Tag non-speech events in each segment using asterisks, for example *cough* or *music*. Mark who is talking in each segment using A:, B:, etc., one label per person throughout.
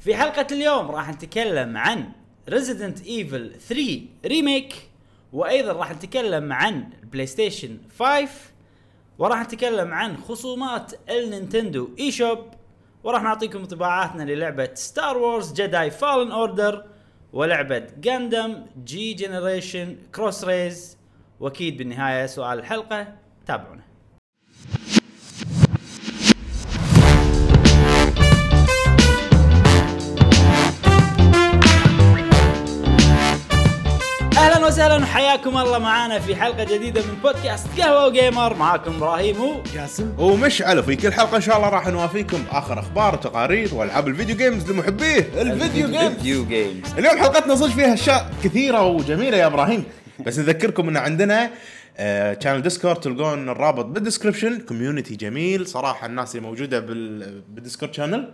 A: في حلقة اليوم راح نتكلم عن ريزيدنت ايفل 3 ريميك وايضا راح نتكلم عن بلاي ستيشن 5 وراح نتكلم عن خصومات النينتندو اي شوب وراح نعطيكم انطباعاتنا للعبة ستار وورز جداي فالن اوردر ولعبة جاندم جي جنريشن كروس ريز واكيد بالنهاية سؤال الحلقة تابعونا اهلا وسهلا وحياكم الله معانا في حلقه جديده من بودكاست قهوه وجيمر معاكم ابراهيم و
B: جاسم
C: ومشعل في كل حلقه ان شاء الله راح نوافيكم اخر اخبار وتقارير والعاب الفيديو جيمز لمحبيه الفيديو جيمز
D: فيديو جيمز
C: اليوم حلقتنا صدق فيها اشياء كثيره وجميله يا ابراهيم بس نذكركم ان عندنا شانل ديسكورد تلقون الرابط بالدسكربشن كوميونتي جميل صراحه الناس اللي موجوده بال... بالديسكورد شانل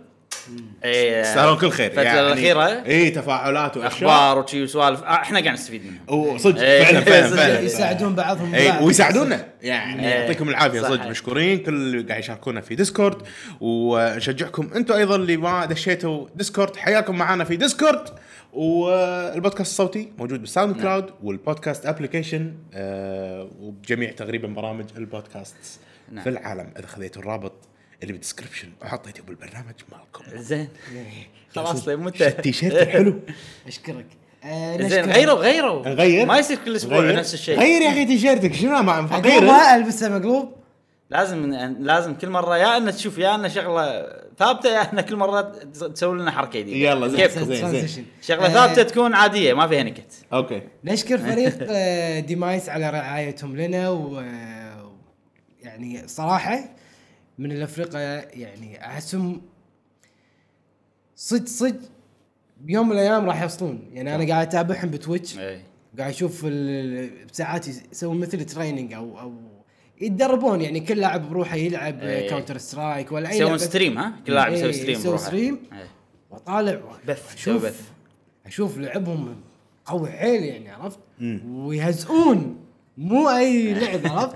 A: إيه، آه،
C: استاهلون كل خير يعني
A: الفتره الاخيره
C: اي تفاعلات واشياء
A: اخبار وشي وسوالف آه، احنا قاعد نستفيد منها
C: وصدق
A: إيه،
C: فعلا فعلا
A: صدق.
C: فعلا
B: *laughs* يساعدون بعضهم
C: اي
B: بعض.
C: إيه، ويساعدونا يعني
A: إيه.
C: يعطيكم العافيه
A: صحيح.
C: صدق مشكورين كل اللي قاعد يشاركونا في ديسكورد ونشجعكم انتم ايضا اللي ما دشيتوا ديسكورد حياكم معنا في ديسكورد والبودكاست الصوتي موجود بالساوند كلاود
A: نعم.
C: والبودكاست ابلكيشن آه وبجميع تقريبا برامج البودكاست
A: نعم.
C: في العالم اذا خذيتوا الرابط اللي بالدسكربشن وحطيته بالبرنامج مالكم
A: زين خلاص طيب متى
C: التيشيرت
A: *laughs*
C: الحلو
B: اشكرك آه،
A: زين
B: نشكرك.
A: غيروا غيروا
C: نغير
A: ما يصير كل اسبوع
C: نغير؟
A: نفس الشيء
C: غير يا اخي تيشيرتك شنو مع فقير
B: مقلوبها البسها مقلوب
A: لازم لازم كل مره يا ان تشوف يا ان شغله ثابته يا ان كل مره تسوي لنا حركه جديده
C: يلا، زين،
A: كيفكم
C: زين.
B: ترانزيشن.
A: شغله
B: آه،
A: ثابته تكون عاديه ما فيها نكت
C: اوكي
B: نشكر فريق آه، ديمايس على رعايتهم لنا و آه، يعني صراحه من الافرقه يعني احسهم صدق صدق بيوم من الايام راح يوصلون يعني انا قاعد اتابعهم بتويتش
A: اي
B: قاعد اشوف ال- ساعات يس- يسوون مثل تريننج او او يتدربون يعني كل لاعب بروحه يلعب
A: إيه.
B: كاونتر سترايك ولا اي
A: يسوون
B: لعبة.
A: ستريم ها كل لاعب يسوي
B: إيه،
A: ستريم
B: يسوي
A: بروحه.
B: ستريم.
A: إيه.
B: وطالع
A: بث،
B: أشوف-
A: يسوي بث.
B: اشوف لعبهم قوي حيل يعني عرفت ويهزئون
A: *laughs*
B: مو اي لعب عرفت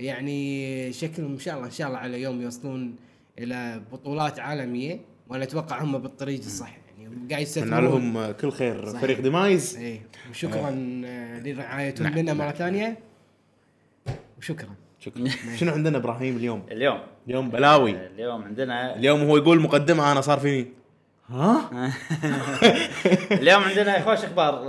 B: يعني شكلهم ان شاء الله ان شاء الله على يوم يوصلون الى بطولات عالميه وانا اتوقع هم بالطريق الصح يعني قاعد
C: اتمنى
B: يستثمرون
C: لهم كل خير
B: صحيح.
C: فريق ديمايز
B: ايه وشكرا آه، لرعايتهم لنا مره ثانيه وشكرا
A: *laughs*
C: شكرا شنو عندنا ابراهيم اليوم؟
A: اليوم *laughs*
C: اليوم بلاوي
A: اليوم عندنا
C: اليوم هو يقول مقدمه انا صار فيني ها؟
A: اليوم عندنا خوش اخبار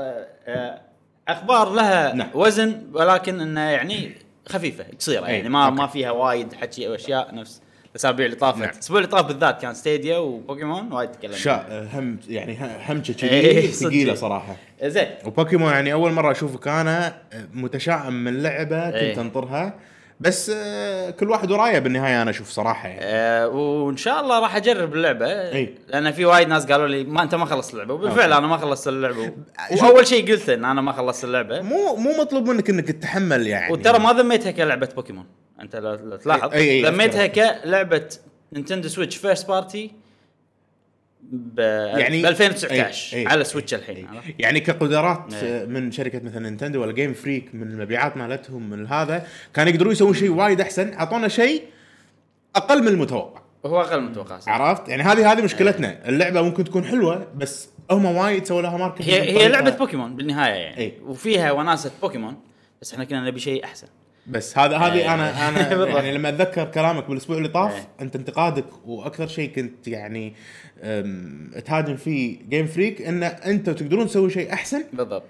A: آه، اخبار لها
C: نعم.
A: وزن ولكن انها يعني خفيفه قصيره
C: أي،
A: يعني ما
C: إيه، أوكي.
A: ما فيها وايد حكي واشياء نفس الاسابيع اللي طافت
C: نعم.
A: الاسبوع اللي طاف بالذات كان ستيديا وبوكيمون وايد تكلمنا
C: *laughs* شا هم يعني همشه
A: إيه،
C: كذي
A: صدق.
C: ثقيله صراحه
A: زين
C: وبوكيمون يعني اول مره اشوفك انا متشائم من لعبه
A: إيه.
C: كنت انطرها بس آه، كل واحد ورايه بالنهايه انا اشوف صراحه يعني
A: آه وان شاء الله راح اجرب اللعبه
C: أي.
A: لان في وايد ناس قالوا لي ما انت ما خلصت اللعبه وبالفعل
C: إيه. أوكي.
A: انا ما خلصت اللعبه
C: شوف-
A: واول شيء قلت ان انا ما خلصت اللعبه
C: مو مو مطلوب منك انك تتحمل يعني
A: وترى ما ذميتها كلعبه بوكيمون انت لو لو تلاحظ
C: أي- أي،
A: ذميتها كلعبه نينتندو سويتش فيرست بارتي ب يعني
C: يعني-
A: ب 2019
C: أي- أي-
A: على سويتش الحين عرفت؟
C: يعني كقدرات
A: إيه.
C: آه، من شركه مثلا نينتندو ولا جيم فريك من المبيعات مالتهم من هذا كانوا يقدرون يسوون شيء وايد احسن اعطونا شيء اقل من المتوقع
A: هو اقل من متوقع صراحة.
C: عرفت يعني هذه هذه
A: إيه.
C: مشكلتنا اللعبه ممكن تكون حلوه بس هم وايد سووا لها ماركتنج
A: هي هي لعبه بوكيمون بالنهايه يعني
C: طيب. أي.
A: وفيها وناسه بوكيمون بس احنا كنا نبي شيء احسن
C: بس هذا هذه
A: *laughs*
C: انا انا
A: إيه. بالضبط.
C: يعني لما اتذكر كلامك بالاسبوع اللي طاف
A: إيه.
C: انت انتقادك واكثر شيء كنت يعني أم، تهاجم فيه جيم فريك ان انتم تقدرون تسوي شيء احسن
A: بالضبط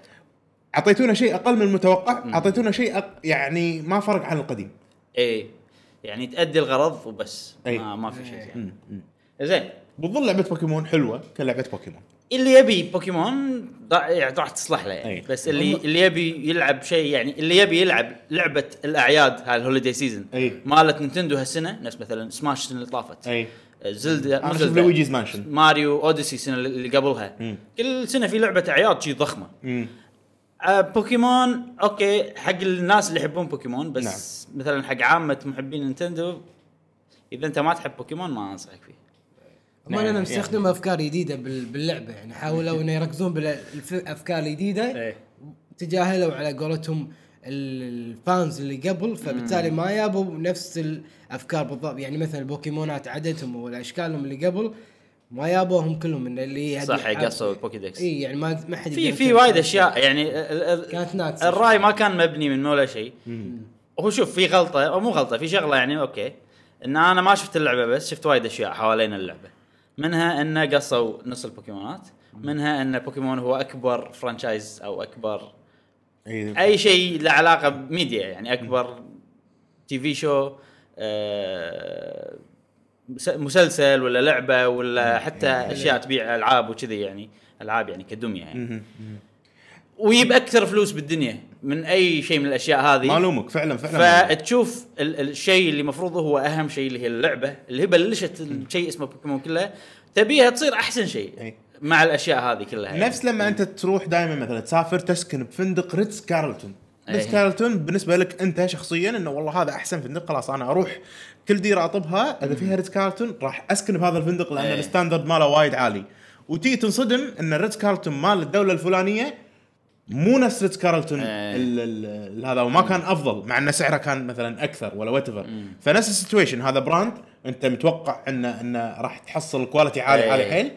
C: اعطيتونا شيء اقل من المتوقع اعطيتونا شيء أق... يعني ما فرق عن القديم
A: اي يعني تادي الغرض وبس
C: أي.
A: ما, ما في شيء يعني.
C: مم، مم.
A: زين
C: بتظل لعبه بوكيمون حلوه كلعبه بوكيمون
A: اللي يبي بوكيمون را- يعني راح تصلح له يعني
C: أي.
A: بس اللي اللي يبي يلعب شيء يعني اللي يبي يلعب لعبه الاعياد هاي الهوليدي سيزون
C: أي.
A: مالت نينتندو هالسنه نفس مثلا سماش السنه اللي طافت
C: اي
A: زلدا
C: انا
A: مو
C: اشوف
A: زلدا.
C: لويجيز مانشن
A: ماريو اوديسي السنه اللي قبلها
C: مم.
A: كل سنه في لعبه اعياد شي ضخمه
C: مم.
A: آه، بوكيمون اوكي حق الناس اللي يحبون بوكيمون بس نعم. مثلا حق عامه محبين نينتندو اذا انت ما تحب بوكيمون ما انصحك فيه
B: هم
C: نعم،
B: لنا
C: يعني.
B: مستخدموا افكار جديده بال- باللعبه يعني حاولوا انه يركزون بالافكار الجديده
A: إيه.
B: تجاهلوا على قولتهم ال- الفانز اللي قبل فبالتالي ما يابوا نفس الافكار بالضبط يعني مثلا البوكيمونات عددهم والاشكالهم اللي قبل ما يابوهم كلهم من اللي
A: يعني
D: صح قصوا البوكي ديكس
B: اي يعني ما ما حد
A: إيه. في
B: يقدر
A: في
B: يتكلم.
A: وايد اشياء يعني ال- ال-
B: كانت ناقصة.
A: الراي ما كان مبني منه ولا شيء هو شوف في غلطه او مو غلطه في شغله يعني اوكي ان انا ما شفت اللعبه بس شفت وايد اشياء حوالين اللعبه منها انه قصوا نص البوكيمونات منها ان بوكيمون هو اكبر فرانشايز او اكبر
C: اي
A: اي شيء له علاقه بميديا يعني اكبر تي في شو آه، مس- مسلسل ولا لعبه ولا حتى اشياء تبيع العاب وكذي يعني العاب يعني كدميه يعني ويجيب اكثر فلوس بالدنيا من اي شيء من الاشياء هذه
C: ما الومك فعلا فعلا ما ألومك.
A: فتشوف ال- الشيء اللي المفروض هو اهم شيء اللي هي اللعبه اللي هي بلشت الشيء اسمه بوكيمون كلها تبيها تصير احسن شيء
C: إي.
A: مع الاشياء هذه كلها يعني.
C: يعني نفس لما انت تروح دائما مثلا تسافر تسكن بفندق ريتز كارلتون ريتز
A: أي.
C: كارلتون بالنسبه لك انت شخصيا انه والله هذا احسن فندق خلاص انا اروح كل ديره اطبها اذا فيها ريتز كارلتون راح اسكن بهذا الفندق لان
A: أي.
C: الستاندرد ماله وايد عالي وتي تنصدم ان الريتز كارلتون مال الدوله الفلانيه مو نفس ريتز كارلتون
A: أي.
C: ال- ال- ال- هذا وما كان افضل مع ان سعره كان مثلا اكثر ولا وات فنفس السيتويشن هذا براند انت متوقع انه انه راح تحصل كواليتي عالي
A: أي.
C: عالي حيل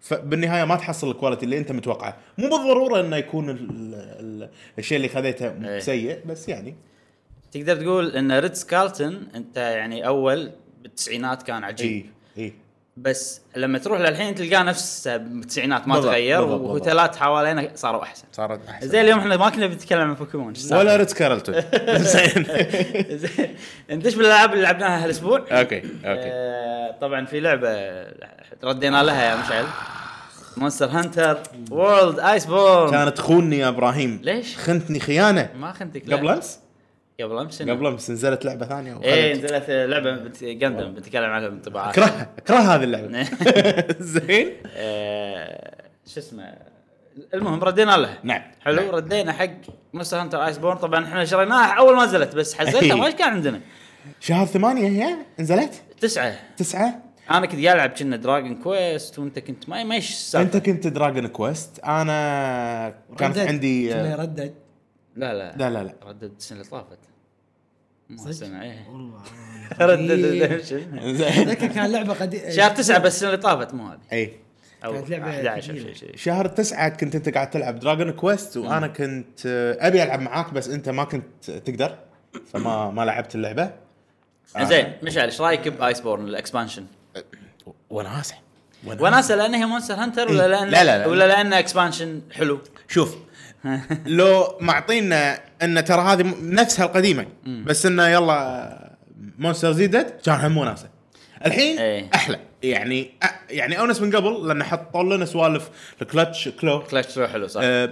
C: فبالنهايه ما تحصل الكواليتي اللي انت متوقعه مو بالضروره انه يكون ال ال ال الشيء اللي خذيته
A: إيه.
C: سيء بس يعني
A: تقدر تقول ان ريتز كارلتون انت يعني اول بالتسعينات كان عجيب
C: اي اي
A: بس لما تروح للحين تلقاه نفسه بالتسعينات ما
C: بالضبط،
A: تغير
C: بالضبط، بالضبط.
A: وهوتيلات حوالينا صاروا احسن
C: صارت احسن
A: زي اليوم احنا ما كنا بنتكلم عن بوكيمون إيش
C: ولا
A: السالفة؟
C: ريتز كارلتون زين
A: *laughs* زين ندش بالالعاب اللي لعبناها
C: *laughs*
A: هالاسبوع
C: اوكي اوكي
A: آه، طبعا في لعبه ردينا لها يا مشعل مونستر هانتر وورلد ايس بورن
C: كانت خوني يا ابراهيم
A: ليش؟
C: خنتني خيانه
A: ما خنتك لا.
C: قبل امس
A: قبل امس
C: قبل امس نزلت لعبه ثانيه
A: ايه
C: وخلت-
A: نزلت لعبه بنت جندم بنتكلم عنها بالطباعات
C: اكرهها اكره هذه
A: *laughs*
C: اللعبه *laughs* زين
A: آه، شو اسمه المهم ردينا لها
C: نعم.
A: حلو
C: نعم.
A: ردينا حق مونستر هانتر ايس بورن طبعا احنا شريناها اول ما نزلت بس حزتها ما كان عندنا
C: شهر ثمانية هي نزلت
A: تسعة
C: تسعة
A: انا كنت قاعد العب كنا دراجون كويست وانت كنت ما ما ايش
C: انت
A: السالفه
C: كنت دراجون كويست انا كانت
B: ردد.
C: عندي آه،
B: كنا ردد
A: لا لا
C: لا لا *laughs* لا
A: ردد السنه اللي طافت مو
B: صدق؟
A: السنه
B: *laughs*
A: ايه
B: والله
A: *laughs*
B: أنا
A: ردد
B: قديم.
A: ريدمشن.
C: زين
B: ذكر كان لعبه
A: *laughs*
B: قديمه
A: شهر تسعة بس السنه اللي طافت مو هذه
C: اي
A: او
B: كانت لعبة
A: 11 او
B: ثقيلة.
A: شيء شيء
C: إيه. شهر تسعة كنت انت قاعد تلعب دراجون كويست وانا كنت آه، ابي العب معاك بس انت ما كنت تقدر فما ما لعبت اللعبه آه.
A: زين مشعل ايش رايك بايس بورن الاكسبانشن؟
C: وناسه
A: وناسه لان هي مونستر هانتر ولا
C: إيه.
A: لان
C: لا، لا، لا.
A: ولا لان اكسبانشن حلو *laughs*
C: شوف لو معطينا ان ترى هذه م- نفسها القديمه بس انه يلا مونستر زيدت كان هم وناسه الحين
A: إيه.
C: احلى يعني أ- يعني اونس من قبل لان حطوا لنا سوالف الكلتش كلو
A: كلاش رو حلو صح؟
C: آه،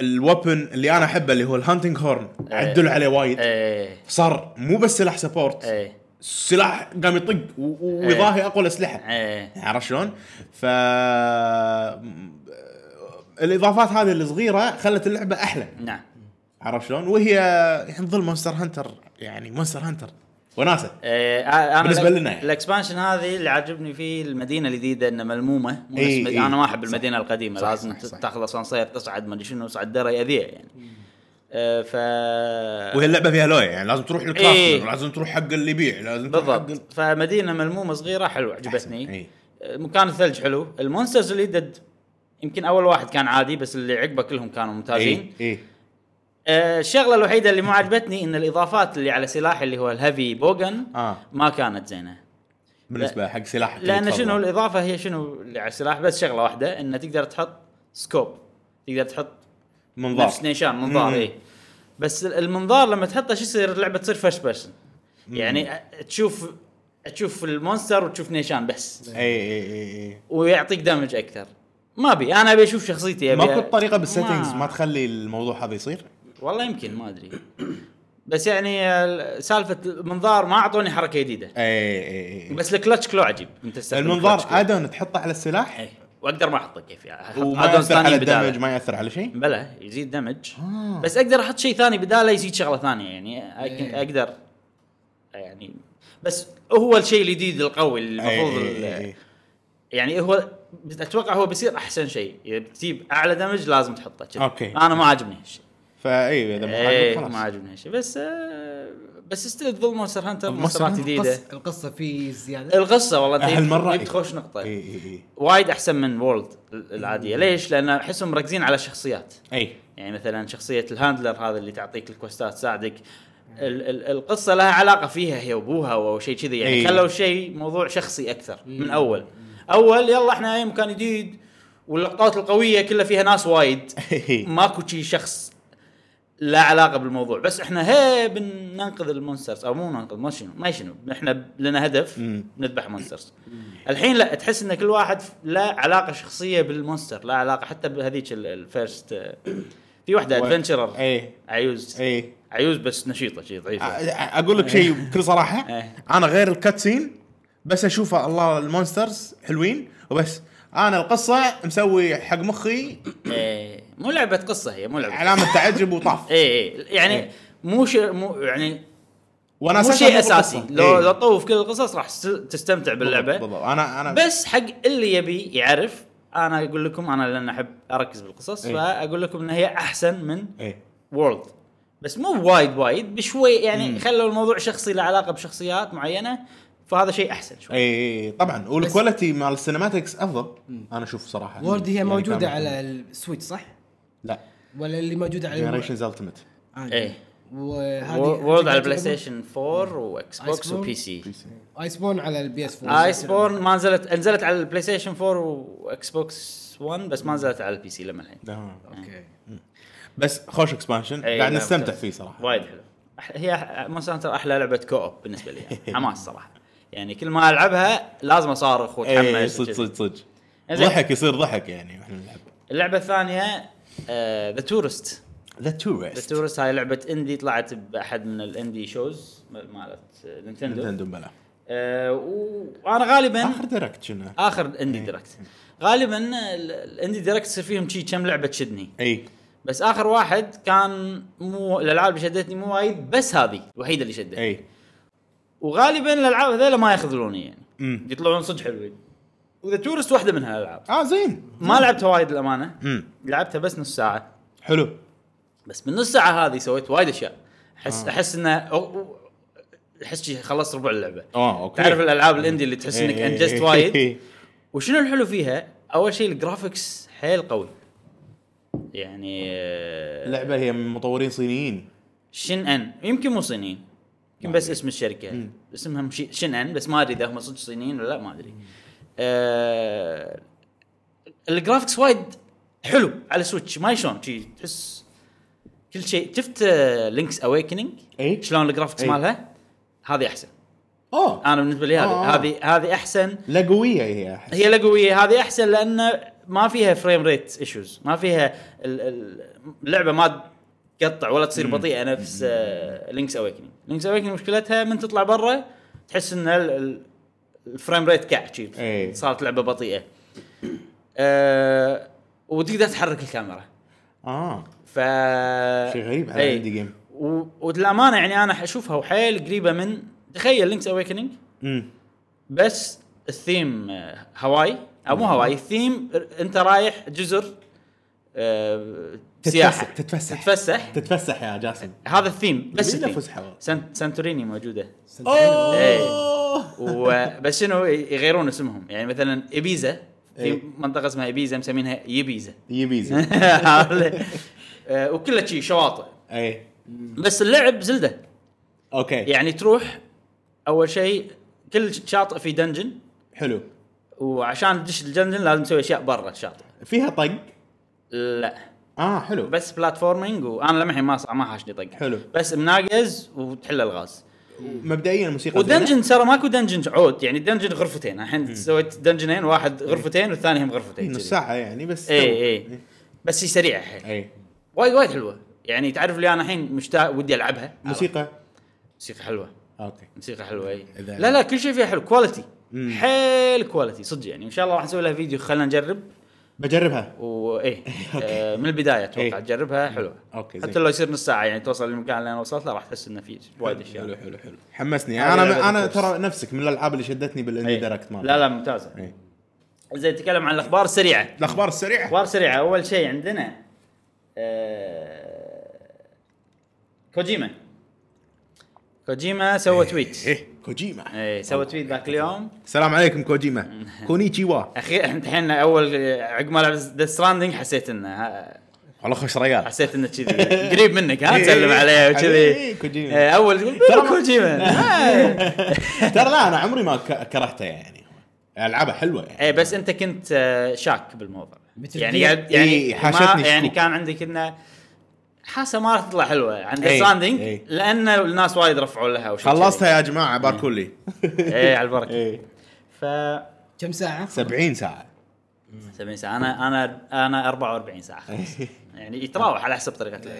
C: الوبن اللي انا احبه اللي هو الهانتنج هورن
A: إيه.
C: عدلوا عليه وايد
A: ايه
C: صار مو بس سلاح سبورت
A: ايه
C: سلاح قام يطق و-
A: إيه.
C: و- ويضاهي اقوى الاسلحه
A: ايه
C: عرفت شلون؟ ف الاضافات هذه الصغيره خلت اللعبه احلى
A: نعم
C: عرفت شلون؟ وهي يعني تظل مونستر هانتر يعني مونستر هانتر وناسه
A: إيه، آه، انا
C: بالنسبة
A: الأك-
C: لنا يعني.
A: الاكسبانشن هذه اللي عاجبني فيه المدينه الجديده انها ملمومه مو
C: إي،
A: نفس مد-
C: إي.
A: انا ما احب
C: صح.
A: المدينه القديمه
C: صح،
A: لازم
C: صح،
A: ت-
C: صح.
A: تاخذ اسانسير تصعد ما ادري شنو تصعد درة يأذية يعني آه، ف
C: وهي اللعبه فيها لوية يعني لازم تروح للكلاس
A: إيه.
C: لازم تروح حق اللي يبيع لازم تروح حق ال- إيه.
A: بالضبط فمدينه ملمومه صغيره حلو
C: أحسن،
A: عجبتني
C: إي.
A: آه، مكان الثلج حلو المونسترز اللي دد يمكن اول واحد كان عادي بس اللي عقبه كلهم كانوا ممتازين
C: اي اي
A: آه، الشغله الوحيده اللي ما عجبتني ان الاضافات اللي على سلاحي اللي هو الهيفي بوغن
C: آه.
A: ما كانت زينه
C: بالنسبه حق سلاحك اللي
A: لان
C: تفضله.
A: شنو الاضافه هي شنو اللي على السلاح بس شغله واحده انه تقدر تحط سكوب تقدر تحط
C: منظار
A: نفس نيشان منظار
C: مم.
A: اي بس ال- المنظار لما تحطه شو يصير اللعبه تصير فيرست بيرسون يعني أ- تشوف تشوف المونستر وتشوف نيشان بس
C: اي اي اي اي
A: ويعطيك دامج اكثر ما ابي انا ابي اشوف شخصيتي ابي
C: ماكو طريقه بالسيتنجز ما تخلي الموضوع هذا يصير؟
A: والله يمكن ما ادري بس يعني ال- سالفه المنظار ما اعطوني حركه جديده
C: اي اي اي
A: بس الكلتش كلو عجيب انت تستخدم
C: إيه، المنظار
A: الكلتش كلو.
C: ادون تحطه على السلاح
A: إيه. واقدر ما احطه كيف يعني أحط
C: وما
A: add-ons
C: ياثر على
A: ثانيين بداله.
C: الدمج ما ياثر على شيء
A: بلى يزيد دمج آه. بس اقدر احط شيء ثاني بداله يزيد شغله ثانيه يعني أك-
B: إيه.
A: اقدر يعني بس هو الشيء الجديد القوي اللي إيه، المفروض
C: إي إي إي
A: ال-
C: إي.
A: يعني هو اتوقع هو بيصير احسن شيء اذا بتجيب اعلى دمج لازم تحطه كذي
C: أوكي.
A: انا ما عاجبني هالشيء
C: فاي اذا مو
A: إيه،
C: عاجبك
A: ما
C: خلاص
A: عاجبني هالشيء بس آه، بس ستيل تظل مونستر هانتر
C: Monster
A: مونسترات
C: Hunter
A: جديده
B: القص- القصه فيه زياده
A: القصه والله انت
C: هالمرة
A: جبت- جبت
C: إيه.
A: خوش نقطه
C: اي اي اي
A: وايد احسن من وورلد العاديه ليش؟ لان احسهم مركزين على الشخصيات
C: اي
A: يعني مثلا شخصيه الهاندلر هذا اللي تعطيك الكوستات تساعدك ال- ال- القصه لها علاقه فيها هي وابوها او شيء كذي يعني
C: إي.
A: خلوا شيء موضوع شخصي اكثر من اول اول يلا احنا اي مكان جديد واللقطات القويه كلها فيها ناس وايد *laughs*
C: إيه.
A: ماكو شي شخص لا علاقه بالموضوع بس احنا هي بننقذ المونسترز او مو ننقذ ما شنو ما شنو احنا لنا هدف
C: مم.
A: نذبح مونسترز الحين لا تحس ان كل واحد لا علاقه شخصيه بالمونستر لا علاقه حتى بهذيك ال- الفيرست آه، في واحده
C: و-
A: ادفنشرر
C: اي
A: عجوز
C: اي
A: عجوز بس نشيطه شي ضعيفه
C: أ- اقول إيه. لك شيء بكل صراحه
A: إيه.
C: انا غير الكاتسين بس اشوفه الله المونسترز حلوين وبس انا القصه مسوي حق مخي
A: إيه، مو لعبه قصه هي مو لعبه
C: علامه تعجب وطاف
A: اي اي
C: إيه.
A: يعني مو شيء مو يعني
C: وانا
A: مو
C: أساساً
A: شيء
C: مو بالقصة.
A: اساسي لو
C: إيه.
A: لو طوف كل القصص راح ست- تستمتع باللعبه
C: بالضبط انا انا
A: بس حق اللي يبي يعرف انا اقول لكم انا لان احب اركز بالقصص
C: إيه.
A: فاقول لكم ان هي احسن من
C: ايه
A: وورلد بس مو وايد وايد بشوي يعني خلوا الموضوع شخصي له علاقه بشخصيات معينه فهذا شيء احسن شوي
C: اي اي طبعا والكواليتي إيه. مال السينماتكس افضل انا اشوف صراحه
B: وورد هي
C: يعني
B: موجوده
C: كان-
B: على السويتش صح؟
C: لا
B: ولا اللي موجوده على الم-
C: جنريشنز التيمت
B: آه.
A: إيه.
B: وهذه
A: وورلد على البلاي ستيشن 4 واكس بوكس
B: Iceborne.
A: وبي سي
B: ايس بورن على البي اس 4
A: ايس بورن ما نزلت نزلت على البلاي ستيشن 4 واكس بوكس 1 بس ما نزلت على البي سي لما الحين
B: اوكي
C: بس خوش اكسبانشن
A: إيه،
C: قاعد
A: لا،
C: نستمتع
A: ممتاز.
C: فيه صراحه
A: وايد حلو أح- هي أح- مونستر هانتر احلى لعبه كو اوب بالنسبه لي يعني. حماس صراحه يعني كل ما العبها لازم اصارخ
C: اي
A: واتحمس
C: إيه، صدق
A: وكذي.
C: صدق صدق
A: زين.
C: ضحك يصير ضحك يعني واحنا نلعب
A: اللعبه الثانيه ذا تورست
C: ذا
A: ذا
C: تورست
A: تورست هاي لعبه اندي طلعت باحد من الاندي شوز م- مالت آه، نينتندو
C: نتندو بلا
A: آه، وانا غالبا
C: اخر دايركت
A: آه.
C: شنو
A: اخر اندي
C: إيه.
A: دايركت غالبا ال- الاندي دايركت يصير فيهم شي كم لعبه تشدني
C: اي
A: بس اخر واحد كان مو الالعاب اللي شدتني مو وايد بس هذه الوحيده اللي شدتني
C: اي
A: وغالبا الالعاب هذول ما يخذلوني يعني
C: مم.
A: يطلعون صدق حلوين وذا تورست واحده من هالالعاب
C: اه زين
A: ما لعبتها وايد الامانه
C: امم
A: لعبتها بس نص ساعه
C: حلو
A: بس بالنص ساعه هذه سويت وايد اشياء احس آه. احس انه أو- أو- احس شي خلصت ربع اللعبه
C: اه اوكي
A: تعرف الالعاب الاندي اللي تحس انك
C: إيه، إيه،
A: انجزت
C: إيه.
A: وايد
C: *laughs*
A: وشنو الحلو فيها؟ اول شيء الجرافكس حيل قوي يعني آه،
C: اللعبه هي من مطورين صينيين
A: شن ان يمكن مو صينيين يمكن بس اسم الشركه اسمها مشي- شن ان بس ما ادري اذا هم صدق صينيين ولا لا ما ادري آه الجرافكس وايد حلو على سويتش ما شلون شي تحس كل شيء شفت لينكس اويكننج
C: إي.
A: شلون الجرافكس
C: إي.
A: مالها هذه احسن
C: اه
A: انا بالنسبه لي هذه
C: آه.
A: هذه هذه احسن
C: لا قويه هي احس
A: هي لا قويه هذه احسن لان ما فيها فريم ريت ايشوز ما فيها ال- ال- اللعبه ما تقطع ولا تصير بطيئه نفس آه، لينكس اويكننج لينكس اويكننج مشكلتها من تطلع برا تحس ان ال- ال- الفريم ريت كع شي.
C: إيه.
A: صارت لعبه بطيئه أه وتقدر تحرك الكاميرا
C: اه
A: ف
C: شيء
A: شيء
C: غريب على
A: إيه.
C: الاندي جيم
A: و... وللامانه يعني انا اشوفها وحيل قريبه من تخيل لينكس اويكننج
C: امم
A: بس الثيم آه، هواي او مو هواي الثيم ر- انت رايح جزر آه، سياحه
C: تتفسح
A: تتفسح
C: تتفسح يا جاسم
A: هذا الثيم بس
C: جميلة
A: الثيم.
C: فسحة.
A: سان- سانتوريني موجوده *laughs*
C: اوه
A: وبس شنو يغيرون اسمهم يعني مثلا ابيزا في
C: إيه.
A: منطقه اسمها ابيزا مسمينها يبيزا *laughs*
C: يبيزا
A: آه، وكلها شي شواطئ
C: اي
A: بس اللعب زلده
C: اوكي
A: يعني تروح اول شيء كل شاطئ في دنجن
C: حلو
A: وعشان تدش الدنجن لازم تسوي اشياء برا الشاطئ
C: فيها طق
A: لا
C: اه حلو
A: بس بلاتفورمينج وانا لمحي ما صع- ما حاشني طق
C: حلو.
A: بس مناقز وتحل الغاز
C: مبدئيا موسيقى زينة.
A: ودنجن ترى ماكو دنجن عود يعني دنجن غرفتين الحين سويت دنجنين واحد غرفتين والثاني هم غرفتين
C: نص
A: كذي.
C: ساعة يعني بس إيه.
A: اي اي بس هي سريعه حيل
C: اي
A: وايد وايد حلوه يعني تعرف لي انا الحين مشتاق ودي العبها
C: موسيقى
A: موسيقى حلوه
C: اوكي
A: موسيقى حلوه اي
C: إذا-
A: لا لا كل شيء فيها حلو كواليتي
C: مم.
A: حيل كواليتي صدق يعني ان شاء الله راح نسوي لها فيديو خلينا نجرب
C: بجربها *laughs*
A: وايه آه، من البدايه اتوقع
C: إيه.
A: تجربها حلوه
C: أوكي، زين.
A: حتى لو يصير نص ساعه يعني توصل للمكان اللي انا وصلت له راح تحس انه في وايد اشياء
C: حلو حلو حلو حمسني
A: هذه لعبة
C: انا انا
A: الكورس.
C: ترى نفسك من الالعاب اللي شدتني بالاندي
A: إيه.
C: دايركت مال
A: لا لا ممتازه
C: إيه.
A: زين نتكلم عن الاخبار السريعه
C: الاخبار السريعة
A: اخبار سريعه اول شيء عندنا آه، كوجيما كوجيما سوى
C: *laughs*
A: تويت
C: ايه كوجيما
A: اي سوى تويت ذاك اليوم
C: السلام عليكم كوجيما
A: *laughs*
C: كونيتشيوا
A: اخيرا الحين اول عقب ما لعب ذا ستراندنج حسيت آه، انه ها-
C: والله خوش
A: *laughs*
C: ريال
A: حسيت انه كذي قريب منك ها
C: *laughs* إيه،
A: تسلم
C: إيه،
A: عليه وكذي
C: إيه، كوجيما. إيه.
A: إيه، اول ترى *laughs* كوجيما
C: ترى لا انا عمري ما ك- كرهته يعني العابه حلوه يعني
A: اي إيه، بس انت كنت آه، شاك بالموضوع
B: مثل
A: يعني
B: دي-
A: قاعد يعني
C: إيه،
A: ما-
C: حاشتني
A: يعني
C: شكوك.
A: كان عندك انه حاسه ما راح تطلع حلوه عند
C: إيه،
A: ستراندنج
C: إيه.
A: لان الناس وايد رفعوا لها وشي
C: خلصتها يا جماعه باركوا *laughs* لي
A: كذي. اي على البركه
C: ايه
A: ف
B: كم ساعه
C: 70 ساعه
A: 70 ساعه انا انا انا 44 ساعه خلاص
C: إيه.
A: يعني يتراوح على حسب طريقه اللعب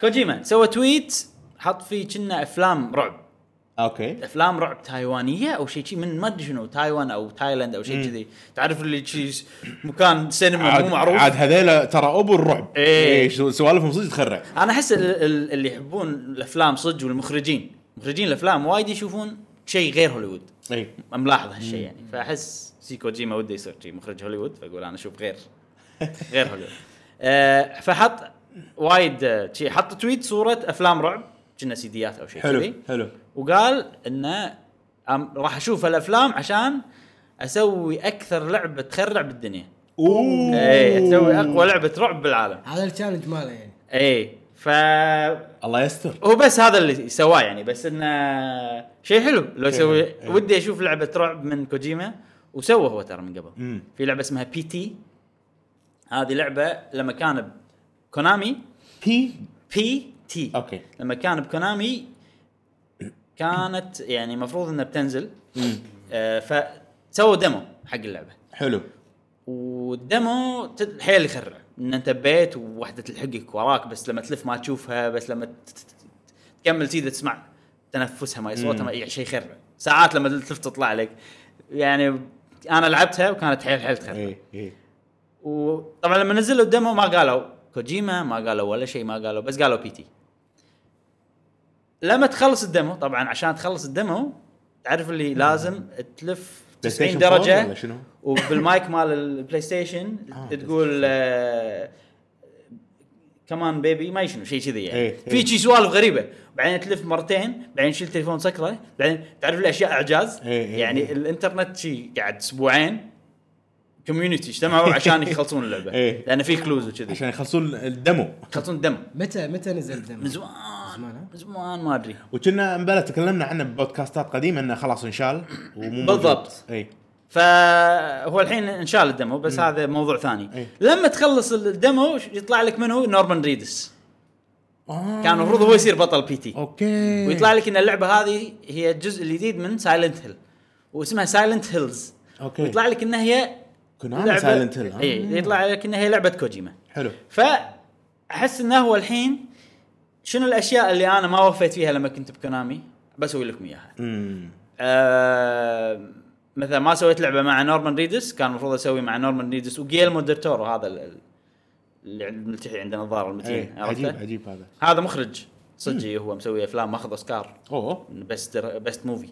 A: كوجيما سوى تويت حط فيه كنا افلام رعب
C: اوكي
A: افلام رعب تايوانيه او شيء شيء من ما ادري شنو تايوان او تايلاند او شيء كذي تعرف اللي شي مكان سينما مو
C: عاد,
A: معروف
C: عاد هذيلا ترى ابو الرعب
A: إيه.
C: سو- سوالفهم صدق تخرع
A: انا احس ال- ال- اللي يحبون الافلام صدق والمخرجين مخرجين الافلام وايد يشوفون شيء غير هوليوود
C: اي
A: ملاحظ هالشيء يعني فاحس سيكو جيما وده يصير شي مخرج هوليوود فاقول انا اشوف
C: *laughs*
A: غير غير هوليوود آه فحط وايد آه، شي حط تويت صوره افلام رعب كنا سيديات او شيء كذي
C: حلو حلو
A: وقال انه أم- راح اشوف هالافلام عشان اسوي اكثر لعبه تخرع بالدنيا
C: اوه
A: اي اسوي اقوى لعبه رعب بالعالم
B: هذا التشالنج ماله يعني
A: اي ف
C: الله يستر
A: هو بس هذا اللي سواه يعني بس انه شيء حلو لو يسوي
C: حلو، إيه.
A: ودي اشوف لعبه رعب من كوجيما وسوى هو ترى من قبل
C: مم.
A: في لعبه اسمها بي تي هذه لعبه لما كان بكونامي
C: بي
A: بي تي
C: اوكي
A: لما كان بكونامي كانت يعني المفروض انها بتنزل آه فسووا ديمو حق اللعبه
C: حلو
A: والديمو تد- حيل يخرع ان انت ببيت وواحده تلحقك وراك بس لما تلف ما تشوفها بس لما ت- ت- ت- تكمل تيده تسمع تنفسها ما صوتها ما يعني شيء خرع ساعات لما تلف تطلع لك يعني انا لعبتها وكانت حيل حيل تخرع
C: اي اي
A: وطبعا لما نزلوا الديمو ما قالوا كوجيما ما قالوا ولا شيء ما قالوا بس قالوا بيتي لما تخلص الديمو طبعا عشان تخلص الديمو تعرف اللي لازم تلف 90
C: PlayStation 4
A: درجه
C: ولا شنو؟
A: وبالمايك *laughs* مال البلاي ستيشن
C: آه،
A: تقول آه، كمان بيبي ما شنو شيء كذي يعني
C: إيه،
A: في
C: إيه.
A: شي سوالف غريبه بعدين تلف مرتين بعدين تشيل تليفون سكره بعدين تعرف الاشياء اعجاز
C: إيه، إيه،
A: يعني
C: إيه.
A: الانترنت شي قاعد اسبوعين كوميونتي اجتمعوا عشان يخلصون اللعبه
C: إيه.
A: لان في كلوز وكذي
C: عشان يخلصون الدمو
A: يخلصون الدم
B: متى متى نزل الدم؟
A: من زمان
B: زمان، ها؟
A: من زمان ما ادري
C: وكنا امبلا تكلمنا عنه ببودكاستات قديمه انه خلاص انشال ومو موجود. إيه.
A: بالضبط.
C: اي
A: فهو الحين انشال الدمو بس هذا موضوع ثاني
C: إيه.
A: لما تخلص الدمو يطلع لك منو نورمان ريدس
C: آه.
A: كان المفروض هو يصير بطل بي تي
C: اوكي
A: ويطلع لك ان اللعبه هذه هي الجزء الجديد من سايلنت هيل واسمها سايلنت هيلز
C: اوكي
A: ويطلع إيه. لك انها هي
C: كنا سايلنت هيل ها؟
A: اي يطلع لك انها هي لعبه كوجيما
C: حلو
A: فاحس انه هو الحين شنو الاشياء اللي انا ما وفيت فيها لما كنت بكونامي بسوي لكم اياها
C: امم
A: آه مثلا ما سويت لعبه مع نورمان ريدس كان المفروض اسوي مع نورمان ريدس وجيلمو ديرتورو هذا ال- ال- اللي عند- الملتحي عندنا الظاهر المتين
C: إيه، عجيب
A: عرفته
C: عجيب هذا
A: هذا مخرج صدقي هو مسوي افلام ماخذ اوسكار
C: اوه
A: بيست بيست موفي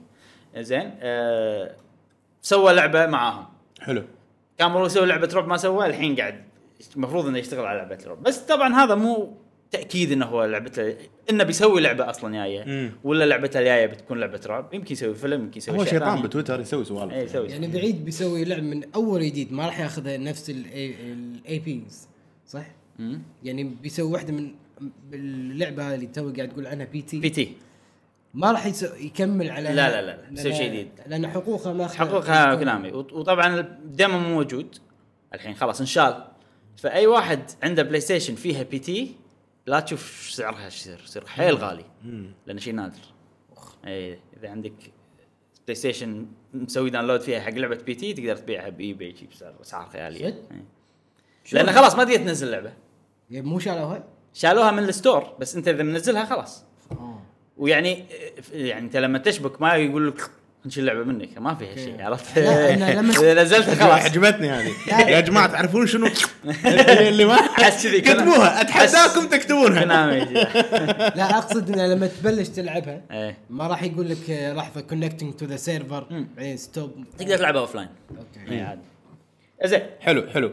A: زين آه سوى لعبه معاهم
C: حلو
A: كان المفروض يسوي لعبه رعب ما سوى الحين قاعد المفروض انه يشتغل على لعبه رعب بس طبعا هذا مو تاكيد انه هو لعبته انه بيسوي لعبه اصلا جايه
C: مم.
A: ولا لعبته الجايه بتكون لعبه رعب يمكن يسوي فيلم يمكن يسوي
C: هو
A: شيء
C: شيطان
A: ثاني.
C: بتويتر يسوي سوالف
A: اي
C: *laughs*
A: يسوي
B: يعني بعيد بيسوي لعب من اول جديد ما راح ياخذها نفس الاي بيز صح؟
A: مم.
B: يعني بيسوي واحده من اللعبه هذه اللي تو قاعد تقول عنها بي
A: بي
B: تي
A: تي
B: ما راح يسو- يكمل على
A: لا، لا، لا، لا، بيسوي شيء جديد.
B: لان حقوقها ما أخذها.
A: حقوقها كلامي وط- وطبعا الديمو مو موجود الحين خلاص انشال فاي واحد عنده بلاي ستيشن فيها بي تي لا تشوف سعرها ايش يصير يصير حيل غالي لانه شيء نادر اي اذا عندك بلاي ستيشن مسوي داونلود فيها حق لعبه بي تي تقدر تبيعها باي باي شي بسعر اسعار خياليه
B: صدق؟
A: إي. لان خلاص ما تقدر تنزل لعبه
B: يعني مو شالوها؟
A: شالوها من الستور بس انت اذا منزلها خلاص
B: آه.
A: ويعني يعني انت لما تشبك ما يقول لك نشيل اللعبه منك ما فيها شيء عرفت؟
B: لا، أنا
A: *laughs*
B: لما-
A: اذا
B: *laughs*
A: نزلتها خلاص *laughs*
C: عجبتني هذه يا جماعه تعرفون شنو اللي اللي ما
A: أحس كذي كنا-
C: كتبوها اتحداكم
A: *laughs*
C: تكتبونها
A: كونامي
B: لا اقصد انه لما تبلش تلعبها
A: إيه.
B: ما راح يقول لك آه، لحظه كونكتنج تو ذا سيرفر
A: مم.
B: بعدين ستوب
A: تقدر تلعبها اوف لاين
B: اوكي
A: إيه، زين
C: حلو حلو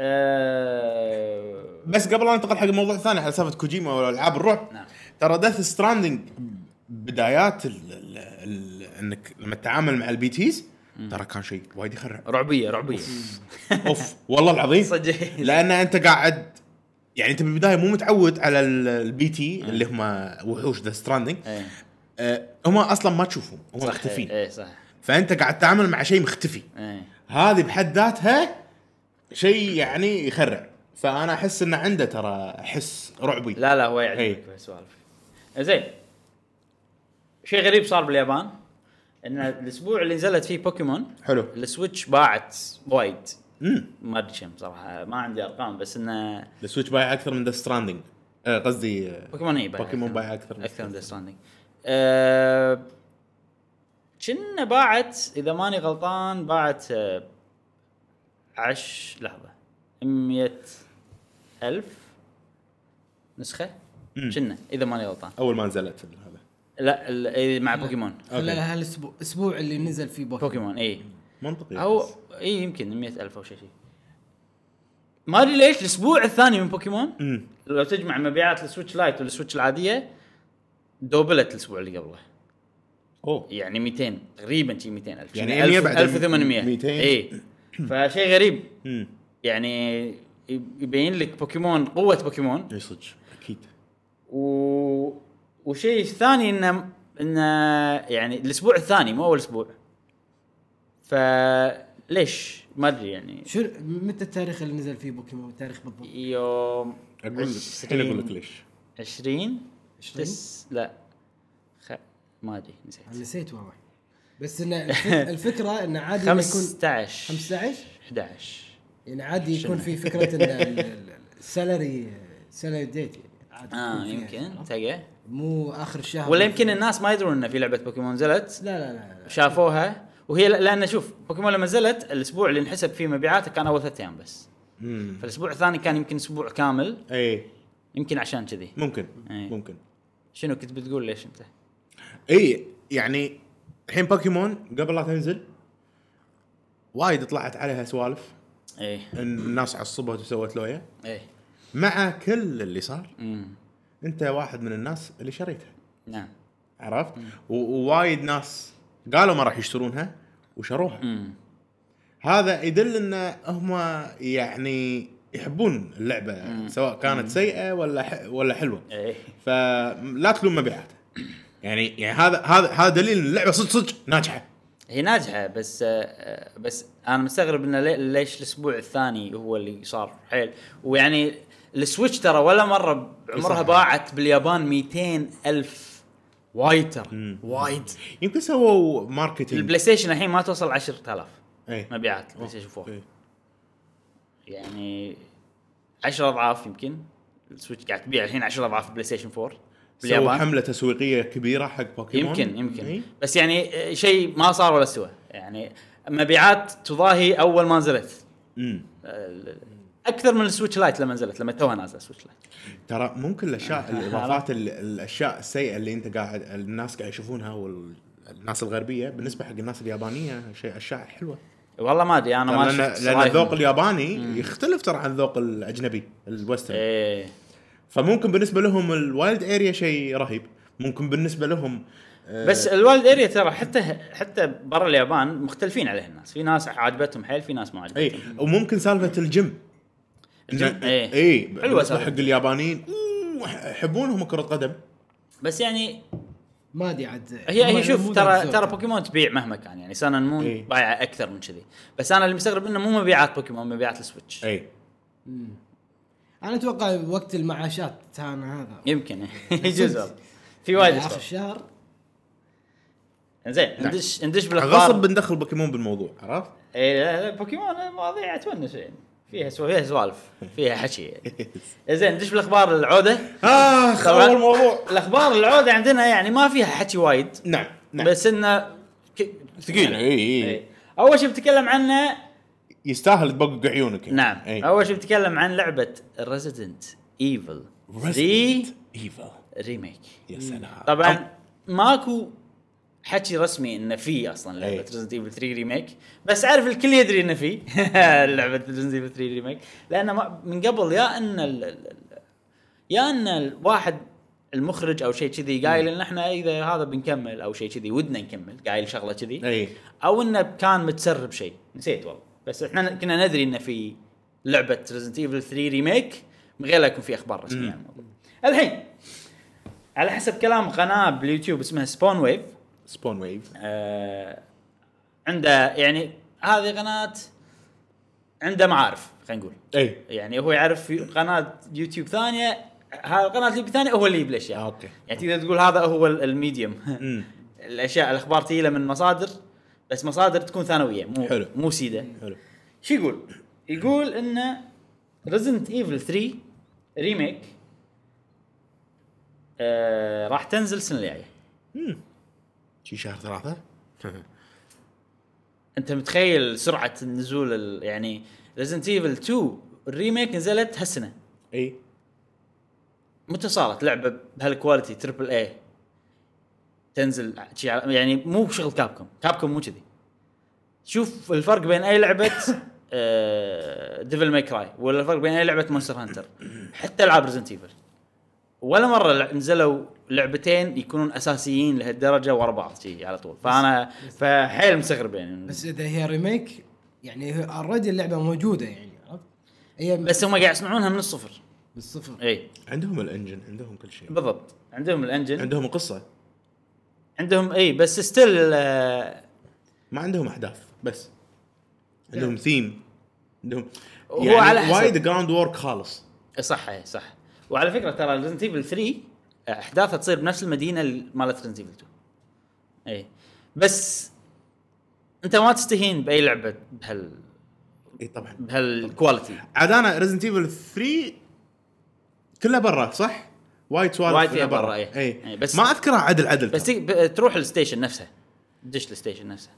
A: آه،
C: بس قبل لا ننتقل حق الموضوع الثاني على سالفه كوجيما والالعاب الرعب
A: نعم.
C: ترى ديث ستراندنج بدايات ال ال ال انك لما تتعامل مع البي تيز ترى كان شيء وايد يخرع *laughs*
A: رعبيه رعبيه
C: اوف والله العظيم
A: صدق.
C: لان انت قاعد يعني انت بالبدايه مو متعود على البي تي اللي هم وحوش ذا ستراندنج
A: إيه.
C: آه، هم اصلا ما تشوفهم هم
A: صح،
C: مختفين
A: ايه صح
C: فانت قاعد تتعامل مع شيء مختفي
A: ايه
C: هذه بحد ذاتها شيء يعني يخرع فانا احس انه عنده ترى حس رعبي
A: لا لا هو يعجبك
C: إيه.
A: بهالسوالف زين شيء غريب صار باليابان ان الاسبوع اللي نزلت فيه بوكيمون
C: حلو
A: السويتش باعت وايد
C: امم
A: ما ادري كم صراحه ما عندي ارقام بس انه
C: السويتش بايع اكثر من ذا ستراندنج آه، قصدي آه،
A: بوكيمون اي بايع
C: بوكيمون بايع أكثر من
A: اكثر من ستراندنج أه... كنا باعت اذا ماني غلطان باعت أه... عش لحظه 100 الف نسخه كنا اذا ماني غلطان
C: اول ما نزلت هذا
A: لا ال- إي، مع بوكيمون
B: خلال هالاسبوع الاسبوع اللي نزل فيه بوكيمون
A: بوكيمون اي
C: منطقي
A: او اي يمكن 100000 او شيء شيء ما ادري ليش الاسبوع الثاني من بوكيمون
C: امم
A: لو تجمع مبيعات السويتش لايت والسويتش العاديه دوبلت الاسبوع اللي قبله
C: اوه
A: يعني 200 تقريبا شي 200000
C: يعني
A: 1000
C: 100 بعد
A: 1800
C: 200.
A: اي فشيء غريب
C: امم
A: يعني يبين لك بوكيمون قوه بوكيمون
C: اي صدق اكيد
A: و... وشيء ثاني انه انه يعني الاسبوع الثاني مو اول اسبوع فليش ما ادري يعني
B: شنو متى التاريخ اللي نزل فيه بوكيمون التاريخ بالضبط
A: إيه. يوم
C: اقول الحين اقول لك ليش
A: 20
B: عشرين؟
A: تس لا خ... ما ادري
B: أنا
A: نسيت
B: نسيت والله
A: *laughs*
B: بس ان الف- الفكره انه عادي إنه يكون
A: 15
B: 15
A: 11
B: يعني عادي يكون
A: شنو؟
B: في فكره ان السالري سالري ديت يعني عادي
A: اه
B: يكون فيها،
A: يمكن
B: عرفت؟
A: تلقى
B: مو اخر الشهر
A: ولا يمكن الناس ما يدرون ان في لعبه بوكيمون نزلت
B: لا لا لا, لا.
A: شافوها وهي ل- لان شوف بوكيمون لما نزلت الاسبوع اللي انحسب فيه مبيعاته كان اول ثلاث ايام بس
C: امم
A: فالاسبوع الثاني كان يمكن اسبوع كامل
C: اي
A: يمكن عشان كذي
C: ممكن
A: إيه.
C: ممكن
A: شنو كنت بتقول ليش انت؟
C: اي يعني الحين بوكيمون قبل لا تنزل وايد طلعت عليها سوالف
A: ايه
C: إن الناس عصبت وسوت لويا
A: ايه
C: مع كل اللي صار
A: امم
C: انت واحد من الناس اللي شريتها
A: نعم
C: عرفت و- ووايد ناس قالوا ما راح يشترونها وشروها
A: امم
C: هذا يدل ان هم يعني يحبون اللعبه سواء كانت سيئه ولا ح... ولا حلوه
A: ايه
C: فلا تلوم مبيعاتها يعني يعني هذا هذا هذا دليل ان اللعبه صدق صدق ناجحه
A: هي ناجحه بس آه، آه، بس انا مستغرب انه لي- ليش الاسبوع الثاني هو اللي صار حيل ويعني السويتش ترى ولا مره عمرها
C: صح.
A: باعت باليابان 200 الف وايد ترى
C: مم.
A: وايد
C: يمكن سووا إيه. ماركتينج
A: البلاي ستيشن الحين ما توصل 10000
C: اي
A: مبيعات البلاي ستيشن 4
C: أوكي. إيه.
A: يعني 10 اضعاف يمكن السويتش قاعد تبيع الحين 10 اضعاف بلاي ستيشن 4
C: سووا
A: باليابان
C: حمله تسويقيه كبيره حق إيه. بوكيمون
A: يمكن يمكن
C: إي.
A: بس يعني آه، شيء ما صار ولا سوى يعني مبيعات تضاهي اول ما نزلت
C: أمم.
A: ال- اكثر آه، من السويتش لايت لما نزلت لما توها نازله السويتش لايت
C: ترى ممكن
A: آه،
C: الاشياء الاضافات ال- الاشياء السيئه اللي انت قاعد الناس قاعد يشوفونها والناس الغربيه بالنسبه حق الناس اليابانيه شيء اشياء حلوه
A: والله ما ادري انا ما
C: لان
A: شفت
C: لان
A: صراحة.
C: الذوق الياباني يختلف ترى عن الذوق الاجنبي الويسترن
A: ايه
C: فممكن بالنسبه لهم الوايلد اريا شيء رهيب ممكن بالنسبه لهم آه،
A: بس الوالد اريا ترى حتى حتى برا اليابان مختلفين عليه الناس في ناس عاجبتهم حيل في ناس ما عاجبتهم
C: اي إيه. وممكن سالفه الجيم
A: الجيم، إيه.
C: اي
A: حلوة
C: حلوه
A: سالفة.
C: حق اليابانيين أوه، يحبونهم كره قدم
A: بس يعني
B: ما ادري عاد
A: هي
B: هم
A: هي شوف
B: مو
A: ترى
B: ذات
A: ترى
B: ذوق.
A: بوكيمون تبيع مهما كان يعني سان أند مون
C: إيه.
A: بايعه اكثر من كذي بس انا اللي مستغرب انه مو مبيعات بوكيمون مبيعات السويتش
C: اي
B: انا اتوقع وقت المعاشات تاعنا هذا
A: يمكن *laughs* يجوز والله. في وايد
B: اخر
A: أسباب.
B: الشهر
A: زين ندش ندش بالاخبار
C: غصب بندخل بوكيمون بالموضوع عرفت؟
A: اي إيه، لا لا بوكيمون مواضيع تونس يعني فيها سو فيها سوالف فيها حكي
C: *laughs*
A: يعني. زين ندش بالاخبار العوده
C: اخ
A: آه، طبعاً.
C: اول موضوع
A: الاخبار العوده عندنا يعني ما فيها حكي وايد
C: نعم نعم إيه.
A: بس انه ك-
C: ثقيل اي اي
A: إيه. اول شيء بتكلم
C: إيه.
A: عنه
C: يستاهل تبقق عيونك يعني.
A: نعم
C: إي.
A: اول شيء بتكلم عن لعبه ريزيدنت ايفل 3
C: Resident Evil.
A: ريميك
C: يا سلام
A: طبعا ماكو حكي رسمي انه في اصلا لعبه
C: إيه.
A: ريزنت ايفل 3 ريميك بس اعرف الكل يدري انه في *laughs* لعبه ريزنت ايفل 3 ريميك لانه ما- من قبل يا ان ال- ال- ال- يا ان الواحد المخرج او شيء كذي قايل ان احنا اذا هذا بنكمل او شيء كذي ودنا نكمل قايل شغله كذي
C: اي
A: او انه كان متسرب شيء نسيت والله بس احنا كنا ندري انه في لعبه ريزنت ايفل 3 ريميك من غير لا يكون في اخبار رسميه عن الموضوع. الحين على حسب كلام قناه باليوتيوب اسمها سبون ويف
C: سبون ويف
A: آه، عنده يعني هذه قناه عنده معارف خلينا نقول
C: اي
A: يعني هو يعرف في قناه يوتيوب ثانيه ها- قناه يوتيوب ثانيه هو اللي يجيب الاشياء
C: آه، أوكي.
A: يعني تقدر تقول هذا هو ال- الميديوم *laughs*
C: أمم.
A: الاشياء الاخبار تجي له من مصادر بس مصادر تكون ثانويه مو
C: حلو.
A: مو سيده
C: حلو
A: شو يقول؟ يقول ان ريزنت ايفل 3 ريميك آه راح تنزل السنه الجايه
C: شي شهر ثلاثة *laughs*
A: انت متخيل سرعه النزول ال- يعني ريزنت ايفل 2 الريميك نزلت هالسنه
C: اي
A: متى صارت لعبه بهالكواليتي تربل اي تنزل شي على- يعني مو بشغل كابكم كابكم مو كذي شوف الفرق بين آه، اي لعبه ديفل ماي كراي ولا الفرق بين اي لعبه مونستر هانتر حتى العاب ريزنت ايفل ولا مره لع- نزلوا لعبتين يكونون اساسيين لهالدرجه ورا بعض شي على طول فانا فحيل مستغرب يعني
B: بس اذا هي ريميك يعني اوريدي اللعبه موجوده يعني عرفت؟ هي
A: بس هم قاعد يصنعونها من الصفر
B: بالصفر
A: اي
C: عندهم الانجن عندهم كل شيء
A: بالضبط عندهم الانجن
C: عندهم قصة
A: عندهم اي بس آه، ستيل
C: ما عندهم احداث بس عندهم ثيم عندهم
A: نعم. هو
C: يعني
A: على حسب.
C: وايد جراوند وورك خالص
A: صح إيه، صح وعلى فكره ترى ريزنت ايفل 3 احداثها آه، تصير بنفس المدينه ال- مالت ريزنت ايفل 2 اي إيه. بس انت ما تستهين باي لعبه بهال
C: اي طبعا
A: بهالكواليتي
C: عاد انا ريزنت ايفل 3 كلها برا صح؟ وايد سوالف
A: وايد
C: كلها
A: فيها برا، إيه.
C: اي
A: إيه،
C: بس
A: بس-
C: ما اذكرها عدل عدل
A: بس
C: ترى.
A: تي- ب- تروح الستيشن نفسها تدش الستيشن نفسها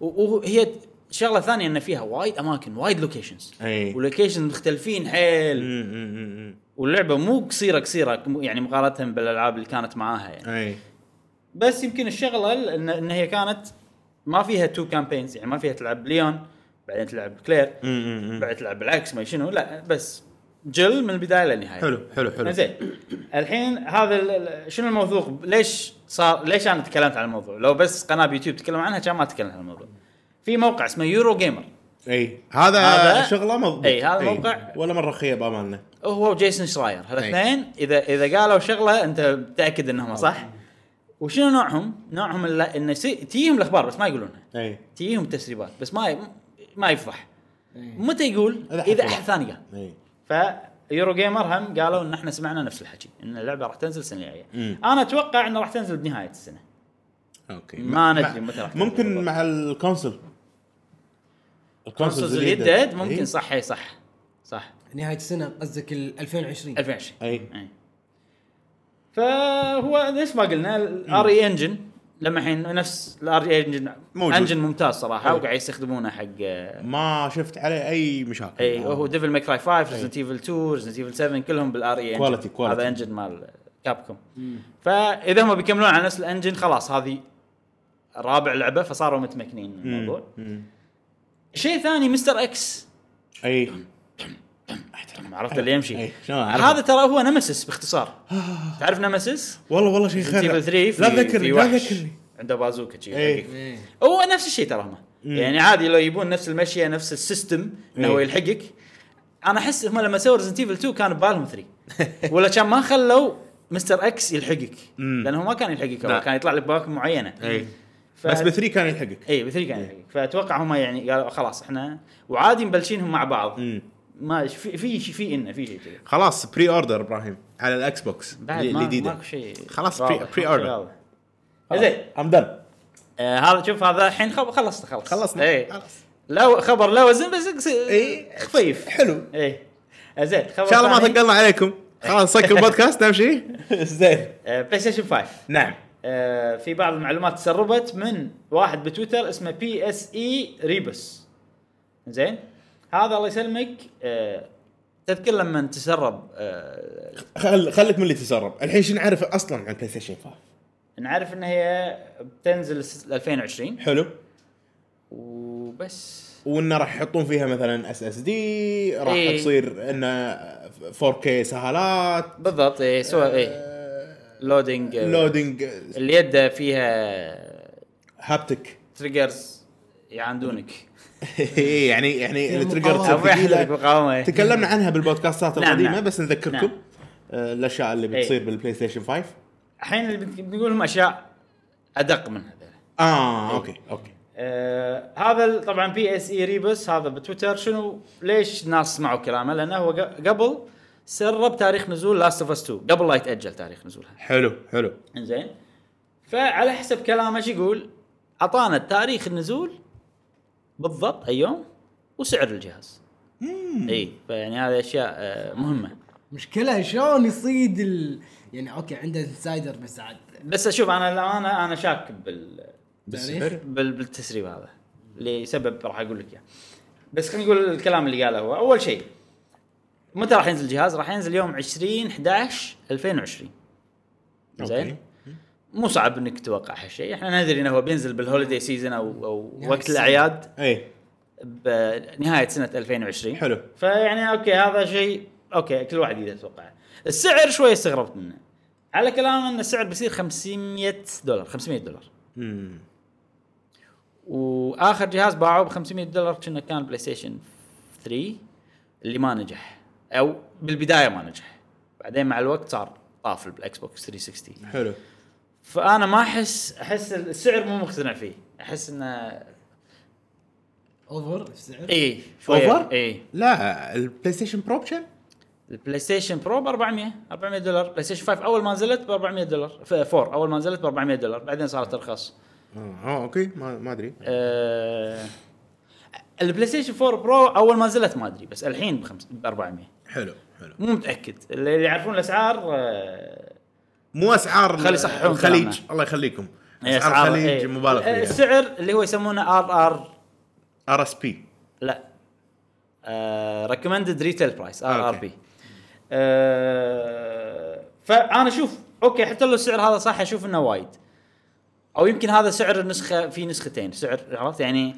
A: و- وهي شغله ثانيه ان فيها وايد اماكن وايد لوكيشنز
C: إيه.
A: ولوكيشنز مختلفين حيل
C: أمم، أمم، أمم،
A: واللعبه مو قصيره قصيره مو- يعني مقارنه بالالعاب اللي كانت معاها يعني
C: أمم. اي
A: بس يمكن الشغله ال- ان, إن هي كانت ما فيها تو كامبينز يعني ما فيها تلعب ليون بعدين تلعب كلير
C: أمم، أمم، أمم.
A: بعدين تلعب بالعكس ما شنو لا بس جل من البدايه للنهايه
C: حلو حلو حلو
A: زين الحين هذا ال- ال- شنو الموضوع ليش صار ليش انا تكلمت عن الموضوع لو بس قناه يوتيوب تكلم عنها كان ما اتكلم عن الموضوع في موقع اسمه يورو جيمر
C: اي إيه. هذا,
A: هذا-
C: شغله مضبوط إيه.
A: إي، هذا موقع-
C: ولا مره خيه بامانه
A: هو وجيسون شراير
C: إيه.
A: هالاثنين اذا اذا قالوا شغله انت متاكد انهم صح وشنو نوعهم؟ نوعهم الل- ان سي- تجيهم الاخبار بس ما يقولونها
C: اي
A: تجيهم تسريبات بس ما ما يفضح
B: إيه.
A: متى يقول
C: إذا حد
A: اذا
C: فضح.
A: احد ثاني قال
C: اي
A: فيورو جيمر هم قالوا ان احنا سمعنا نفس الحكي ان اللعبه راح تنزل السنه الجايه
C: مم.
A: انا اتوقع انه راح تنزل بنهايه السنه
C: اوكي
A: ما
C: مع-
A: ندري متى راح تنزل
C: ممكن
A: بالضبط.
C: مع الكونسل
A: كونسولز
C: إيه.
A: اليدد ممكن صح اي صح صح
B: نهايه السنه قصدك ال 2020
A: 2020
C: اي
A: إي. إيه. فهو نفس ما قلنا الار اي انجن لما الحين نفس الار اي انجن
C: موجود.
A: انجن ممتاز صراحه
C: أي.
A: وقاعد يستخدمونه حق
C: ما شفت عليه اي مشاكل
A: اي إيه، هو ديفل ماي كراي 5 ريزنت ايفل 2 ريزنت ايفل 7 كلهم بالار اي
C: إيه. Quality- quality.
A: هذا انجن مال كابكم فاذا هم بيكملون على نفس الانجن خلاص هذه رابع لعبه فصاروا متمكنين من الموضوع
C: مم.
A: شيء ثاني مستر اكس
C: اي
A: عرفت اللي يمشي
C: أي، شلون إيه، أعرفه؟
A: هذا ترى هو نمسس
C: *gasps*
A: باختصار تعرف نمسس؟
C: والله والله شيء
A: ريزنت ايفل 3 في
C: لا تذكرني
A: في
C: لا
A: وحش
C: تذكرني
A: عنده بازوكا شي
C: أي.
A: وقف.
B: إيه.
A: هو نفس الشيء ترى هم يعني عادي لو يبون نفس المشيه نفس السيستم انه هو
C: إيه.
A: يلحقك انا احس هم لما سووا ريزنت ايفل 2 كان ببالهم 3
C: *laughs*
A: ولا كان ما خلوا مستر اكس يلحقك
C: مم.
A: لانه هو ما كان يلحقك
C: لا.
A: هو كان يطلع لك باماكن معينه
C: اي
A: ف...
C: بس إيه. بثري كان يلحقك
A: اي ب 3 كان يلحقك فاتوقع هم يعني قالوا خلاص احنا وعادي مبلشينهم مع بعض
C: مم.
A: ما في في شيء في انه في شيء كذا
C: خلاص بري اوردر ابراهيم على الاكس بوكس
A: بعد ما ماكو شيء
C: خلاص،
A: واضح،
C: pre-
A: ماكو
C: pre-order.
A: شيء واضح. زين
C: ام دن
A: آه، هذا شوف هذا الحين خب- خلصت خلص
C: خلصنا.
A: ايه
C: خلص.
A: لا خبر لا وزن بس قص-
C: إيه.
A: خفيف
C: حلو.
A: ايه آه، زين خبر
C: ان شاء الله ما
A: ثاني.
C: ثقلنا عليكم خلاص نسكر
A: *laughs*
C: البودكاست نمشي زين
A: آه، بلاي ستيشن 5
C: نعم
A: آه، في بعض المعلومات تسربت من واحد بتويتر اسمه بي اس اي ريبس زين هذا الله يسلمك آه، تذكر لما تسرب آه،
C: خل خليك من اللي تسرب الحين شو نعرف اصلا عن بلاي ستيشن 5
A: نعرف ان هي بتنزل س- 2020
C: حلو
A: وبس
C: وانه راح يحطون فيها مثلا اس اس دي راح
A: إيه.
C: تصير انه 4K سهالات
A: بالضبط اي سوى اي
C: آه،
A: لودينج
C: لودنج
A: اللي يده فيها
C: *laughs* هابتك
A: تريجرز يعاندونك
C: يعني يعني التريجر
A: ابو يحلك
C: الثقيلة.
A: بالقوامه
C: تكلمنا عنها بالبودكاستات
A: نعم،
C: القديمه
A: نعم.
C: بس نذكركم
A: نعم.
C: آه، الاشياء اللي
A: إيه.
C: بتصير بالبلاي ستيشن 5
A: الحين اللي بنت- بنقولهم اشياء ادق من هذا
C: اه اوكي اوكي
A: آه هذا ال- طبعا بي اس اي ريبس E هذا بتويتر شنو ليش الناس سمعوا كلامه لانه هو ق- قبل سرب تاريخ نزول لاست اوف اس 2 قبل لا يتاجل تاريخ نزولها
C: حلو حلو
A: انزين فعلى حسب كلامه ايش يقول؟ اعطانا تاريخ النزول بالضبط اي يوم وسعر الجهاز. اي فيعني هذه اشياء آه، مهمه.
B: مشكله شلون يصيد ال... يعني اوكي عنده انسايدر بس عاد
A: بس اشوف انا انا انا شاك بال
C: بالسعر
A: بال- بالتسريب هذا لسبب راح اقول لك اياه. بس خلينا نقول الكلام اللي قاله هو اول شيء متى راح ينزل الجهاز؟ راح ينزل يوم 20 11 2020. زين؟
C: أوكي.
A: مو صعب انك تتوقع هالشيء، احنا ندري انه هو بينزل بالهوليدي سيزون او او
C: يعني
B: نهاية
A: وقت
B: السنة.
A: الاعياد
C: اي
A: بنهايه سنه 2020
C: إيه، حلو.
A: فيعني اوكي هذا شيء اوكي كل واحد يقدر يتوقعه السعر شوي استغربت منه على كلام ان السعر بيصير 500 دولار 500 دولار
C: أمم.
A: واخر جهاز باعوه ب 500 دولار كنا كان بلاي ستيشن 3 اللي ما نجح او بالبدايه ما نجح بعدين مع الوقت صار طاف بالاكس بوكس 360
C: حلو
A: فانا ما احس احس السعر مو مقتنع فيه احس انه
B: اوفر في السعر
A: اي
C: اوفر؟
A: اي
C: لا البلاي ستيشن برو بشن
A: البلاي ستيشن برو ب 400 400 دولار بلاي ستيشن 5 اول ما نزلت ب 400 دولار ف- 4 اول ما نزلت ب 400 دولار بعدين صارت ارخص
C: اه اوكي ما ما ادري
A: أه... البلاي ستيشن 4 برو اول ما نزلت ما ادري بس الحين بخمس... ب 400
C: حلو حلو
A: مو متاكد اللي اللي يعرفون الاسعار أه...
C: مو اسعار
A: خلي يصححون
C: الخليج
A: كلامنا.
C: الله يخليكم
A: هي
C: اسعار الخليج
A: إيه. إيه.
C: مبالغ
A: أه،
C: فيها
A: السعر اللي هو يسمونه ار ار
C: ار اس بي
A: لا آه، ريكومندد ريتيل برايس ار ار
C: أوكي.
A: بي آه، فانا اشوف اوكي حتى لو السعر هذا صح اشوف انه وايد او يمكن هذا سعر النسخه في نسختين سعر عرفت يعني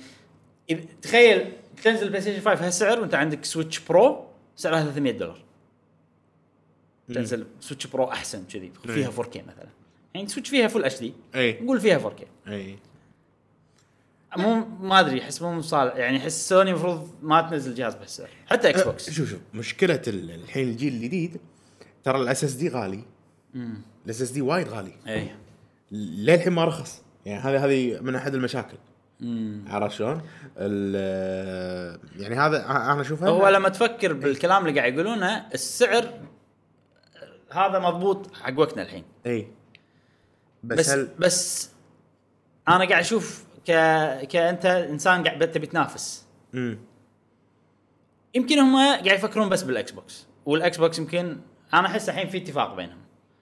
A: إذ- تخيل تنزل بلاي ستيشن 5 هالسعر وانت عندك سويتش برو سعرها 300 دولار تنزل سويتش برو احسن كذي فيها 4K مثلا يعني سويتش فيها فول اتش دي
C: اي
A: نقول فيها 4K
C: اي
A: مو ما ادري احس مو مصالح يعني احس سوني المفروض ما تنزل جهاز بهالسعر
C: أه،
A: حتى اكس بوكس
C: شوف شوف مشكله ال- الحين الجيل الجديد ترى الاس اس دي غالي الاس اس دي وايد غالي
A: اي
C: للحين ما رخص يعني هذه هذه من احد المشاكل عرفت شلون؟ ال- يعني هذا أ- انا اشوفها
A: أه، هو لما تفكر بالكلام اللي قاعد يقولونه السعر هذا مضبوط حق وقتنا الحين
C: اي بس,
A: بس
C: بس هل
A: بس انا قاعد اشوف ك كانت انسان قاعد تبي تنافس
C: مم.
A: يمكن هم قاعد يفكرون بس بالاكس بوكس والاكس بوكس يمكن انا احس الحين في اتفاق بينهم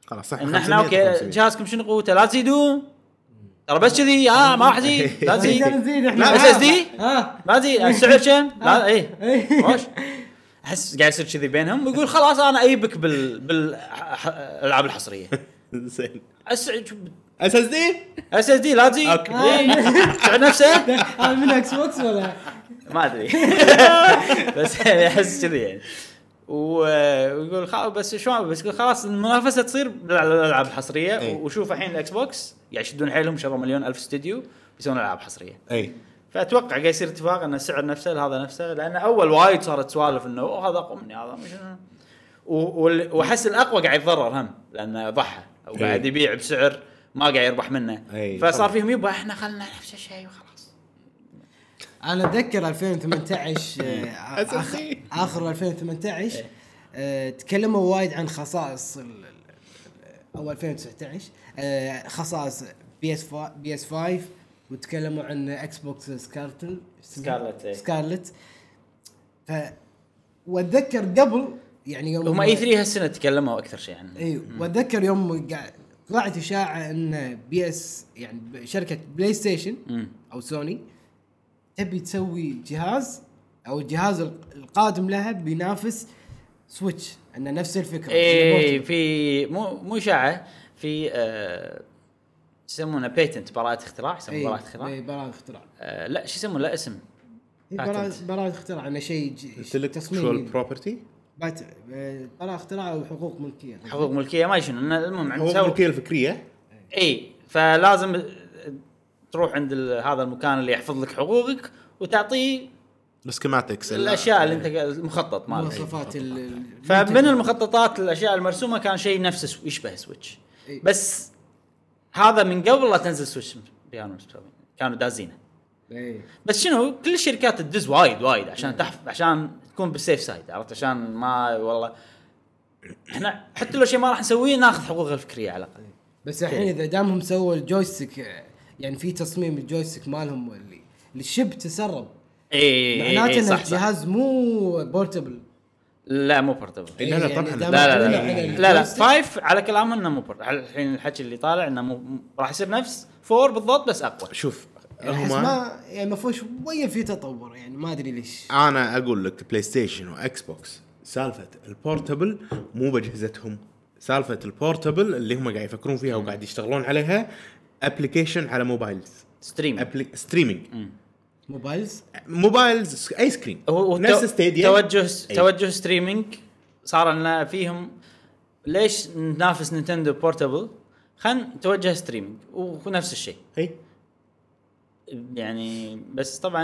C: خلاص صح
A: ان احنا اوكي جهازكم شنو قوته لا تزيدوه ترى بس كذي اه ما راح ازيد
C: *laughs*
A: لا تزيد
B: نزيد نزيد احنا
A: لا،
B: ها.
A: SSD
B: ها
A: ما ادري السعر كم؟ لا اي
B: إيه.
A: خوش احس قاعد يصير كذي بينهم ويقول خلاص انا اجيبك بال بالالعاب الحصريه
C: زين
A: اس
C: اس اس دي
A: اس اس دي لا تجي
C: أوكي.
A: إيه. سعر نفسه
B: هذا من اكس بوكس ولا
A: ما ادري *laughs* بس يعني احس كذي يعني و- ويقول خلاص بس شلون بس يقول خلاص المنافسه تصير بالالعاب الحصريه
C: إيه.
A: وشوف الحين الاكس بوكس قاعد يشدون حيلهم شروا مليون الف استوديو يسوون العاب حصريه
C: اي
A: فاتوقع قاعد يصير اتفاق ان السعر نفسه لهذا نفسه لان اول وايد صارت سوالف انه "أوه، هذا اقوى مني هذا مش أنا". و- وال- واحس الاقوى قاعد يتضرر هم لانه ضحى وقاعد
C: إي.
A: يبيع بسعر ما قاعد يربح منه
C: إي،
A: فصار
C: طبعاً.
A: فيهم يبا احنا خلنا نفس الشيء وخلاص
B: انا اتذكر 2018 آه، آخ-
C: SSD.
B: اخر 2018 آه، تكلموا وايد عن خصائص ال- ال- ال- او 2019 آه، خصائص بي اس بي اس 5 وتكلموا عن اكس بوكس سكارتل
A: سكارلت، إيه.
B: سكارلت ف واتذكر قبل يعني يوم
A: هم اي 3 هالسنه تكلموا اكثر شيء عنه
B: اي واتذكر إيه، يوم قاعد طلعت اشاعه ان بي اس يعني ب- شركه بلاي ستيشن
A: مم.
B: او سوني تبي تسوي جهاز او الجهاز الق- القادم لها بينافس سويتش انه نفس الفكره
A: اي
B: نفس
A: إيه، في مو مو اشاعه في آه، يسمونه بيتنت براءة اختراع يسمونه براءة
B: البورت.
A: اختراع
B: اي براءة إيه، اختراع إيه،
A: آه، لا شو يسمونه لا اسم
B: إي براءة-
A: Patent.
B: براءة اختراع انه شيء ج- تصميمي
C: intellectual property
B: بات آه، طلع اختراع حقوق ملكيه
A: حقوق ملكيه ما شنو إنه المهم عند
C: حقوق
A: سو-
C: الملكيه الفكريه
A: اي فلازم تروح عند ال- هذا المكان اللي يحفظ لك حقوقك وتعطيه
C: السكيماتكس
A: الاشياء اللي انت المخطط مالك
B: مواصفات ال- ال-
A: فمن المخططات الاشياء المرسومه كان شيء نفس سو- يشبه سويتش
B: إي.
A: بس هذا من قبل لا تنزل سويتش بيانو مسوين. كانوا دازينه
B: إيه.
A: بس شنو كل الشركات تدز وايد وايد عشان تحف عشان تكون بالسيف سايد عرفت عشان ما والله احنا حتى لو شيء ما راح نسويه ناخذ حقوقها الفكريه على الاقل
B: بس الحين اذا دامهم سووا الجويستيك آه، يعني في تصميم الجويستيك مالهم اللي الشب تسرب
A: اي اي اي
B: معناته
A: اي
B: ان
A: إيه، صح صح
B: الجهاز مو يعني بورتبل
A: لا مو بورتبل
C: لا، لا، طبعاً.
A: إيه، لا لا
C: لا،
A: لا لا لا لا
B: فايف
A: فايف على كلامه انه مو بورتبل الحين الحكي اللي طالع انه مو مو- راح يصير نفس فور بالضبط بس اقوى
C: شوف
B: احس
C: هما
B: ما يعني ما فيهوش شويه في تطور يعني ما ادري ليش
C: انا اقول لك بلاي ستيشن واكس بوكس سالفه البورتبل مو باجهزتهم سالفه البورتبل اللي هم قاعد يفكرون فيها وقاعد يشتغلون عليها ابلكيشن على موبايلز
A: ستريم
C: أبلي... ستريمينج
B: موبايلز
C: موبايلز س- اي سكرين
A: هو هو
C: نفس إيه.
A: تو-
C: ستيديا
A: توجه
C: أي.
A: توجه ستريمينج صار لنا فيهم ليش ننافس نينتندو بورتبل خلينا نتوجه ستريمينج ونفس الشيء
C: اي
A: يعني بس طبعا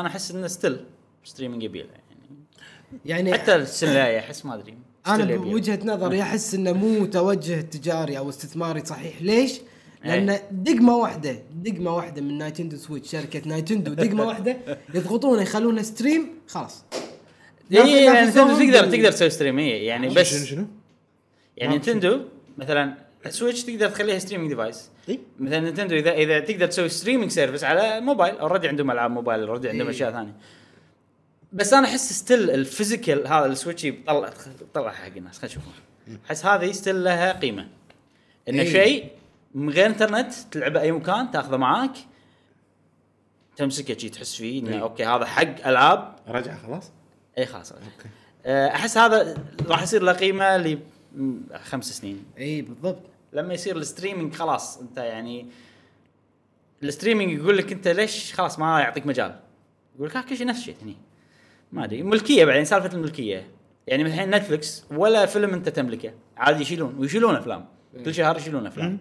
A: انا احس انه ستيل ستريمينج يبيع يعني
B: يعني
A: حتى السنه الجايه احس ما ادري
B: انا
A: still يبيله.
B: بوجهه نظري احس انه مو توجه تجاري او استثماري صحيح ليش؟
A: إيه.
B: لان دقمه واحده دقمه واحده من نايتندو سويتش شركه نايتندو
A: *laughs*
B: دقمه واحده يضغطونه يخلونه ستريم خلاص
A: اي يعني
B: نافسهم
A: نتندو تقدر
B: بال-
A: تقدر تسوي ستريم اي يعني
C: شنو- شنو
A: بس
C: شنو؟
A: يعني نتندو مثلا سويتش تقدر تخليها ستريمينج ديفايس
C: اي
A: مثلا نتندو اذا اذا تقدر تسوي ستريمينج سيرفيس على موبايل اوريدي عندهم العاب موبايل اوريدي عندهم
B: إي.
A: اشياء ثانيه بس انا احس ستيل الفيزيكال هذا السويتشي طلع طلع حق الناس خلينا نشوفه احس هذه ستيل لها قيمه انه
B: إي.
A: شيء من غير انترنت تلعبه اي مكان تاخذه معاك تمسكه شي تحس فيه انه
C: إي.
A: اوكي هذا حق العاب
C: رجع خلاص
A: اي خلاص آه، احس هذا راح يصير له قيمه ل خمس سنين
B: اي بالضبط
A: لما يصير الستريمينج خلاص انت يعني الستريمينج يقول لك انت ليش خلاص ما يعطيك مجال يقول لك ها كل شيء نفس الشيء هني ما ادري ملكيه بعدين سالفه الملكيه يعني من الحين نتفلكس ولا فيلم انت تملكه عادي يشيلون ويشيلون افلام كل شهر يشيلون افلام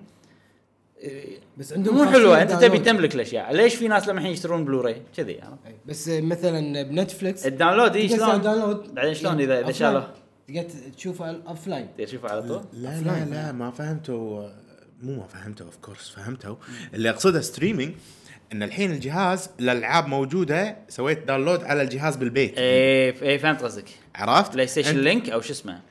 B: بس
A: عندهم
B: عندهم
A: مو
B: خاصية
A: حلوه انت تبي
B: داونلود.
A: تملك الاشياء ليش في ناس لما الحين يشترون بلوراي كذي يعني. عرفت؟
B: إي. بس مثلا بنتفلكس
A: الداونلود اي
B: تقدر تسوي
A: شلون
B: داونلود.
A: بعدين شلون إذا- إذا
B: أوفلاين.
A: شالوه؟
B: تقدر تشوفه اوف لاين
A: تشوفه على طول
C: لا لا لا ما فهمتوا مو ما فهمتوا اوف كورس فهمتوا اللي اقصده ستريمينج ان الحين الجهاز الالعاب موجوده سويت داونلود على الجهاز بالبيت
A: ايه ف- ايه فهمت قصدك
C: عرفت
A: بلاي ستيشن لينك او شو اسمه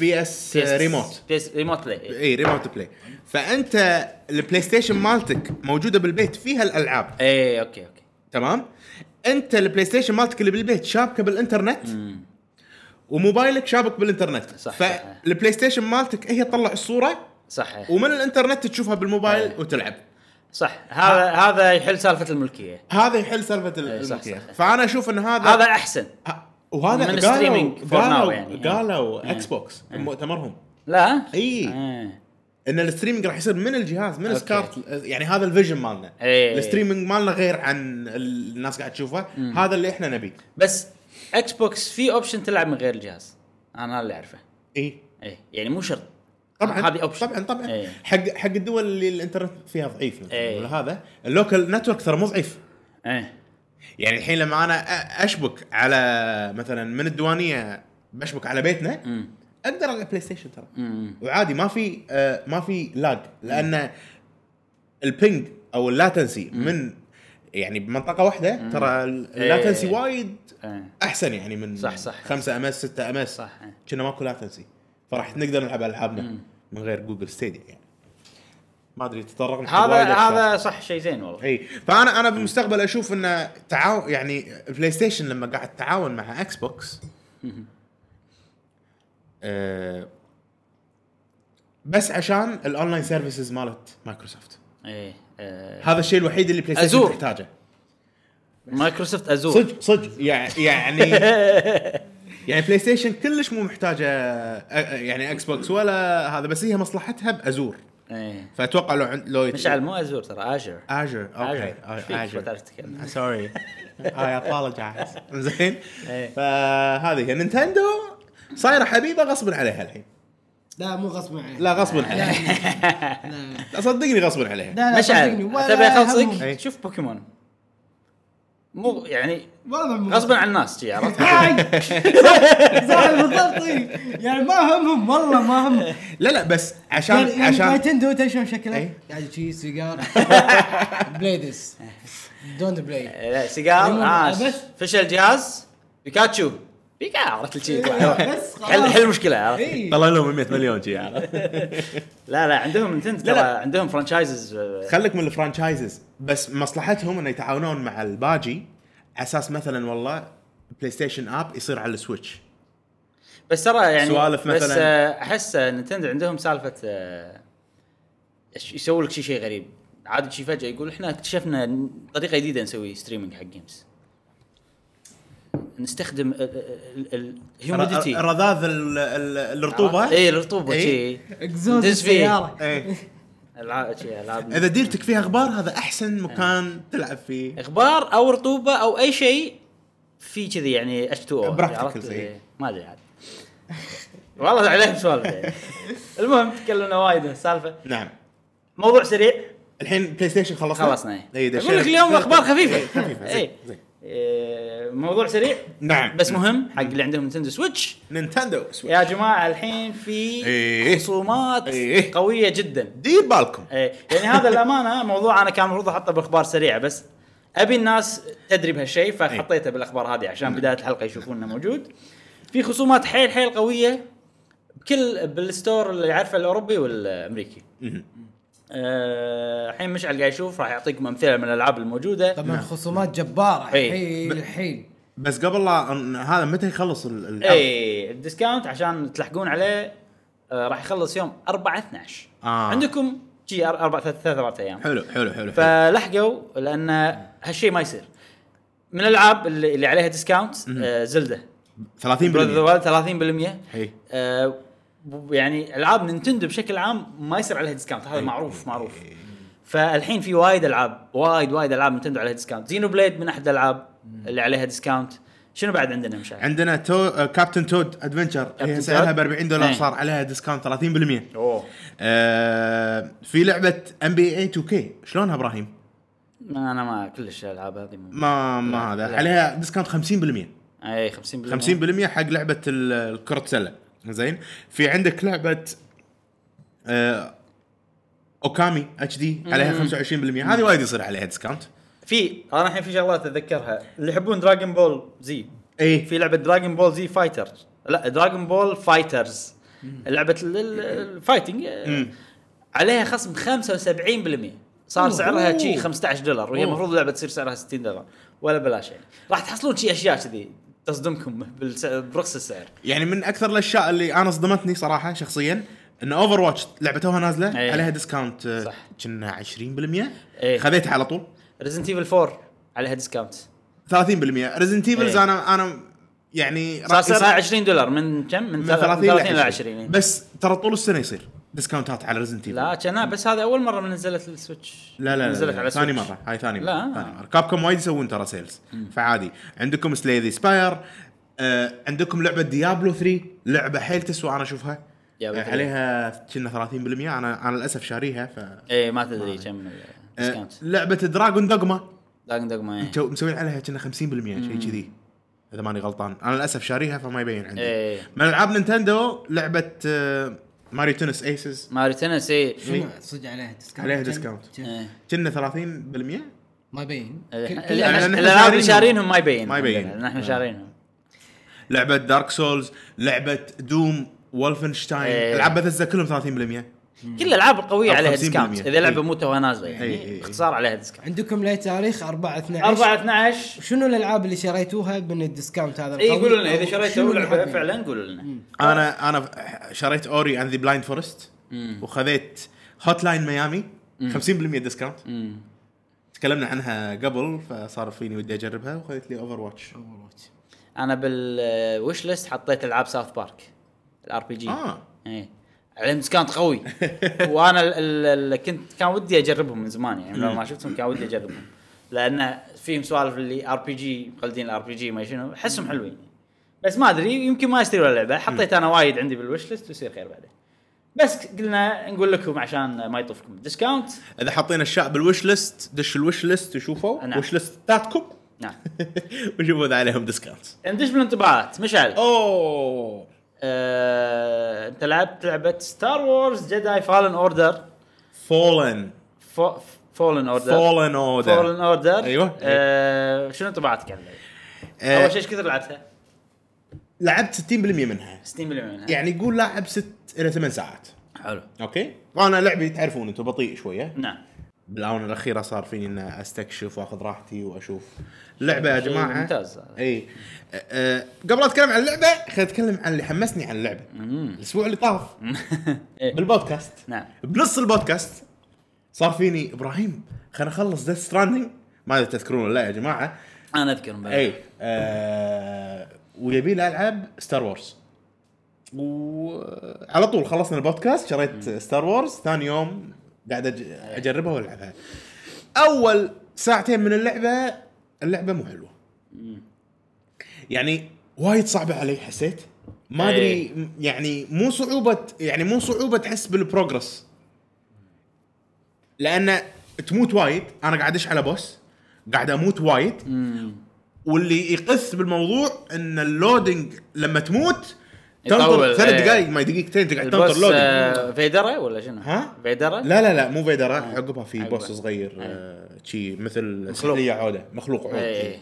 C: بي اس ريموت
A: بي اس ريموت بلاي
C: اي ريموت بلاي فانت البلاي ستيشن مالتك موجوده بالبيت فيها الالعاب
A: ايه اوكي اوكي
C: تمام انت البلاي ستيشن مالتك اللي بالبيت شابكه بالانترنت وموبايلك شابك بالانترنت
A: صح، صح.
C: فالبلاي ستيشن مالتك هي تطلع الصوره
A: صح إيه.
C: ومن الانترنت تشوفها بالموبايل وتلعب
A: صح هذا هذا يحل سالفه الملكيه
C: هذا يحل سالفه ال-
A: إيه، صح،
C: الملكيه
A: صح.
C: فانا اشوف ان هذا
A: هذا احسن
C: ه- وهذا
A: من
C: قالوا
A: streaming for now
C: قالوا
A: يعني.
C: قالوا
A: إيه.
C: اكس بوكس مؤتمرهم
A: لا
C: إي.
A: إيه.
C: ان الستريمنج راح يصير من الجهاز من
A: أوكي.
C: سكارت يعني هذا الفيجن مالنا
A: إيه.
C: الستريمنج مالنا غير عن ال- الناس قاعد تشوفه هذا اللي احنا نبيه
A: بس اكس بوكس في اوبشن تلعب من غير الجهاز انا هذا اللي اعرفه
C: اي
A: ايه يعني مو شرط
C: طبعا
A: هذه اوبشن
C: طبعا طبعا
A: إيه.
C: حق حق الدول اللي الانترنت فيها ضعيف مثلاً
A: إيه.
C: ولا هذا اللوكال نتورك ترى مو ضعيف
A: ايه
C: يعني الحين لما انا أ- اشبك على مثلا من الديوانيه بشبك على بيتنا
A: امم
C: اقدر على بلاي ستيشن ترى
A: امم
C: وعادي ما في آه، ما في لاج لان البينج او اللاتنسي من يعني بمنطقه واحده ترى ال- اللاتنسي
A: إيه.
C: وايد
A: إيه.
C: احسن يعني من
A: صح، صح.
C: 5 ام اس 6 ام اس
A: صح، إيه.
C: كنا ماكو لاتنسي فراح نقدر نلعب العابنا من غير جوجل ستيديا يعني ما ادري تطرقنا حق
A: هذا
C: وايد أشياء.
A: هذا صح شيء زين والله
C: اي فانا انا إيه. بالمستقبل اشوف انه تعاون يعني بلاي ستيشن لما قاعد تعاون مع اكس بوكس آه، بس عشان الاونلاين سيرفيسز مالت مايكروسوفت
A: ايه آه،
C: هذا الشيء الوحيد اللي بلاي ستيشن
A: أزور.
C: تحتاجه
A: مايكروسوفت ازور
C: صدق صدق يع- يعني يعني بلاي ستيشن كلش مو محتاجه آه، آه، يعني اكس بوكس ولا هذا بس هي مصلحتها بازور
A: ايه
C: فاتوقع لو عند- لو
A: مشعل مو ازور ترى اجر
C: اجر اوكي
A: Azure. إيش فيك؟ ما
C: اجر
A: تعرف تتكلم.
C: *laughs* سوري اي ابولوجايز زين
A: إيه.
C: Uh, فهذه هي نينتندو صايره حبيبه غصب عليها الحين
B: لا مو غصب عليه
C: لا غصب عليها
B: لا لا.
C: لا صدقني غصب عليها
B: لا لا
A: مشعل
B: صدقني، ولا
A: تبي
B: هم.
A: اخلصك
C: أي.
A: شوف بوكيمون مو يعني
B: والله مو
A: غصبا عن الناس شي عرفت
C: *laughs*
B: هاي زعل بالضبط إي. يعني ما همهم والله ما همهم
C: لا لا بس عشان
B: يعني عشان
C: عشان
B: نايتندو تدري شلون شكله؟
C: إي.
B: قاعد
C: *laughs*
B: شي سيجار بليدز
A: *laughs*
B: دونت بلاي
A: إيه، لا سيجار
B: عموماً،
A: عاش
B: بس-
A: فشل الجهاز بيكاتشو بيكا عرفت كل شيء
B: بس
A: حل حل المشكله عرفت
B: إي.
C: طلع لهم 100 مليون شي عرفت؟
A: لا لا عندهم نتندو
C: لا،
A: ترى
C: لا.
A: عندهم آه، فرانشايزز
C: *laughs* خليك من الفرانشايزز بس مصلحتهم انه يتعاونون مع الباجي اساس مثلا والله بلاي ستيشن اب يصير على السويتش
A: بس ترى يعني
C: سوالف
A: بس
C: مثلاً.
A: آه، احس آه، نتندو عندهم سالفه آه، إيش- يسووا لك شي شيء غريب عادي شي فجاه يقول احنا اكتشفنا طريقه جديده نسوي ستريمينج حق جيمز نستخدم الهيوميديتي
C: ر- إيه. رذاذ ال- ال- الرطوبه
A: اي الرطوبه
C: إي.
A: إيه، شي
B: اكزوز
A: دز فيه.
B: السياره
C: إيه.
A: العاب شي العاب
C: اذا ديرتك فيها غبار هذا احسن مكان تلعب فيه
A: إيه. اخبار او رطوبه او اي شيء في كذي يعني اتش 2
C: Practicals، إي.
A: ما ادري عاد والله عليهم سوالف
C: *laughs*
A: يعني. المهم تكلمنا وايد من السالفه
C: نعم
A: موضوع سريع
C: الحين بلاي ستيشن خلصنا
A: خلصنا إيه.
C: اي دشينا.
A: اقول لك اليوم اخبار
C: إيه،
A: خفيفه
C: خفيفه زين،
A: إيه.
C: زين.
A: إيه، موضوع سريع
C: نعم
A: بس مهم حق اللي عندهم نينتندو سويتش
C: نينتندو سويتش
A: يا جماعه الحين في
C: إيه.
A: خصومات
C: إيه.
A: قويه جدا
C: دير بالكم
A: إيه، يعني هذا الامانه موضوع انا كان المفروض احطه باخبار سريعه بس ابي الناس تدري بهالشيء فحطيته بالاخبار هذه عشان بدايه الحلقه يشوفون انه موجود في خصومات حيل حيل قويه بكل بالستور اللي يعرفه الاوروبي والامريكي
C: مهم.
A: آه، الحين مشعل قاعد يشوف راح يعطيكم امثله من الالعاب الموجوده
B: طبعا خصومات جباره
A: إي.
B: الحين الحين
C: بس قبل لا أن- هذا متى يخلص ال- العرض؟
A: اي إيه، الديسكاونت عشان تلحقون عليه آه راح يخلص يوم 4 12
C: آه.
A: عندكم شي 4 3 4 ايام
C: حلو حلو حلو حلو.
A: فلحقوا لان هالشيء ما يصير من الالعاب اللي, اللي عليها ديسكاونت آه زلده
C: 30%
A: 30%
C: إي.
A: آه ب- يعني العاب نينتندو بشكل عام ما يصير عليها ديسكاونت هذا معروف معروف فالحين في وايد العاب وايد وايد العاب نينتندو عليها ديسكاونت زينو بليد من احد الالعاب اللي عليها ديسكاونت شنو بعد عندنا مشعل؟
C: عندنا تو آه، كابتن تود ادفنشر هي
A: كابتن
C: سعرها
A: تود.
C: ب 40 دولار
A: إيه.
C: صار عليها ديسكاونت 30%
A: اوه
C: آه في لعبه ام بي اي 2 كي شلونها ابراهيم؟
A: ما انا ما كلش الالعاب هذه مو-
C: ما ما هذا عليها ديسكاونت 50%
A: اي 50%
C: 50% حق لعبه ال- الكرة سله زين في عندك لعبه آه اوكامي اتش دي عليها 25% هذه وايد يصير عليها ديسكاونت
A: في انا الحين في شغلات اتذكرها اللي يحبون دراجون بول زي
C: اي
A: في لعبه دراجون بول زي فايتر لا دراجون بول فايترز لعبه ال- ال- الفايتنج آه، عليها خصم 75% صار
B: أوه.
A: سعرها
B: أوه.
A: شي 15 دولار وهي
C: أوه.
A: المفروض اللعبه تصير سعرها 60 دولار ولا بلاش يعني راح تحصلون شي اشياء كذي تصدمكم بالس- برخص السعر
C: يعني من اكثر الاشياء اللي انا صدمتني صراحه شخصيا ان اوفر واتش لعبه توها نازله
A: إيه.
C: عليها ديسكاونت آه،
A: صح.
C: كنا 20%
A: إيه.
C: خذيتها على طول
A: ريزنت ايفل 4 عليها ديسكاونت
C: 30% ريزنت ايفلز
A: إيه.
C: انا انا يعني
A: صار
C: راح
A: سعرها
C: يصير
A: 20 دولار من كم؟ من
C: من 30
A: ل
C: ل
A: 20
C: بس ترى طول السنه يصير ديسكاونتات على ريزنت ايفل
A: لا كنا بس هذا اول مره من نزلت السويتش
C: لا لا, لا,
A: نزلت
C: لا,
A: على
C: ثاني
A: سويتش.
C: مره هاي ثاني مره
A: لا.
C: ثاني مره كاب كوم وايد يسوون ترى سيلز فعادي عندكم سلاي ذا سباير آه عندكم لعبه ديابلو 3 لعبه حيل تسوى انا اشوفها
A: ديابلو
C: آه
A: 3.
C: عليها كنا 30% انا انا للاسف شاريها ف آه،
A: اي إيه، ما تدري كم ديسكاونت
C: لعبه دراجون دوغما
A: داق داق ما
C: تو- مسوين عليها كنا 50% شيء كذي اذا ماني غلطان انا للاسف شاريها فما يبين عندي
A: إيه.
C: من العاب نينتندو لعبه آه ماريو تنس ايسز
A: ماري تنس اي
B: شنو صدق عليها ديسكاونت
C: عليها
B: كم-
C: discount.
B: كم؟
A: إيه.
C: كنا 30%
B: ما يبين كل- كل-
A: الألعاب-
C: نحن
A: الالعاب اللي
C: شارينهم.
A: شارينهم ما يبين
C: ما يبين.
A: عندنا، نحن شارينهم
C: لعبه دارك سولز لعبه دوم وولفنشتاين
A: إيه.
C: العاب بثزة كلهم 30%
A: كل الالعاب القويه
C: أو
A: عليها
C: 50%
A: ديسكاونت اذا لعبه
C: إي.
A: مو توها نازله
C: إي، إي،
A: يعني
C: إي.
A: باختصار عليها ديسكاونت
B: عندكم لي تاريخ 4 12
A: 4 12
B: شنو الالعاب اللي شريتوها من الديسكاونت هذا
A: اي
B: القوي؟
A: إيه، قولوا لنا اذا
B: أو شنو
A: شريتوا
B: اللي
A: لعبه
B: حابين؟
A: فعلا قولوا لنا
C: انا انا شريت اوري اند ذا بلايند فورست وخذيت هوت لاين ميامي 50% ديسكاونت تكلمنا عنها قبل فصار فيني ودي اجربها وخذيت لي اوفر واتش
B: Overwatch.
A: انا بالوش ليست حطيت العاب ساوث بارك الار بي جي
C: اه
A: ايه عليهم ديسكاونت قوي وانا ال- ال- ال- كنت كان ودي اجربهم من زمان يعني لو ما شفتهم كان ودي اجربهم لان فيهم سوالف اللي ار بي جي مقلدين الار بي جي ما شنو احسهم حلوين بس ما ادري يمكن ما يصير ولا لعبه حطيت انا وايد عندي بالوش ليست ويصير خير بعدين بس قلنا نقول لكم عشان ما يطوفكم ديسكاونت
C: اذا حاطين اشياء بالوش ليست دش الوش ليست وشوفوا
A: نعم.
C: وش ليستاتكم
A: نعم
C: *laughs* وشوفوا اذا عليهم ديسكاونت
A: ندش بالانطباعات مشعل
C: اوه
A: آه، انت لعبت لعبه ستار وورز جداي فالن اوردر
C: فولن
A: فولن اوردر
C: فولن اوردر
A: فولن اوردر
C: أيوة. آه.
A: آه، شنو انطباعاتك عن اللعبة؟ اول شيء ايش كثر لعبتها؟
C: إيه. لعبت 60% منها
A: 60 مليون منها
C: يعني يقول لاعب 6 الى 8 ساعات
A: حلو
C: اوكي وانا لعبي تعرفون انتم بطيء شويه
A: نعم
C: بالاونه الاخيره صار فيني ان استكشف واخذ راحتي واشوف لعبه يا
A: شيء
C: جماعه
A: ممتاز هذا.
C: اي أه، أه، قبل اتكلم عن اللعبه خليني اتكلم عن اللي حمسني عن اللعبه الاسبوع اللي طاف
A: *laughs* إيه.
C: بالبودكاست
A: نعم
C: بنص البودكاست صار فيني ابراهيم خلينا نخلص ديث ستراندنج ما ادري تذكرون ولا لا يا جماعه
A: انا اذكر مباراه
C: اي آه ويبي لي العب ستار وورز وعلى طول خلصنا البودكاست شريت ستار وورز ثاني يوم قاعد أج- اجربها والعبها اول ساعتين من اللعبه اللعبه مو حلوه يعني وايد صعبه علي حسيت ما ادري
A: إيه.
C: م- يعني مو صعوبه يعني مو صعوبه تحس بالبروجرس لان تموت وايد انا قاعد ادش على بوس قاعد اموت وايد واللي يقث بالموضوع ان اللودنج لما تموت تنطر
A: يطول،
C: ثلاث
A: إيه.
C: دقائق ما دقيقتين تقعد تنطر
A: البوس
C: لودنج
A: آه، فيدرا ولا شنو؟
C: ها؟
A: فيدرا؟
C: لا لا لا مو فيدرا عقبها في
A: عقبها.
C: بوس صغير آه، شي مثل
A: مخلوق. إيه،
C: سحلية عوده مخلوق عوده
A: اي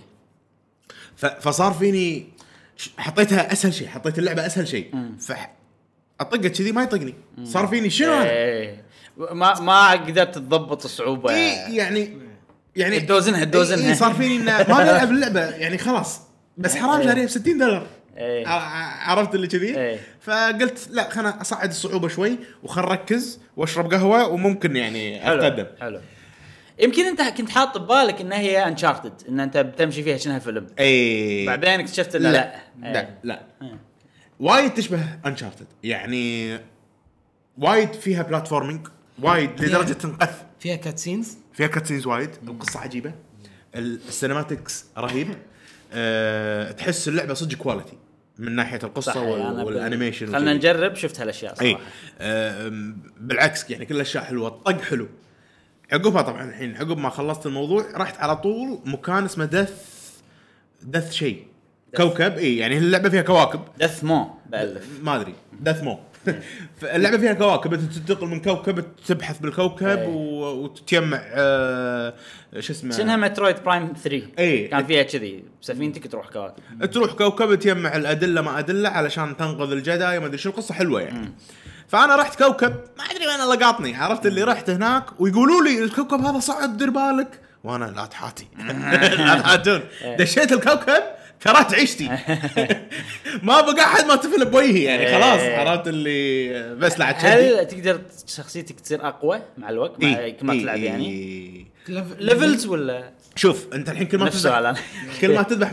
C: ف- فصار فيني ش- حطيتها اسهل شيء حطيت اللعبه اسهل شيء ف اطقت كذي ما يطقني صار فيني شنو
A: إيه.
C: هذا؟
A: إي. ما ما قدرت تضبط الصعوبه
C: إيه يعني يعني
A: الدوزنها- الدوزنها.
C: إيه،
A: *laughs*
C: صار فيني انه ما بلعب اللعبه يعني خلاص بس حرام شاريها ب 60 دولار
A: إيه.
C: ع- ع- عرفت اللي كذي
A: إيه.
C: فقلت لا خلنا اصعد الصعوبه شوي وخل ركز واشرب قهوه وممكن يعني اتقدم
A: حلو يمكن انت كنت حاط ببالك انها هي انشارتد ان انت بتمشي فيها شنها فيلم
C: اي
A: بعدين اكتشفت انها
C: إيه. لا
A: لا
C: لا
A: إيه.
C: لا وايد تشبه انشارتد يعني وايد فيها بلاتفورمينج وايد لدرجه تنقث
B: فيها كاتسينز
C: فيها كاتسينز وايد القصه عجيبه ال- السينماتكس رهيب أه تحس اللعبه صدق كواليتي من ناحيه القصه
A: صح، يعني أنا
C: وال-
A: بال-
C: والانيميشن
A: خلنا
C: وكذي. إيه.
A: نجرب شفت هالاشياء
C: اي
A: صراحه
C: أم، بالعكس يعني كل الاشياء حلوه الطق حلو عقبها طبعا الحين عقب ما خلصت الموضوع رحت على طول مكان اسمه دث دث شيء كوكب اي يعني اللعبه فيها كواكب
A: دث مو بالف *laughs*
C: ما ادري دث *laughs* مو اللعبه فيها كواكب انت تنتقل من كوكب تبحث بالكوكب
A: إي.
C: و- وتتجمع آه، شو اسمه
A: شنها مترويد برايم 3
C: نعم. إي.
A: كان فيها كذي سفينتك تروح كواكب
C: تروح كوكب تجمع الادله ما ادله علشان تنقذ الجداي ما ادري شو القصه حلوه يعني فانا رحت كوكب ما ادري وين لقطني عرفت اللي رحت هناك ويقولوا لي الكوكب هذا صعد دير بالك وانا لا
A: *laughs*
C: تحاتي لا تحاتون *laughs* دشيت الكوكب كرهت عيشتي *laughs* ما بقى احد ما تفل بوجهي يعني خلاص عرفت اللي بس لعبت شدي.
A: إيه. هل تقدر شخصيتك تصير اقوى مع الوقت مع
C: إي،
A: كل ما
C: إي،
A: تلعب يعني
C: إي.
A: ليفلز ولا
C: إيه، شوف انت الحين كل ما
A: نفس
C: تذبح
A: السؤال انا
C: كل ما تذبح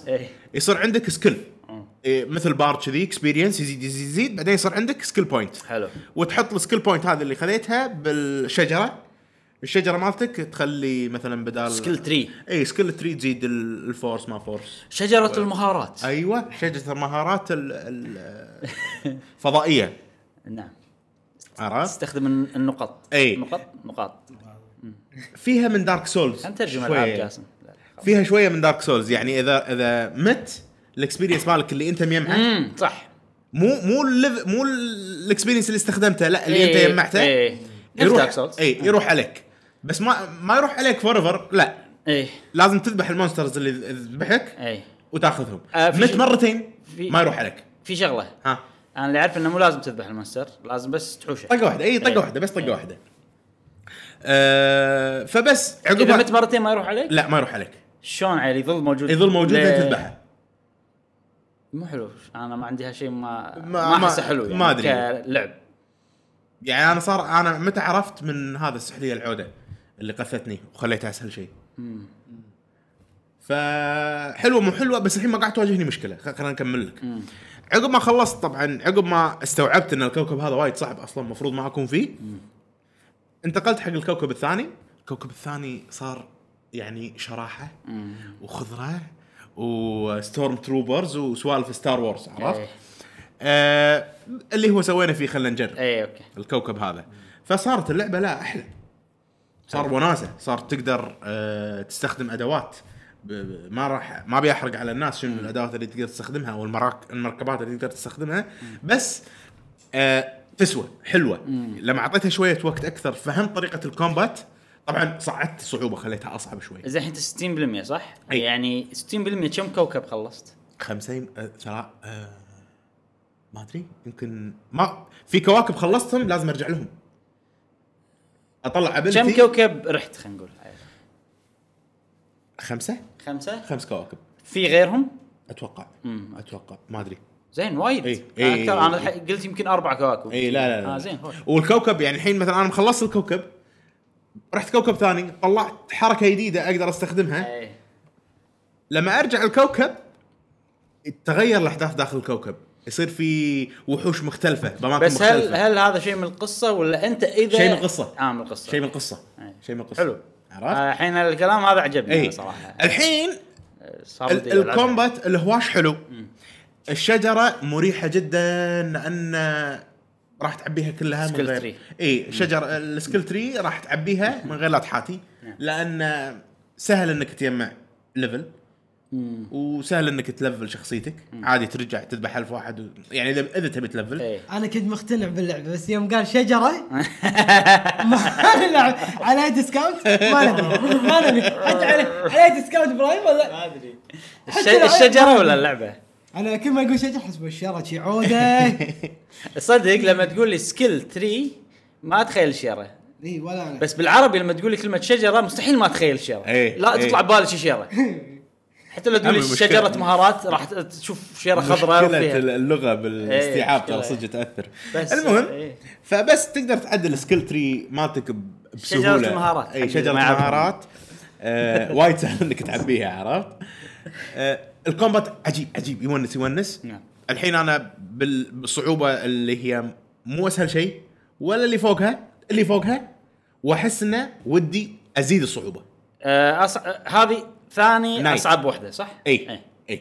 A: *laughs* إيه.
C: يصير عندك سكيل
A: آه.
C: إيه، مثل بار كذي اكسبيرينس يزيد يزيد يزيد بعدين يصير عندك سكيل بوينت
A: حلو
C: وتحط السكيل بوينت هذه اللي خذيتها بالشجره الشجره مالتك تخلي مثلا بدال
A: سكيل تري
C: اي سكيل تري تزيد ال- الفورس ما فورس
A: شجره المهارات
C: ايوه شجره المهارات ال- ال-
A: *laughs*
C: الفضائيه
A: نعم
C: عرفت
A: تستخدم الن- النقط
C: إي.
A: نقط نقاط
C: فيها من دارك سولز
A: انت ترجم
C: شوية.
A: العاب جاسم لا، خلاص.
C: فيها شويه من دارك سولز يعني اذا اذا مت الاكسبيرينس مالك اللي انت مجمعه
A: امم صح
C: مو مو الليف مو الاكسبيرينس اللي استخدمته لا اللي
A: إي،
C: انت جمعته
A: إي. نفس Dark Souls.
C: يروح اي يروح عليك بس ما ما يروح عليك فور ايفر لا
A: اي
C: لازم تذبح المونسترز اللي ذبحك
A: اي
C: وتاخذهم
A: آه، في
C: مت
A: شيء-
C: مرتين
A: في-
C: ما يروح عليك
A: في شغله
C: ها
A: انا اللي اعرف انه مو لازم تذبح المونستر لازم بس تحوشه
C: طقه واحده اي
A: إي.
C: طقه واحده إيه، بس طقه
A: إي.
C: واحده آه فبس
A: اذا
C: عقبها
A: مت مرتين ما يروح عليك
C: لا ما يروح عليك
A: شلون علي يظل موجود
C: يظل موجود
A: ليه؟
C: لين تذبحه
A: مو حلو انا ما عندي هالشيء ما ما
C: ما-
A: احسه
C: ما-
A: حلو يعني
C: ما أدري.
A: كلعب
C: يعني انا صار انا متى عرفت من هذا السحليه العوده اللي قثتني وخليتها اسهل شيء فحلوه مو حلوه بس الحين ما قاعد تواجهني مشكله خ- خلينا نكمل لك عقب ما خلصت طبعا عقب ما استوعبت ان الكوكب هذا وايد صعب اصلا المفروض ما اكون فيه انتقلت حق الكوكب الثاني الكوكب الثاني صار يعني شراحه وخضره وستورم تروبرز وسوالف ستار وورز عرفت؟
A: إيه.
C: آه اللي هو سوينا فيه خلينا نجرب
A: اي اوكي
C: الكوكب هذا فصارت اللعبه لا احلى صار وناسه صار تقدر آه، تستخدم ادوات ب- ب- ما راح ما بيحرق على الناس شنو الادوات اللي تقدر تستخدمها او المراك- المركبات اللي تقدر تستخدمها بس آه، تسوى حلوه لما اعطيتها شويه وقت اكثر فهمت طريقه الكومبات طبعا صعدت الصعوبه خليتها اصعب شوي
A: زين الحين 60% صح؟
C: أي.
A: يعني 60% كم كوكب خلصت؟
C: 50 آه، ترى آه، ما ادري يمكن ما في كواكب خلصتهم لازم ارجع لهم اطلع ابلتي
A: كم كوكب رحت خلينا نقول
C: خمسه
A: خمسه
C: خمس كواكب
A: في غيرهم؟
C: اتوقع
A: مم.
C: اتوقع ما ادري
A: زين وايد
C: إي.
A: آه،
C: إي.
A: اكثر انا الحين قلت يمكن اربع كواكب
C: اي لا لا, لا.
A: اه زين خوش.
C: والكوكب يعني الحين مثلا انا مخلص الكوكب رحت كوكب ثاني طلعت حركه جديده اقدر استخدمها
A: إي.
C: لما ارجع الكوكب تغير الاحداث داخل الكوكب يصير في وحوش مختلفه باماكن
A: بس هل
C: مختلفه
A: هل هذا شيء من القصه ولا انت اذا
C: شيء من القصة.
A: اه من القصه
C: شيء من القصه شيء من القصه
A: إيه. حلو.
C: عرفت؟
A: آه، الحين الكلام هذا عجبني أنا
C: اي
A: صراحه
C: الحين
A: آه، صار
C: ال-
A: ودي ألعبها.
C: الكومبات الهواش حلو الشجره مريحه جدا لان راح تعبيها كلها من
A: سكيل
C: غير
A: تري.
C: اي شجر السكيل تري راح تعبيها من غير لا تحاتي
A: نعم.
C: لان سهل انك تجمع ليفل وسهل انك تلفل شخصيتك عادي ترجع تذبح الف واحد و... يعني اذا اذا تبي تلفل
A: إي.
D: انا كنت مقتنع باللعبه بس يوم قال شجره
A: *laughs*
D: ما نلعب على ديسكاونت ما ندري ما ندري حتى على على ديسكاونت برايم ولا
A: الش-
D: حتى لو-
A: الشجره ولا اللعبه؟
D: انا كل ما اقول شجره احسب الشرة شي
A: *laughs*
D: عوده
A: صدق لما تقول لي سكيل تري ما اتخيل شيره
D: اي ولا انا
A: بس بالعربي لما تقول لي كلمه شجره مستحيل ما اتخيل شيره
C: إيه،
A: لا
C: إيه.
A: تطلع ببالي شي
C: *laughs*
A: شيره حتى لو تقول لي
C: أما المشكلة-
A: شجره مهارات راح تشوف شيره خضراء
C: مشكلة
A: وفيها
C: اللغة بالاستيعاب ترى
A: مشكلة.
C: صدق تأثر
A: بس-
C: المهم
A: إيه.
C: فبس تقدر تعدل سكيل تري مالتك ب-
A: شجرة
C: بسهولة
A: المهارات.
C: اي شجرة
A: ما يعرفها.
C: مهارات آه، وايد سهل انك تعبيها عرفت؟ آه، الكومبات عجيب عجيب يونس يونس
A: نعم.
C: الحين انا بال- بالصعوبة اللي هي مو اسهل شيء ولا اللي فوقها اللي فوقها واحس انه ودي ازيد الصعوبة
A: آه، أص- هذه ثاني
C: نايت.
A: اصعب وحده صح؟
C: اي اي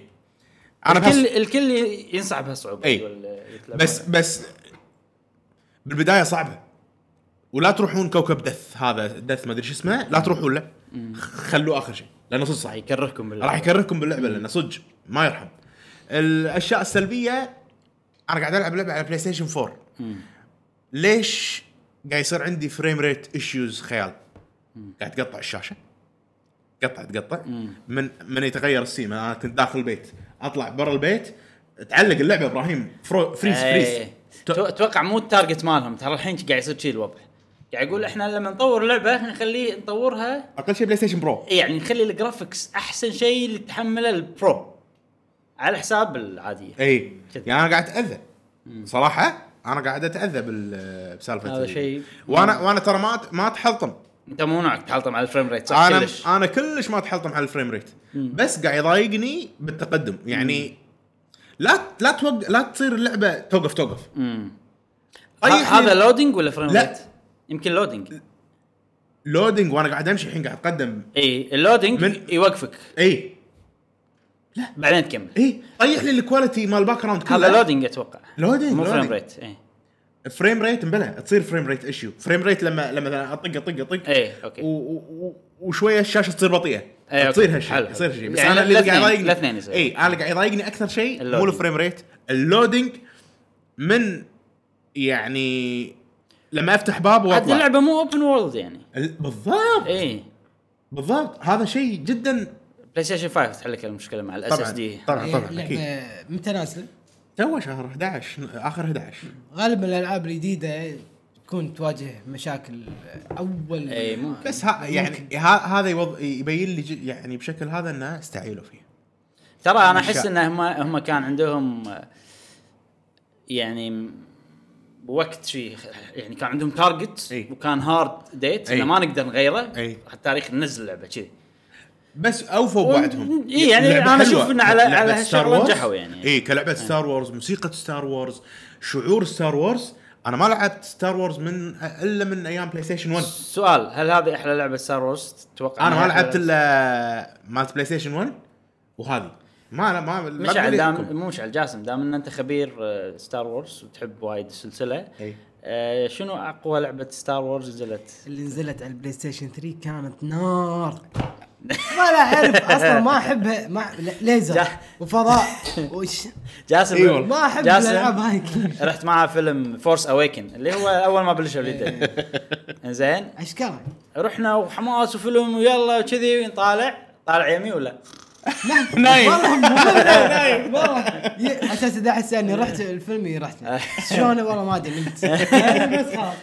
A: انا
C: انا بحس-
A: الكل الكل ينصح بهالصعوبه
C: إي.
A: يقول- يتلبى.
C: إيه. بس بس بالبدايه صعبه ولا تروحون كوكب دث هذا دث ما ادري شو اسمه لا تروحون له خلوه اخر شيء لانه صدق
A: راح
C: صحيح
A: يكرهكم بالله
C: راح يكرهكم باللعبه لانه صدق ما يرحم الاشياء السلبيه انا قاعد العب لعبه على بلاي ستيشن 4 ليش قاعد يصير عندي فريم ريت ايشوز خيال قاعد تقطع الشاشه قطع تقطع من من يتغير السيم انا كنت داخل البيت اطلع برا البيت تعلق اللعبه ابراهيم فرو فريز فريز
A: إي. إيه. تو- اتوقع مو التارجت مالهم ترى الحين قاعد يصير شي الوضع قاعد يقول احنا لما نطور لعبه إحنا نخليه نطورها
C: اقل شيء بلاي ستيشن برو
A: يعني نخلي الجرافكس احسن شيء اللي تحمله البرو على حساب العاديه
C: اي
A: كذا.
C: يعني انا قاعد اتاذى صراحه انا قاعد اتاذى بال- بسالفه
A: هذا
C: ال-
A: شيء-
C: وانا وانا ترى ما أت- ما اتحلطم
A: انت مو نوعك تحلطم على الفريم ريت صح
C: انا
A: كلش
C: انا كلش ما اتحلطم على الفريم ريت بس قاعد يضايقني بالتقدم يعني لا ت- لا توق... لا تصير اللعبه توقف توقف
A: ه-
C: طيحني-
A: هذا لودينج ولا فريم
C: لا.
A: ريت؟ يمكن لودينج
C: لودنج وانا قاعد امشي الحين قاعد إيه. اتقدم
A: اي اللودينج
C: من-
A: يوقفك
C: اي
A: بعدين تكمل
C: اي طيح لي الكواليتي مال الباك جراوند
A: هذا لودينج اتوقع
C: لودينج
A: مو فريم
C: لودينج.
A: ريت اي
C: فريم ريت مبلى تصير فريم ريت ايشيو فريم ريت لما لما مثلا اطق اطق اطق
A: إيه، أوكي.
C: و... و... و- وشويه الشاشه تصير بطيئه
A: إيه، أوكي.
C: تصير هالشيء
A: حلو.
C: يصير هالشيء بس
A: يعني
C: انا اللي
A: الاثنين-
C: قاعد يضايقني
A: الاثنين يصير.
C: اي انا اللي قاعد يضايقني اكثر شيء مو
A: اللودينج.
C: الفريم ريت اللودينج من يعني لما افتح باب
A: عاد
C: واطلع
A: اللعبه مو اوبن وورلد يعني
C: ال- بالضبط
A: اي
C: بالضبط هذا شيء جدا
A: بلاي ستيشن 5 تحل لك المشكله مع الاس اس
C: طبعا
A: دي
C: طبعا طبعا اكيد
D: لعبه متى نازله؟
C: تو شهر 11 اخر 11
D: غالبا الالعاب الجديده تكون تواجه مشاكل اول
A: اي ممكن
C: بس ها يعني ها هذا يوض- يبين لي ج- يعني بشكل هذا انه استعيلوا فيه
A: ترى انا
C: إن شاء
A: احس ان هم هم كان عندهم آه، يعني م- وقت شيء يعني كان عندهم تارجت
C: إي.
A: وكان هارد ديت
C: إي.
A: إن ما نقدر نغيره
C: إي.
A: حتى تاريخ ننزل اللعبه كذي
C: بس اوفوا بوعدهم
A: إي يعني
C: لعبة
A: أنا
C: حلوة.
A: أشوف إن على-
C: لعبة
A: على هالشغلة
C: Star Wars. إيه،
A: نجحوا يعني.
C: اي كلعبه ستار وورز موسيقى ستار وورز شعور ستار وورز انا ما لعبت ستار وورز من الا من ايام بلاي ستيشن 1
A: سؤال هل هذه احلى لعبه ستار وورز تتوقع
C: انا ما
A: إنها أحلى
C: لعبت الا مالت بلاي ستيشن 1 وهذه ما انا ما ما
A: مشعل
C: أدري
A: دام
C: لكم.
A: مو مشعل جاسم دام ان انت خبير آه، ستار وورز وتحب وايد السلسله
C: إي.
A: آه، شنو اقوى لعبه ستار وورز نزلت؟
D: اللي نزلت على البلاي ستيشن 3 كانت نار ما لا اعرف اصلا ما احبها ما ل- ليزر
A: جا-
D: وفضاء
A: *laughs*
D: وش
A: جاسم
C: إي والله.
D: ما احب
A: جاسم.
D: الالعاب هاي كلش
A: رحت معاه فيلم فورس اويكن اللي هو اول ما بلش الفيديو زين
D: اشكره
A: رحنا وحماس وفيلم ويلا وكذي طالع طالع يمي ولا
C: نايم.
D: والله مو بالله، نايم والله ي- اساس اذا احس اني رحت الفيلم
A: *laughs*
D: رحت شلون والله ما ادري نمت بس خلاص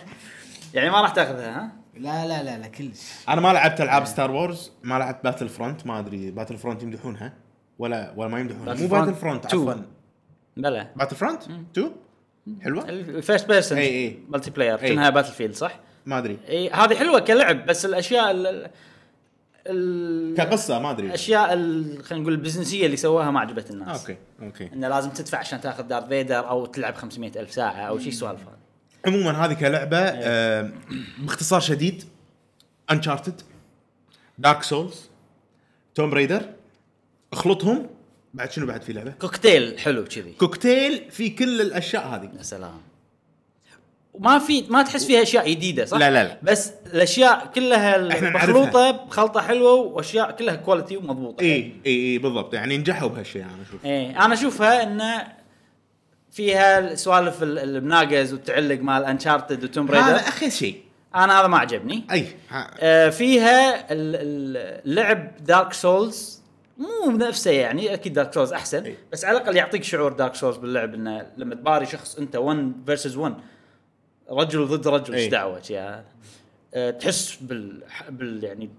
A: يعني ما راح تاخذها ها؟
D: لا لا لا لا كلش
C: انا ما لعبت العاب
A: إيه.
C: ستار وورز ما لعبت باتل فرونت ما ادري باتل فرونت يمدحونها ولا ولا ما يمدحونها مو
A: Battlefront
C: باتل فرونت
A: 2.
C: عفوا
A: بلى
C: باتل فرونت 2 حلوه
A: الفيرست بيرسون
C: إي إي.
A: ملتي بلاير
C: إي.
A: كانها باتل فيلد صح؟
C: ما ادري
A: اي هذه حلوه كلعب بس الاشياء ال- ال- ال-
C: كقصه ما ادري
A: الاشياء ال- خلينا نقول البزنسيه اللي سواها ما عجبت الناس
C: اوكي اوكي
A: انه لازم تدفع عشان تاخذ دارث فيدر او تلعب 500 الف ساعه او شيء سوالف هذه.
C: عموما هذه كلعبه
A: إيه.
C: آه، باختصار شديد انشارتد دارك سولز توم ريدر اخلطهم بعد شنو بعد في لعبه
A: كوكتيل حلو كذي
C: كوكتيل في كل الاشياء هذه
A: يا سلام ما في ما تحس فيها اشياء جديده صح؟
C: لا، لا، لا.
A: بس الاشياء كلها
C: إحنا
A: مخلوطه بخلطه حلوه واشياء كلها كواليتي ومضبوطه.
C: اي اي اي إيه، بالضبط يعني نجحوا بهالشيء انا اشوف
A: ايه انا اشوفها انه فيها سوالف ال- المناقز والتعلق مال انشارتد وتوم
C: هذا
A: ريدر
C: اخيس شيء
A: انا هذا ما عجبني
C: اي ها-
A: آه، فيها ال- ال- اللعب دارك سولز مو نفسه يعني اكيد دارك سولز احسن
C: إي.
A: بس على الاقل يعطيك شعور دارك سولز باللعب انه لما تباري شخص انت 1 فيرسز 1 رجل ضد رجل
C: إي.
A: ايش دعوه شي هذا. آه، تحس بال, بال يعني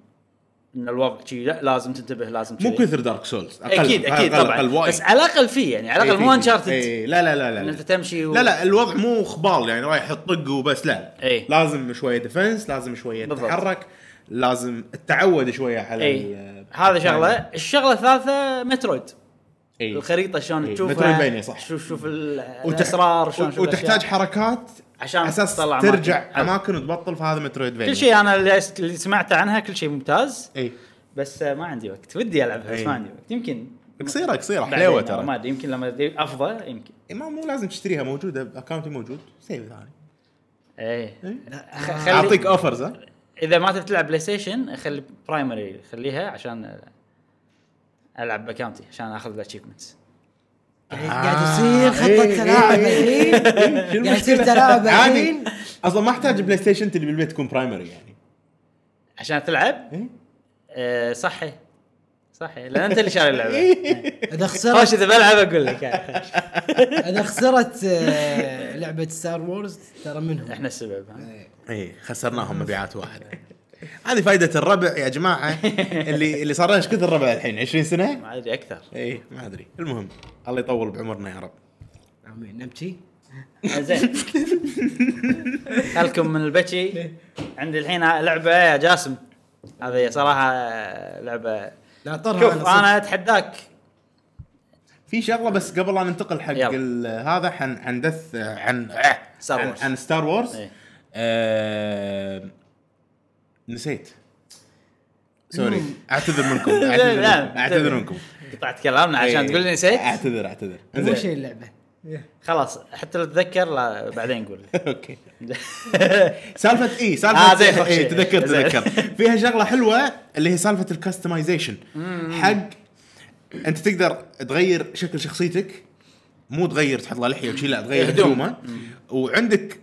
A: ان الوضع شي لا لازم تنتبه لازم
C: مو
A: كذي.
C: كثر دارك سولز
A: اكيد اكيد
C: أقل-
A: طبعا
C: أقل وايد. إيه،
A: بس على الاقل فيه يعني على
C: إي،
A: الاقل
C: في-
A: مو
C: في-
A: انشارتد
C: إي، لا لا لا لا
A: ان انت
C: لا
A: تمشي و...
C: لا لا الوضع مو خبال يعني رايح يطق وبس لا
A: إي.
C: لازم شويه ديفنس لازم شويه
A: بالضبط.
C: تتحرك لازم تعود شويه على
A: اي
C: ال-
A: هذا شغله
C: يعني.
A: الشغله الثالثه مترويد
C: إي.
A: الخريطه شلون
C: إي.
A: تشوفها
C: مترويدفانيا، إيه. صح.
A: شوف شوف ال-
C: وتح-
A: الاسرار شلون شوف
C: وتحتاج
A: الأشياء.
C: حركات
A: عشان
C: على اساس
A: تطلع أماكن.
C: ترجع اماكن وتبطل فهذا مترويد
A: كل شيء انا اللي اللي سمعته عنها كل شيء ممتاز
C: اي
A: بس آه، ما عندي وقت ودي العبها بس
C: إي.
A: ما عندي وقت يمكن
C: قصيره قصيره
A: بعدين،
C: حلوه
A: أو
C: إيه. ترى
A: ما ادري يمكن لما افضى يمكن
C: إي، ما مو لازم تشتريها موجوده باكونتي موجود سيف ثاني إيه.
A: ايه
D: آه،
A: خ- خلي-
C: اعطيك اوفرز ها
A: اذا ما تبي تلعب بلاي ستيشن خلي برايمري خليها عشان آه، العب باكاونتي عشان اخذ الاتشيفمنتس
D: إيه، قاعد
A: آه،
D: يصير
C: إي،
D: خطه
A: إيه.
D: تلاعب
C: إي،
D: الحين
A: *laughs*
C: شنو
D: قاعد يصير
C: المشكلة؟
D: تلاعب
C: عادي.
D: الحين
C: اصلا ما احتاج بلاي ستيشن تلي بالبيت تكون برايمري يعني
A: عشان تلعب
C: إيه.
A: آه، صحي صحي لان انت اللي شاري اللعبه
C: *laughs* إيه.
D: اذا خسرت
A: خوش اذا بلعب اقول لك *laughs*
D: اذا خسرت آه، لعبه ستار وورز ترى منهم
A: احنا السبب ها؟
C: اي إيه، خسرناهم مبيعات واحده هذه فائده الربع يا *laughs* جماعه اللي اللي صار لنا ايش كثر الربع الحين 20 سنه
A: ما ادري اكثر
C: اي ما ادري المهم الله يطول بعمرنا يا رب
D: امين نبكي
A: زين خلكم من البكي
C: إيه.
A: عندي الحين لعبه يا جاسم هذه صراحه لعبه
D: لا طرها
A: شوف
D: صدق.
A: انا اتحداك
C: في شغله بس قبل لا ننتقل حق
A: يلا.
C: ال- هذا حن حندث عن
A: ستار
C: عن,
A: وورز.
C: عن ستار وورز
A: إيه.
C: آه... نسيت سوري
D: المهم.
C: اعتذر *laughs* منكم
A: لا،
C: اعتذر
A: لا،
C: منكم اعتذر
A: تبي.
C: منكم
A: قطعت كلامنا عشان
C: إيه.
A: تقول لي نسيت
C: اعتذر اعتذر
D: مو
C: إنزين.
D: شيء اللعبه
A: خلاص حتى لو اتذكر لا بعدين قول
C: *laughs* اوكي سالفه اي سالفه
A: آه، زين، خلاص.
C: اي إيه؟ تذكر
A: زين.
C: تذكر فيها شغله حلوه اللي هي سالفه الكستمايزيشن حق انت تقدر تغير شكل شخصيتك مو تغير تحط له لحيه وشي لا تغير
A: هدوم.
C: هدومه وعندك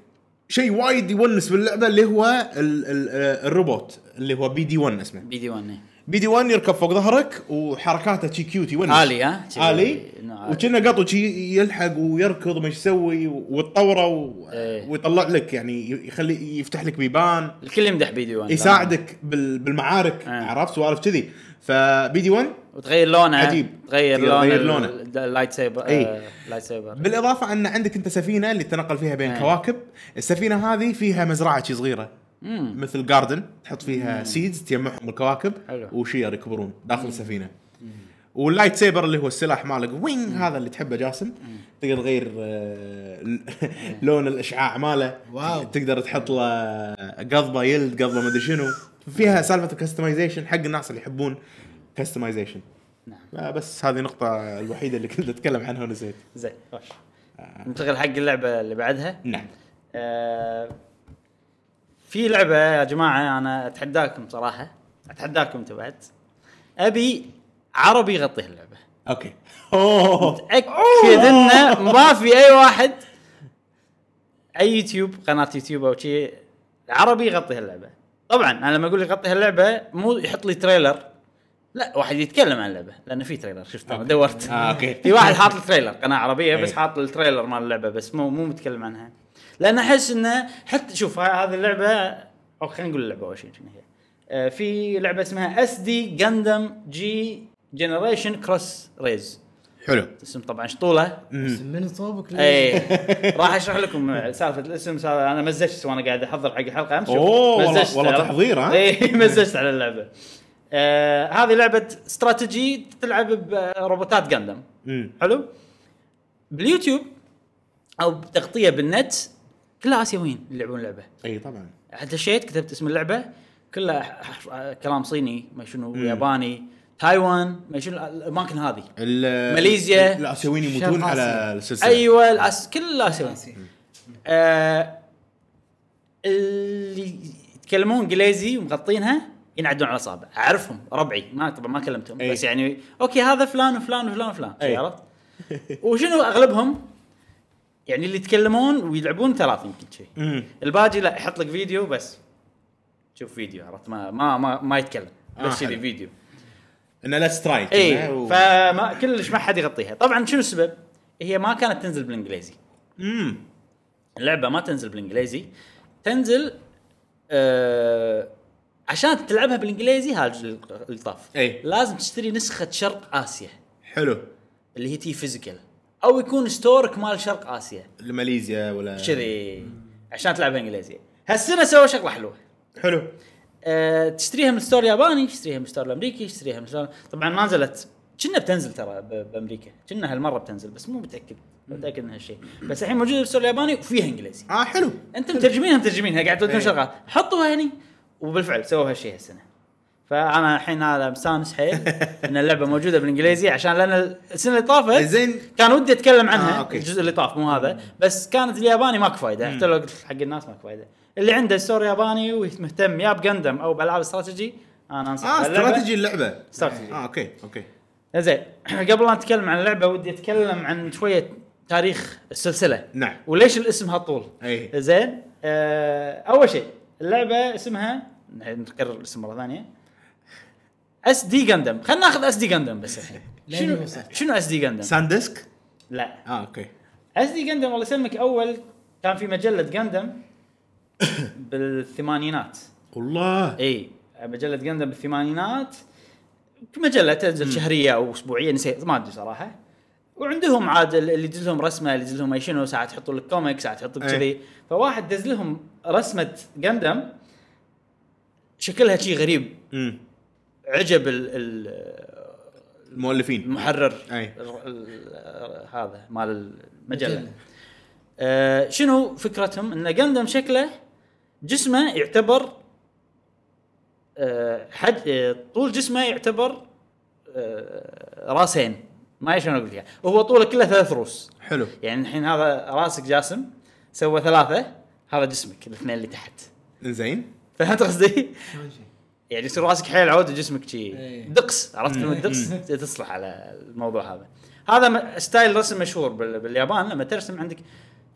C: شيء وايد يونس باللعبه اللي هو ال ال آه، الروبوت اللي هو بي دي 1 اسمه
A: بي دي 1
C: بي دي 1 يركب فوق ظهرك وحركاته شي كيوت يونس
A: آلي، ها؟ شي- نعم.
C: الي
A: نوع آلي.
C: وكنا قطو شي يلحق ويركض ما يسوي وتطوره و...
A: إيه.
C: ويطلع لك يعني ي- يخلي يفتح لك بيبان
A: الكل يمدح بي دي 1
C: يساعدك بال... بالمعارك
A: إيه.
C: عرفت سوالف كذي فبي دي 1
A: وتغير لونه
C: عجيب.
A: تغير
C: تقدر
A: لون
C: تغير
A: ال-
C: لونه. إيه.
A: ال- اللايت سيبر
C: إي.
A: آه، اللايت سيبر
C: بالاضافه ان عندك انت سفينه اللي تنقل فيها بين
A: إيه.
C: كواكب السفينه هذه فيها مزرعه شي صغيره
A: مم.
C: مثل جاردن تحط فيها سيدز تجمعهم الكواكب
A: حلو.
C: وشير يكبرون داخل السفينه واللايت سيبر اللي هو السلاح مالك وين هذا اللي تحبه جاسم تقدر تغير آه، ال- لون الاشعاع ماله
D: واو.
C: تقدر تحط له قضبه يلد قضبه مدري شنو فيها سالفه الكستمايزيشن حق الناس اللي يحبون كستمايزيشن
A: نعم
C: لا آه، بس هذه النقطة الوحيدة اللي كنت اتكلم عنها ونسيت
A: زين خوش ننتقل حق اللعبه اللي بعدها
C: نعم
A: آه، في لعبه يا جماعه انا اتحداكم صراحه اتحداكم انت بعد ابي عربي يغطي اللعبه
C: اوكي اوه
A: اكد انه ما في اي واحد اي يوتيوب قناه يوتيوب او شيء عربي يغطي هاللعبه طبعا انا لما اقول يغطي هاللعبه مو يحط لي تريلر لا واحد يتكلم عن اللعبه لان في تريلر شفت انا
C: أوكي.
A: دورت
C: آه، أوكي.
A: *laughs* في واحد حاط التريلر قناه عربيه بس
C: إيه.
A: حاط التريلر مال اللعبه بس مو مو متكلم عنها لان احس انه حتى شوف ها- هذه اللعبه او خلينا نقول اللعبه اول شيء شنو هي آه، في لعبه اسمها اس دي جاندم جي جنريشن كروس ريز
C: حلو
A: اسم طبعا
C: *laughs*
A: شطوله
B: بس من صوبك
C: إيه.
A: اي إيه، راح اشرح لكم سالفه الاسم سالفه انا مزجت وانا قاعد احضر حق الحلقه امس
C: أوه، والله- والله تحضير، ها؟
A: اي إيه، *laughs* مزجت على اللعبه آه هذه لعبه استراتيجي تلعب بروبوتات جندم
C: مم.
A: حلو باليوتيوب او بتغطيه بالنت كلها اسيويين يلعبون اللعبه
C: اي طبعا
A: دشيت كتبت اسم اللعبه كلها حرف- كلام صيني ما شنو ياباني تايوان ما شنو الاماكن هذه
C: ال-
A: ماليزيا.
C: الاسيويين يموتون
B: شرق
C: على
B: آسيا.
C: السلسله
A: ايوه الأس... كل الاسيويين آه اللي يتكلمون انجليزي ومغطينها ينعدون على اصابع اعرفهم ربعي ما طبعا ما كلمتهم
C: أي.
A: بس يعني اوكي هذا فلان وفلان وفلان وفلان
C: أي.
A: عرفت وشنو اغلبهم يعني اللي يتكلمون ويلعبون ثلاث يمكن شيء
C: مم.
A: الباقي لا يحط لك فيديو بس شوف فيديو عرفت ما ما ما, ما يتكلم
C: آه،
A: بس كذي
C: حلو.
A: فيديو
C: انه لا سترايك
A: اي
C: إنه-
A: فما كلش ما حد يغطيها طبعا شنو السبب هي ما كانت تنزل بالانجليزي
C: مم.
A: اللعبه ما تنزل بالانجليزي تنزل آه عشان تلعبها بالانجليزي هذا الطاف
C: أي.
A: لازم تشتري نسخه شرق اسيا
C: حلو
A: اللي هي تي فيزيكال او يكون ستورك مال شرق اسيا
C: ماليزيا ولا
A: كذي عشان تلعبها انجليزي هالسنه سووا شغله حلوه
C: حلو
A: أه تشتريها من ستور ياباني تشتريها من ستور الامريكي تشتريها من ستور طبعا ما نزلت كنا بتنزل ترى ب- بامريكا كنا هالمره بتنزل بس مو متاكد مو متاكد من هالشيء بس الحين موجوده بالستور الياباني وفيها انجليزي
C: اه حلو
A: انتم مترجمينها مترجمينها قاعد تودون
C: إيه.
A: شغلات حطوها هني وبالفعل سووا هالشيء هالسنه فانا الحين هذا مستانس
C: *laughs*
A: حيل ان اللعبه موجوده بالانجليزي عشان لان السنه اللي طافت
C: زين
A: كان ودي اتكلم عنها
C: آه،
A: آه،
C: أوكي.
A: الجزء اللي طاف مو هذا بس كانت الياباني ماكو فايده حتى لو قلت حق الناس ماكو فايده اللي عنده ستور ياباني ومهتم يا بجندم او بالعاب استراتيجي انا انصح
C: اه
A: باللعبة.
C: استراتيجي اللعبه
A: استراتيجي. إيه،
C: اه اوكي اوكي
A: زين *clears throat* قبل لا نتكلم عن اللعبه ودي اتكلم عن شويه تاريخ السلسله
C: نعم
A: وليش الاسم هالطول
C: اي
A: زين آه اول شيء اللعبه اسمها نكرر الاسم مره ثانيه اس دي جندم خلينا ناخذ اس دي جندم بس الحين
B: لين
A: شنو
B: وصلت.
A: شنو اس دي جندم
C: ساندسك
A: لا
C: اه اوكي
A: اس دي جندم الله يسلمك اول كان في مجله جندم بالثمانينات
C: والله
A: اي مجله جندم بالثمانينات مجله تنزل شهريه او اسبوعيه نسيت ما ادري صراحه وعندهم عاد اللي يدز لهم رسمه اللي يدز لهم اي شنو ساعات يحطوا لك كوميك ساعات يحطوا لك
C: إيه.
A: كذي فواحد دز لهم رسمه جندم شكلها شيء غريب
C: امم
A: عجب ال- ال-
C: المؤلفين
A: المحرر
C: أي.
A: ال- ال- هذا مال المجله
B: مجلة.
A: آه شنو فكرتهم ان جندم شكله جسمه يعتبر آه حد آه طول جسمه يعتبر آه راسين ما أدري شلون اقول لك إياه. هو طوله كله ثلاث روس
C: حلو
A: يعني الحين هذا راسك جاسم سوى ثلاثه هذا جسمك الاثنين اللي تحت
C: زين
A: فهمت قصدي؟
B: شلون شي؟
A: يعني يصير راسك حيل عود وجسمك شي
B: إيه.
A: دقس عرفت كلمه دقس
C: إيه.
A: تصلح على الموضوع هذا هذا م- ستايل رسم مشهور بال- باليابان لما ترسم عندك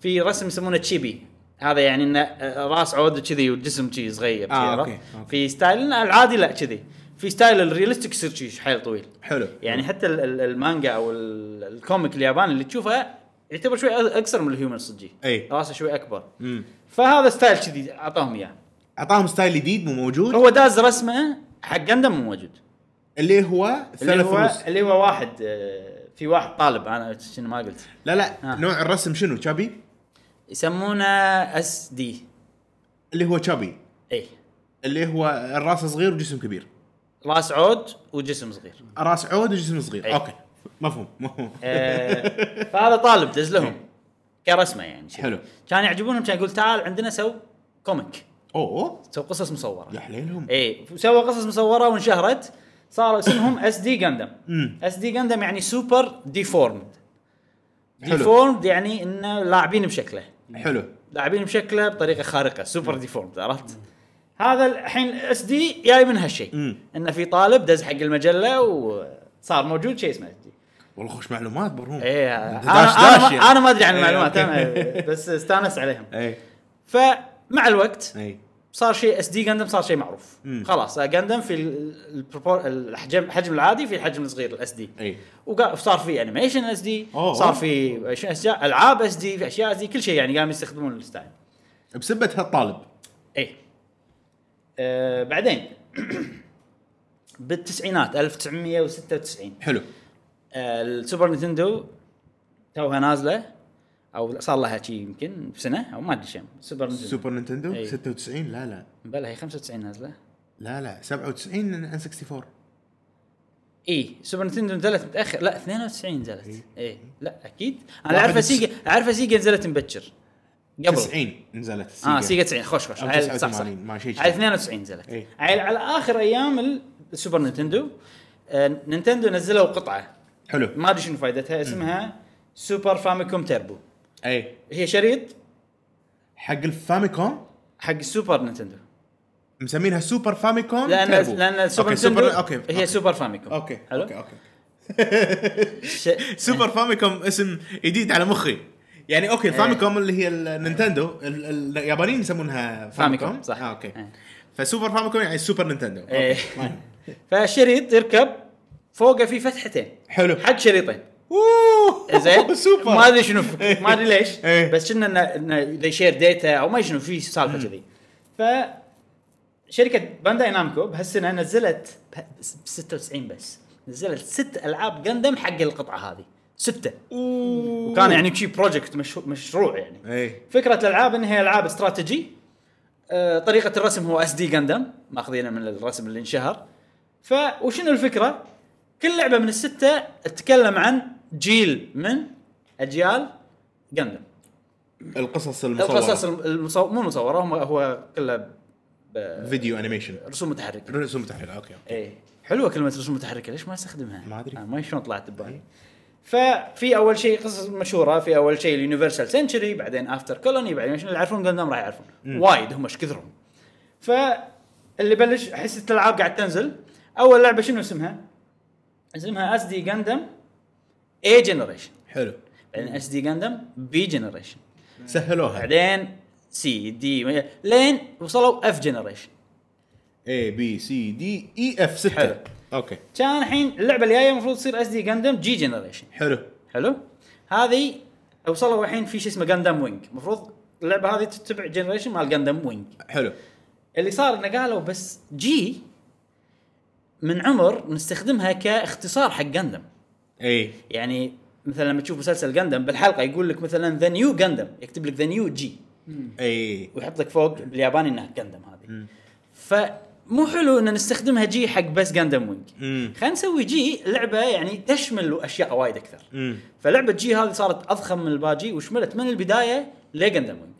A: في رسم يسمونه تشيبي هذا يعني انه آه، راس عود كذي والجسم شي صغير شي
C: آه،
A: عرفت؟
C: أوكي، أوكي.
A: في ستايل إنه العادي لا كذي في ستايل الريالستيك يصير شي حيل طويل
C: حلو
A: يعني حتى ال- ال- المانجا او ال- الكوميك الياباني اللي تشوفه يعتبر شوي أ- اقصر من الهيومن الصجي
C: أي.
A: راسه شوي اكبر
C: امم
A: فهذا ستايل كذي اعطاهم اياه
C: اعطاهم ستايل جديد مو موجود
A: هو داز رسمه حق جندم مو موجود
C: اللي هو
A: اللي
C: ثلاث
A: هو
C: رؤوس
A: اللي هو واحد آه، في واحد طالب انا شنو ما قلت
C: لا لا
A: آه.
C: نوع الرسم شنو تشابي
A: يسمونه إيه. اس دي
C: اللي هو تشابي
A: اي
C: اللي هو الراس صغير وجسم كبير
A: راس عود وجسم
C: *laughs*
A: صغير
C: راس عود وجسم صغير
A: أي.
C: اوكي مفهوم مفهوم
A: آه،
C: *laughs*
A: فهذا طالب دز لهم كرسمه يعني
C: حلو.
A: كان يعجبونهم كان يقول تعال عندنا سو كوميك
C: اوه
A: سو قصص إيه، مصوره
C: يا حليلهم
A: اي وسوى قصص مصوره وانشهرت صاروا اسمهم اس دي جندم اس دي جندم يعني سوبر ديفورمد
C: حلو.
A: ديفورمد يعني انه لاعبين بشكله
C: حلو
A: لاعبين بشكله بطريقه خارقه سوبر ديفورمد عرفت؟ هذا الحين اس دي جاي من هالشيء
C: مم.
A: انه في طالب دز حق المجله وصار موجود شيء اسمه اس دي
C: والله خوش معلومات برهوم
A: ايه انا
C: داش
A: انا
C: داش
A: ما,
C: يعني.
A: أنا ما ادري عن
C: إيه،
A: المعلومات
C: أوكي. إيه،
A: انا
C: *laughs*
A: بس استانس عليهم
C: اي
A: فمع الوقت
C: اي
A: صار شيء اس دي جندم صار شيء معروف
C: مم.
A: خلاص جندم في ال- البروبور- الحجم الحجم العادي في الحجم الصغير الاس دي
C: اي
A: وصار في انيميشن اس دي
C: إيه. أوه.
A: صار في أش- اشياء العاب اس دي في اشياء اس دي كل شيء يعني قاموا يستخدمون الستايل
C: بسبه هالطالب
A: اي إيه. آه بعدين *clears throat* بالتسعينات 1996
C: حلو
A: آه السوبر نينتندو توها نازله او صار لها شيء يمكن سنه او ما ادري كم سوبر نينتندو
C: سوبر نينتندو
A: إي.
C: 96 لا لا
A: بلى هي 95 نازله
C: لا لا 97 ان 64
A: اي سوبر نينتندو نزلت متاخر لا 92 نزلت اي لا اكيد انا
C: واحد
A: اعرفها
C: وتس-
A: سيجا اعرفها سيجا نزلت مبكر قبل
C: 90 نزلت
A: اه سيجا 90 خوش خوش
C: أو
A: عيل- صح صح
C: 89 ما شي كذي.
A: على 92 نزلت
C: إيه.
A: عيل على اخر ايام السوبر نينتندو آه، نينتندو نزلوا قطعه
C: حلو
A: ما ادري شنو فائدتها اسمها سوبر فاميكوم تيربو
C: اي
A: هي شريط
C: إيه. حق الفاميكوم
A: حق السوبر نينتندو
C: مسمينها سوبر فاميكوم
A: لان
C: تيربو.
A: لان السوبر
C: أوكي،
A: نينتندو
C: سوبر اوكي
A: هي سوبر فاميكوم
C: اوكي
A: حلو
C: اوكي اوكي
A: ش-
C: سوبر فاميكوم اسم جديد على مخي يعني اوكي
A: إيه.
C: فاميكوم اللي هي النينتندو ال- ال- اليابانيين يسمونها
A: فاميكوم،
C: فاميكوم
A: صح.
C: آه اوكي
A: إيه.
C: فسوبر فاميكوم يعني سوبر نينتندو
A: إيه.
C: اوكي فاين.
A: فالشريط يركب فوقه في فتحتين *laughs*
C: حلو
A: حد شريطين
C: أوه،
A: إيه زين
C: *laughs* سوبر
A: ما ادري شنو ما ادري ليش
C: إيه.
A: بس كنا إنه- انه ذي شير ديتا او ما شنو في سالفه كذي ف شركه بانداي نامكو بهالسنه نزلت ب ب 96 بس نزلت ست العاب جندم حق القطعه هذه سته وكان يعني شي بروجكت مشهو- مشروع يعني
C: اي
A: فكره الالعاب انها العاب استراتيجي آه، طريقه الرسم هو اس دي جندم ماخذينه من الرسم اللي انشهر ف وشنو الفكره؟ كل لعبه من السته تتكلم عن جيل من اجيال جندم
C: القصص المصوره
A: القصص المصور مو مصوره هو- هو كله ب-
C: فيديو انيميشن
A: رسوم متحركه
C: رسوم متحركه اوكي
A: اي حلوه كلمه رسوم متحركه ليش ما استخدمها؟
C: ما أدري. إيه.
A: آه ما شلون طلعت ببالي ففي اول شيء قصص مشهوره في اول شيء اليونيفرسال سنتشري بعدين افتر كولوني بعدين شنو اللي يعرفون جندم راح يعرفون وايد هم ايش كثرهم فاللي بلش حصه الالعاب قاعد تنزل اول لعبه شنو اسمها؟ اسمها اس دي جندم اي جنريشن
C: حلو
A: بعدين اس دي جندم بي جنريشن
C: سهلوها
A: بعدين سي دي لين وصلوا اف جنريشن
C: اي بي سي دي اي اف 6
A: حلو.
C: اوكي
A: كان الحين اللعبه الجايه المفروض تصير اس دي جندم جي جنريشن
C: حلو
A: حلو هذه وصلوا الحين في شيء اسمه جاندام وينج المفروض اللعبه هذه تتبع جنريشن مال جاندام وينج
C: حلو
A: اللي صار انه قالوا بس جي من عمر نستخدمها كاختصار حق جاندم
C: اي
A: يعني مثلا لما تشوف مسلسل جاندم بالحلقه يقول لك مثلا ذا نيو جاندم يكتب لك ذا نيو جي
C: اي
A: ويحط لك فوق بالياباني انها جاندم هذه فمو حلو ان نستخدمها جي حق بس جاندم وينج
C: امم
A: خلينا نسوي جي لعبه يعني تشمل اشياء وايد اكثر
C: امم
A: فلعبه جي هذه صارت اضخم من الباجي وشملت من البدايه لجندم وينج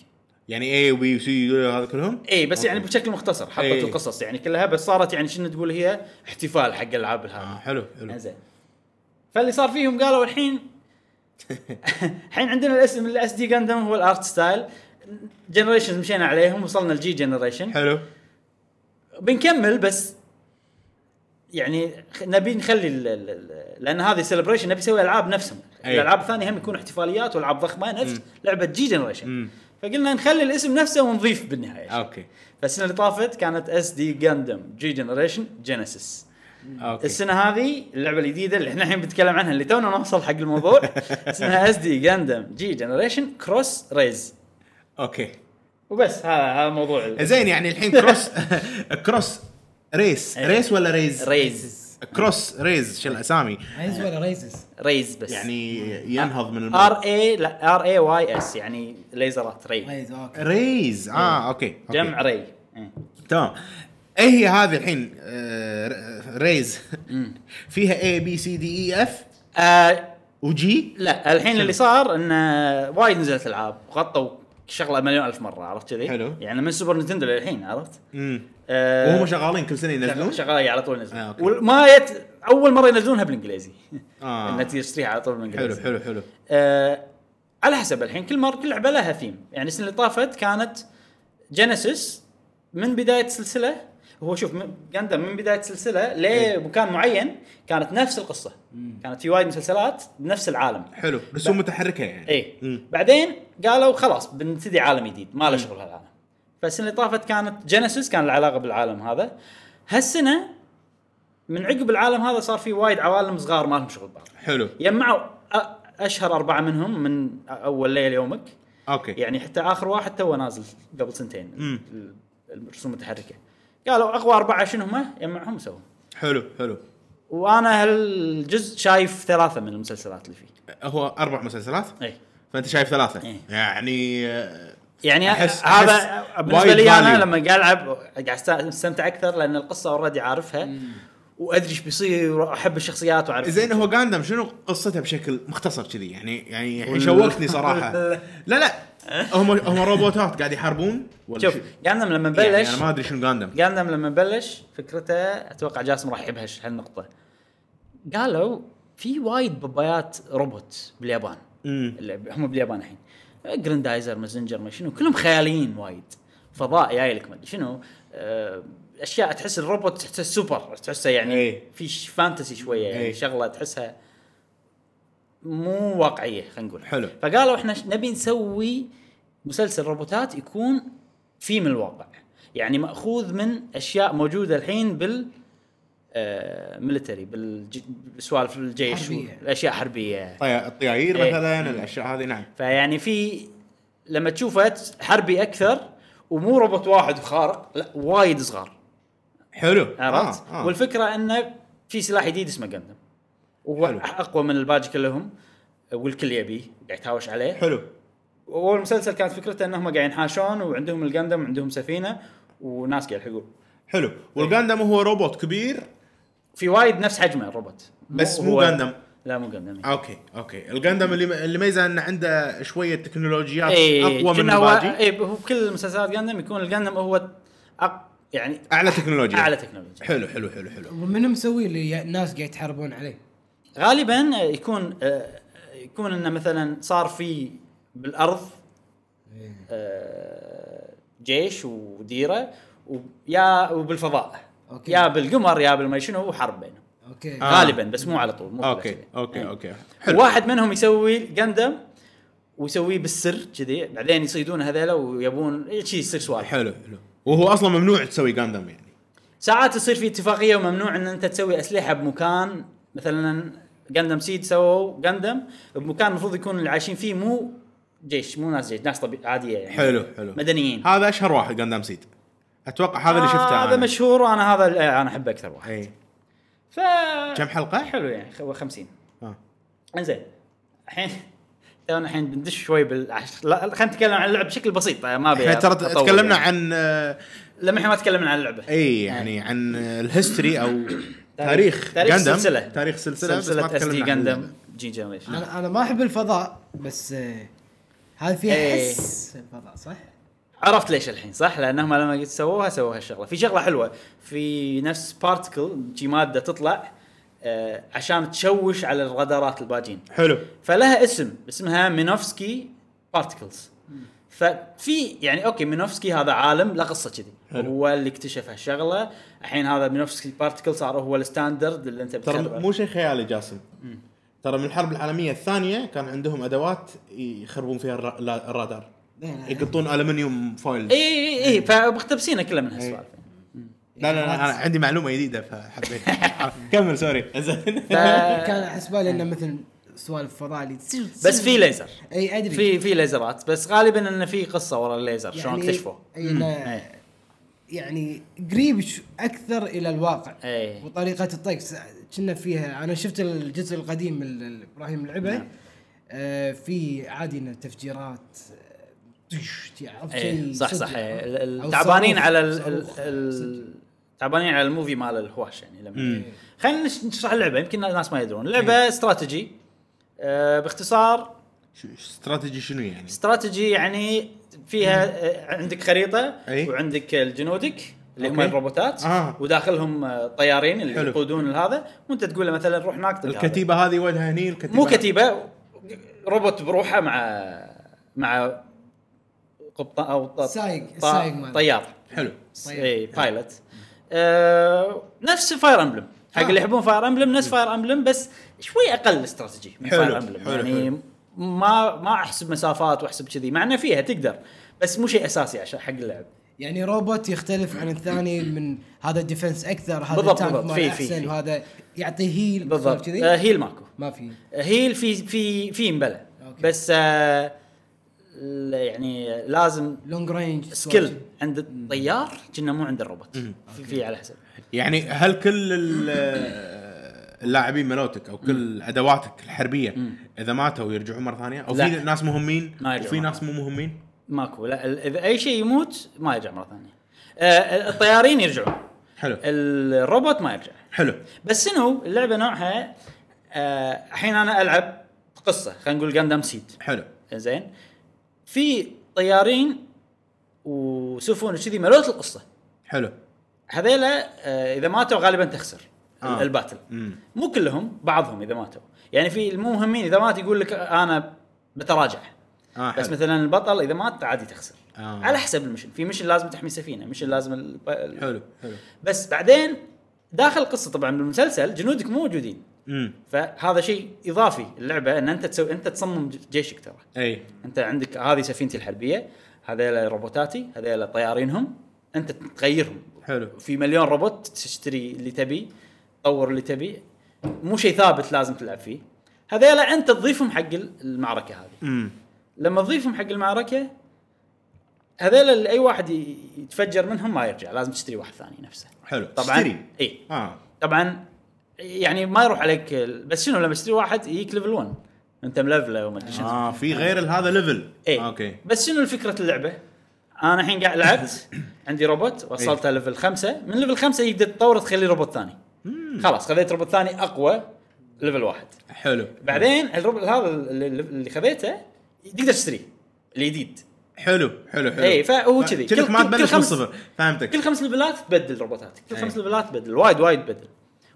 C: يعني اي وبي وسي هذا كلهم
A: اي بس يعني بشكل مختصر حطت
C: إي.
A: القصص يعني كلها بس صارت يعني شنو تقول هي احتفال حق العاب
C: آه،
A: الهاند
C: حلو حلو
A: زين فاللي صار فيهم قالوا
C: *laughs*
A: الحين الحين عندنا الاسم الاس دي جندم هو الارت ستايل جنريشن مشينا عليهم وصلنا الجي جنريشن
C: حلو
A: بنكمل بس يعني خ- نبي نخلي ال ال ال لان هذه سيلبريشن نبي نسوي العاب نفسهم
C: أي.
A: الالعاب الثانيه هم يكون احتفاليات والعاب ضخمه نفس لعبه جي جنريشن
C: مم.
A: فقلنا نخلي الاسم نفسه ونضيف بالنهايه شيء.
C: اوكي
A: فالسنه اللي طافت كانت اس دي جاندم جي جنريشن جينيسيس
C: اوكي
A: السنه هذه اللعبه الجديده اللي احنا الحين بنتكلم عنها اللي تونا نوصل حق
C: *laughs*
A: الموضوع اسمها اس دي جاندم جي جنريشن كروس ريز
C: اوكي
A: وبس هذا هذا موضوع ال-
C: زين يعني الحين
A: *laughs*
C: كروس كروس ريس
A: إيه.
C: ريس ولا ريز؟
A: ريز
C: كروس ريز شو الاسامي
D: ريز ولا ريزز
A: ريز بس
C: يعني ينهض من الماء
A: ار اي لا ار اي واي اس يعني ليزرات
B: طيب.
A: ري
D: ريز اوكي
C: ريز اه اوكي أوكي.
A: إيه. جمع ري إيه.
C: تمام ايه هي هذه الحين آه، ر- ريز فيها اي بي سي دي اي اف
A: آه
C: وجي
A: آه، لا الحين اللي صار انه وايد نزلت العاب غطوا شغله مليون الف مره عرفت كذي؟
C: حلو.
A: يعني من سوبر نتندو للحين عرفت؟
C: امم
A: آه،
C: وهم شغالين كل سنه ينزلون
A: شغاله على طول نزل
C: آه، أوكي.
A: وما يت... اول مره ينزلونها بالانجليزي *laughs*
C: آه.
A: انك تشتريها على طول
C: حلو
A: بالانجليزي
C: حلو حلو
A: آه على حسب الحين كل مره كل لعبه لها ثيم يعني السنه اللي طافت كانت جينيسيس من بدايه السلسله هو شوف من- جاندم من بدايه السلسله لمكان معين كانت نفس القصه كانت في وايد مسلسلات بنفس العالم
C: حلو رسوم متحركه يعني
A: اي
C: مم.
A: بعدين قالوا خلاص بنبتدي عالم جديد ما له شغل هالعالم فالسنه اللي طافت كانت جينيسيس كان العلاقه بالعالم هذا هالسنه من عقب العالم هذا صار في وايد عوالم صغار ما لهم شغل ببعض
C: حلو
A: جمعوا يعني أ- اشهر اربعه منهم من أ- اول ليل يومك
C: اوكي
A: يعني حتى اخر واحد توه نازل قبل سنتين ال- الرسوم المتحركه قالوا اقوى اربعه شنو هم؟ يعني جمعهم وسووا
C: حلو حلو
A: وانا هالجزء شايف ثلاثه من المسلسلات اللي فيه إيه.
C: هو اربع مسلسلات
A: اي
C: فانت شايف ثلاثه
A: إيه.
C: يعني آه،
A: يعني
C: أحس-
A: هذا
C: أحس
A: بالنسبه
C: وايد
A: لي انا
C: value.
A: لما قاعد العب قاعد أست- استمتع اكثر لان القصه اوريدي عارفها وادري ايش بيصير واحب الشخصيات واعرف
C: زين هو غاندم شنو قصته بشكل مختصر كذي يعني يعني الحين شوقتني صراحه لا لا هم هم روبوتات قاعد يحاربون ولا
A: شوف
C: شو؟
A: جاندم لما
C: يعني
A: بلش
C: انا ما ادري شنو غاندم
A: جاندم لما بلش فكرته اتوقع جاسم راح يبهش هالنقطه قالوا في وايد بابايات روبوت باليابان
C: امم
A: اللي ب- هم باليابان الحين جرندايزر مازنجر ما شنو كلهم خياليين وايد فضاء جاي لك ما ادري شنو آه، اشياء تحس الروبوت تحسه سوبر تحسه يعني
C: إيه.
A: في ش- فانتسي شويه يعني
C: إيه.
A: شغله تحسها مو واقعيه خلينا نقول
C: حلو.
A: فقالوا احنا ش- نبي نسوي مسلسل روبوتات يكون في من الواقع يعني ماخوذ من اشياء موجوده الحين بال آه، ملتري بالسوالف الجيش
B: حربية.
A: الاشياء حربيه
C: الطيايير
A: إيه.
C: مثلا الاشياء هذه نعم
A: فيعني في لما تشوفه حربي اكثر ومو روبوت واحد خارق لا وايد صغار
C: حلو
A: عرفت؟
C: آه، آه.
A: والفكره انه في سلاح جديد اسمه جندم وهو
C: حلو.
A: اقوى من الباقي كلهم والكل يبيه قاعد يتهاوش عليه
C: حلو
A: اول مسلسل كانت فكرته انهم قاعد ينحاشون وعندهم الجندم وعندهم سفينه وناس قاعد يلحقون
C: حلو والغاندم هو روبوت كبير
A: في وايد نفس حجمه الروبوت
C: بس مو
A: هو-
C: غاندم.
A: لا مو جندم
C: اوكي اوكي الغاندم اللي اللي ميزه انه عنده شويه تكنولوجيات
A: اي
C: اقوى من
A: إيه، هو
C: الباقي
A: اي بكل مسلسلات جندم يكون الجندم هو أق... يعني
C: اعلى تكنولوجيا
A: اعلى تكنولوجيا
C: حلو حلو حلو حلو
B: ومن مسوي اللي الناس قاعد يتحاربون عليه؟
A: غالبا يكون آه، يكون انه مثلا صار في بالارض آه، جيش وديره ويا وبالفضاء
B: أوكي.
A: يا بالقمر يا بالما شنو وحرب بينهم
B: اوكي
C: آه.
A: غالبا يعني بس إيه. مو على طول مو
C: اوكي اوكي اوكي
A: حلو.
C: حلو
A: واحد منهم يسوي جندم ويسويه بالسر كذي بعدين يصيدون هذيلا ويبون شي يصير سوالف
C: حلو حلو وهو اصلا ممنوع تسوي غاندم يعني
A: ساعات يصير في اتفاقيه وممنوع ان انت تسوي اسلحه بمكان مثلا جندم سيد سووا جندم بمكان المفروض يكون اللي عايشين فيه مو جيش مو ناس جيش ناس طبي... عاديه يعني
C: حلو حلو
A: مدنيين
C: هذا اشهر واحد غاندام سيد اتوقع هذا اللي شفته
A: هذا
C: أنا.
A: مشهور وانا هذا ال- انا احبه اكثر واحد
C: اي
A: ف
C: كم حلقه؟
A: حلو يعني خ- 50
C: آه.
A: انزين الحين *laughs* تونا الحين بندش شوي بالعش لا خلينا نتكلم عن اللعب بشكل بسيط ما ابي
C: احنا ترى
A: أطول
C: تكلمنا
A: طيب يعني.
C: عن آه،
A: لما احنا ما تكلمنا عن اللعبه
C: اي يعني عن الهيستوري او
A: *coughs*
C: تاريخ
A: تاريخ
C: غاندم.
A: السلسله
C: تاريخ السلسله بس ما
A: سلسله اس دي
C: تكلمنا عن اللعبة.
A: جندم جي جنريشن
B: انا انا ما احب الفضاء بس آه، هذا فيها
A: إيه.
B: حس الفضاء صح؟
A: عرفت ليش الحين صح؟ لانهم لما سووها سووا هالشغله، في شغله حلوه في نفس بارتكل شي ماده تطلع آه عشان تشوش على الرادارات الباجين،
C: حلو
A: فلها اسم اسمها مينوفسكي بارتكلز. ففي يعني اوكي مينوفسكي هذا عالم له قصه كذي
C: حلو.
A: هو اللي اكتشف هالشغله الحين هذا مينوفسكي بارتكل صار هو الستاندرد اللي انت
C: ترى
A: بتخربه.
C: مو شيء خيالي جاسم ترى من الحرب العالميه الثانيه كان عندهم ادوات يخربون فيها الرا- الرا- الرادار يقطون الومنيوم فويل
A: اي اي اي فمختبسينه كلها من هالسوالف
C: لا لا لا انا عندي معلومه جديده
A: *laughs*
C: فحبيت كمل سوري زين
A: ف-
B: كان حسبالي انه مثل سوالف فضاء اللي إيه، تسير-
A: بس في ليزر
B: اي ادري
A: في في ليزرات بس غالبا انه في قصه ورا الليزر
C: يعني
A: شلون اكتشفوه
B: اي إنه
A: إيه.
B: يعني قريب ش- اكثر الى الواقع
A: إيه.
B: وطريقه الطق س- كنا فيها انا شفت الجزء القديم ال- ال- ابراهيم لعبه
A: نعم.
B: آه في عادي انه تفجيرات آه، طش، عرفت
A: ايه
B: شيء
A: صح
B: صدق.
A: صح إيه. ال- ال-
B: أو
A: تعبانين
B: صاروخ-
A: على ال-
B: صاروخ.
A: ال- ال- تعبانين على الموفي مال الهواش يعني لما
C: مم.
A: خلينا نش- نشرح اللعبه يمكن الناس ما يدرون اللعبه استراتيجي آه، باختصار
C: شو- استراتيجي شنو يعني؟
A: استراتيجي يعني فيها آه، عندك خريطه
C: أي.
A: وعندك الجنودك اللي هم
C: أوكي.
A: الروبوتات
C: آه.
A: وداخلهم آه، طيارين اللي
C: حلو.
A: يقودون هذا وانت تقول له مثلا روح هناك طق هذا.
C: الكتيبه هذه وجهها هني الكتيبه
A: مو كتيبه روبوت بروحه مع مع قبطان او ط-
D: سايق-
A: ط-
D: السايق ماله.
A: طيار
C: حلو
A: اي بايلوت إيه، آه، نفس فاير امبلم حق
C: آه.
A: اللي يحبون فاير امبلم نفس فاير امبلم بس شوي اقل استراتيجي من
C: حلو،
A: فاير امبلم
C: حلو،
A: يعني
C: حلو.
A: ما ما احسب مسافات واحسب كذي مع انه فيها تقدر بس مو شيء اساسي عشان حق اللعب
D: يعني روبوت يختلف عن الثاني من هذا ديفنس اكثر هذا
A: بالضبط،
D: التانك
A: بالضبط.
D: ماله
A: في- في-
D: احسن
A: في.
D: وهذا يعطي هيل
A: بالضبط آه
D: كذي
A: هيل ماكو
D: ما في
A: آه، هيل في في في مبلى
D: أوكي.
A: بس آه ل- يعني لازم
D: لونج رينج
A: سكيل عند الطيار كنا مو عند الروبوت في, في على حسب
C: يعني هل كل ال- آه، اللاعبين ملوتك او كل ادواتك الحربيه اذا ماتوا يرجعون مره ثانيه او
A: لا.
C: في ناس مهمين
A: ما يرجعون
C: وفي
A: مرة
C: ناس مو مهمين
A: ماكو لا ال- اذا اي شيء يموت ما يرجع مره ثانيه آه الطيارين يرجعون
C: حلو
A: الروبوت ما يرجع
C: حلو
A: بس شنو اللعبه نوعها آه، الحين انا العب قصه خلينا نقول جاندام سيد
C: حلو
A: زين في طيارين وسفن وكذي ملوت القصه
C: حلو
A: هذيلا آه، اذا ماتوا غالبا تخسر
C: آه.
A: الباتل
C: امم
A: مو كلهم بعضهم اذا ماتوا يعني في المهمين اذا مات يقول لك انا بتراجع
C: آه حلو.
A: بس مثلا البطل اذا مات عادي تخسر
C: آه.
A: على حسب المشن في مشن لازم تحمي سفينه مشن لازم الب- ال-
C: حلو حلو
A: بس بعدين داخل القصه طبعا بالمسلسل جنودك مو موجودين
C: امم
A: فهذا شيء اضافي اللعبه ان انت تسوي انت تصمم ج- جيشك ترى
C: اي
A: انت عندك هذه سفينتي الحربيه هذيلا روبوتاتي هذيلا طيارينهم انت تغيرهم
C: حلو.
A: في مليون روبوت تشتري اللي تبي تطور اللي تبي مو شيء ثابت لازم تلعب فيه هذيلا انت تضيفهم حق ال- المعركه هذه
C: امم
A: لما تضيفهم حق المعركه هذيلا اللي اي واحد ي- يتفجر منهم ما يرجع لازم تشتري واحد ثاني نفسه إيه.
C: حلو
A: طبعا
C: اشتري.
A: اي
C: اه
A: طبعا يعني ما يروح عليك ال- بس شنو لما تشتري واحد يجيك ليفل 1 انت ملفله وما ادري شنو
C: اه في غير ال- هذا آه، ليفل
A: اي
C: اوكي
A: بس شنو فكره اللعبه؟ انا الحين قاعد لعبت عندي روبوت وصلته ليفل خمسة من ليفل خمسة يقدر تطور تخليه روبوت ثاني خلاص خذيت روبوت ثاني اقوى ليفل واحد
C: حلو
A: بعدين الروبوت هذا اللي- اللي خذيته تقدر تشتريه الجديد
C: حلو حلو حلو
A: إي، فهو كذي.
C: كلك
A: كل-
C: ما
A: كل- كل
C: تبلش من
A: خمس-
C: الصفر
A: كل
C: فهمتك
A: خمس ليفلات تبدل روبوتاتك كل
C: أي.
A: خمس ليفلات تبدل وايد وايد تبدل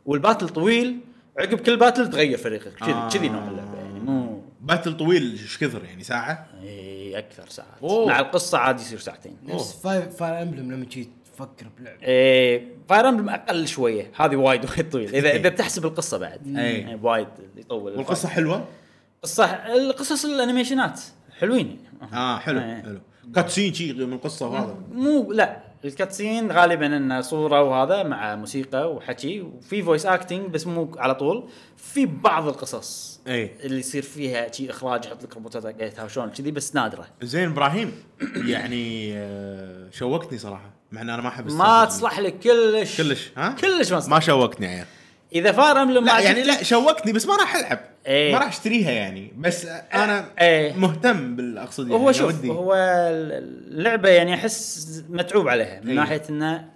A: والباتل طويل عقب كل باتل تغير فريقك
C: آه.
A: كذي كذي نوع اللعبه يعني مو
C: باتل طويل ايش كثر يعني ساعه
A: اي اكثر ساعات
C: أوه.
A: مع القصه عادي يصير ساعتين
D: نفس فاير فاير امبلم لما جيت تفكر بلعبه
A: إيه فاير امبلم اقل شويه هذه وايد وايد طويل اذا اذا بتحسب القصه بعد
C: إيه.
A: يعني وايد يطول
C: والقصه حلوه
A: القصه القصص الانيميشنات حلوين
C: اه حلو
A: إيه. آه.
C: حلو كاتسين شي من القصه وهذا
A: مو لا الكاتسين غالبا انه صوره وهذا مع موسيقى وحكي وفي فويس اكتنج بس مو على طول في بعض القصص
C: إيه.
A: اللي يصير فيها شي اخراج يحط لك روبوتات يتهاوشون كذي بس نادره
C: زين ابراهيم *clears throat* يعني آه، شوقتني صراحه مع ان انا ما احب
A: ما
C: السالفة
A: تصلح لك كلش
C: دي. كلش ها
A: كلش ما
C: ما, ما
A: تصلح
C: شوقتني يا عيال
A: اذا فاير امبلم
C: لا يعني لا شوقتني بس ما راح العب
A: إيه. آه،
C: ما راح اشتريها يعني بس انا
A: إيه.
C: مهتم بالاقصد يعني
A: هو شوف
C: ودي.
A: هو اللعبه يعني احس متعوب عليها من
C: إي.
A: ناحيه انه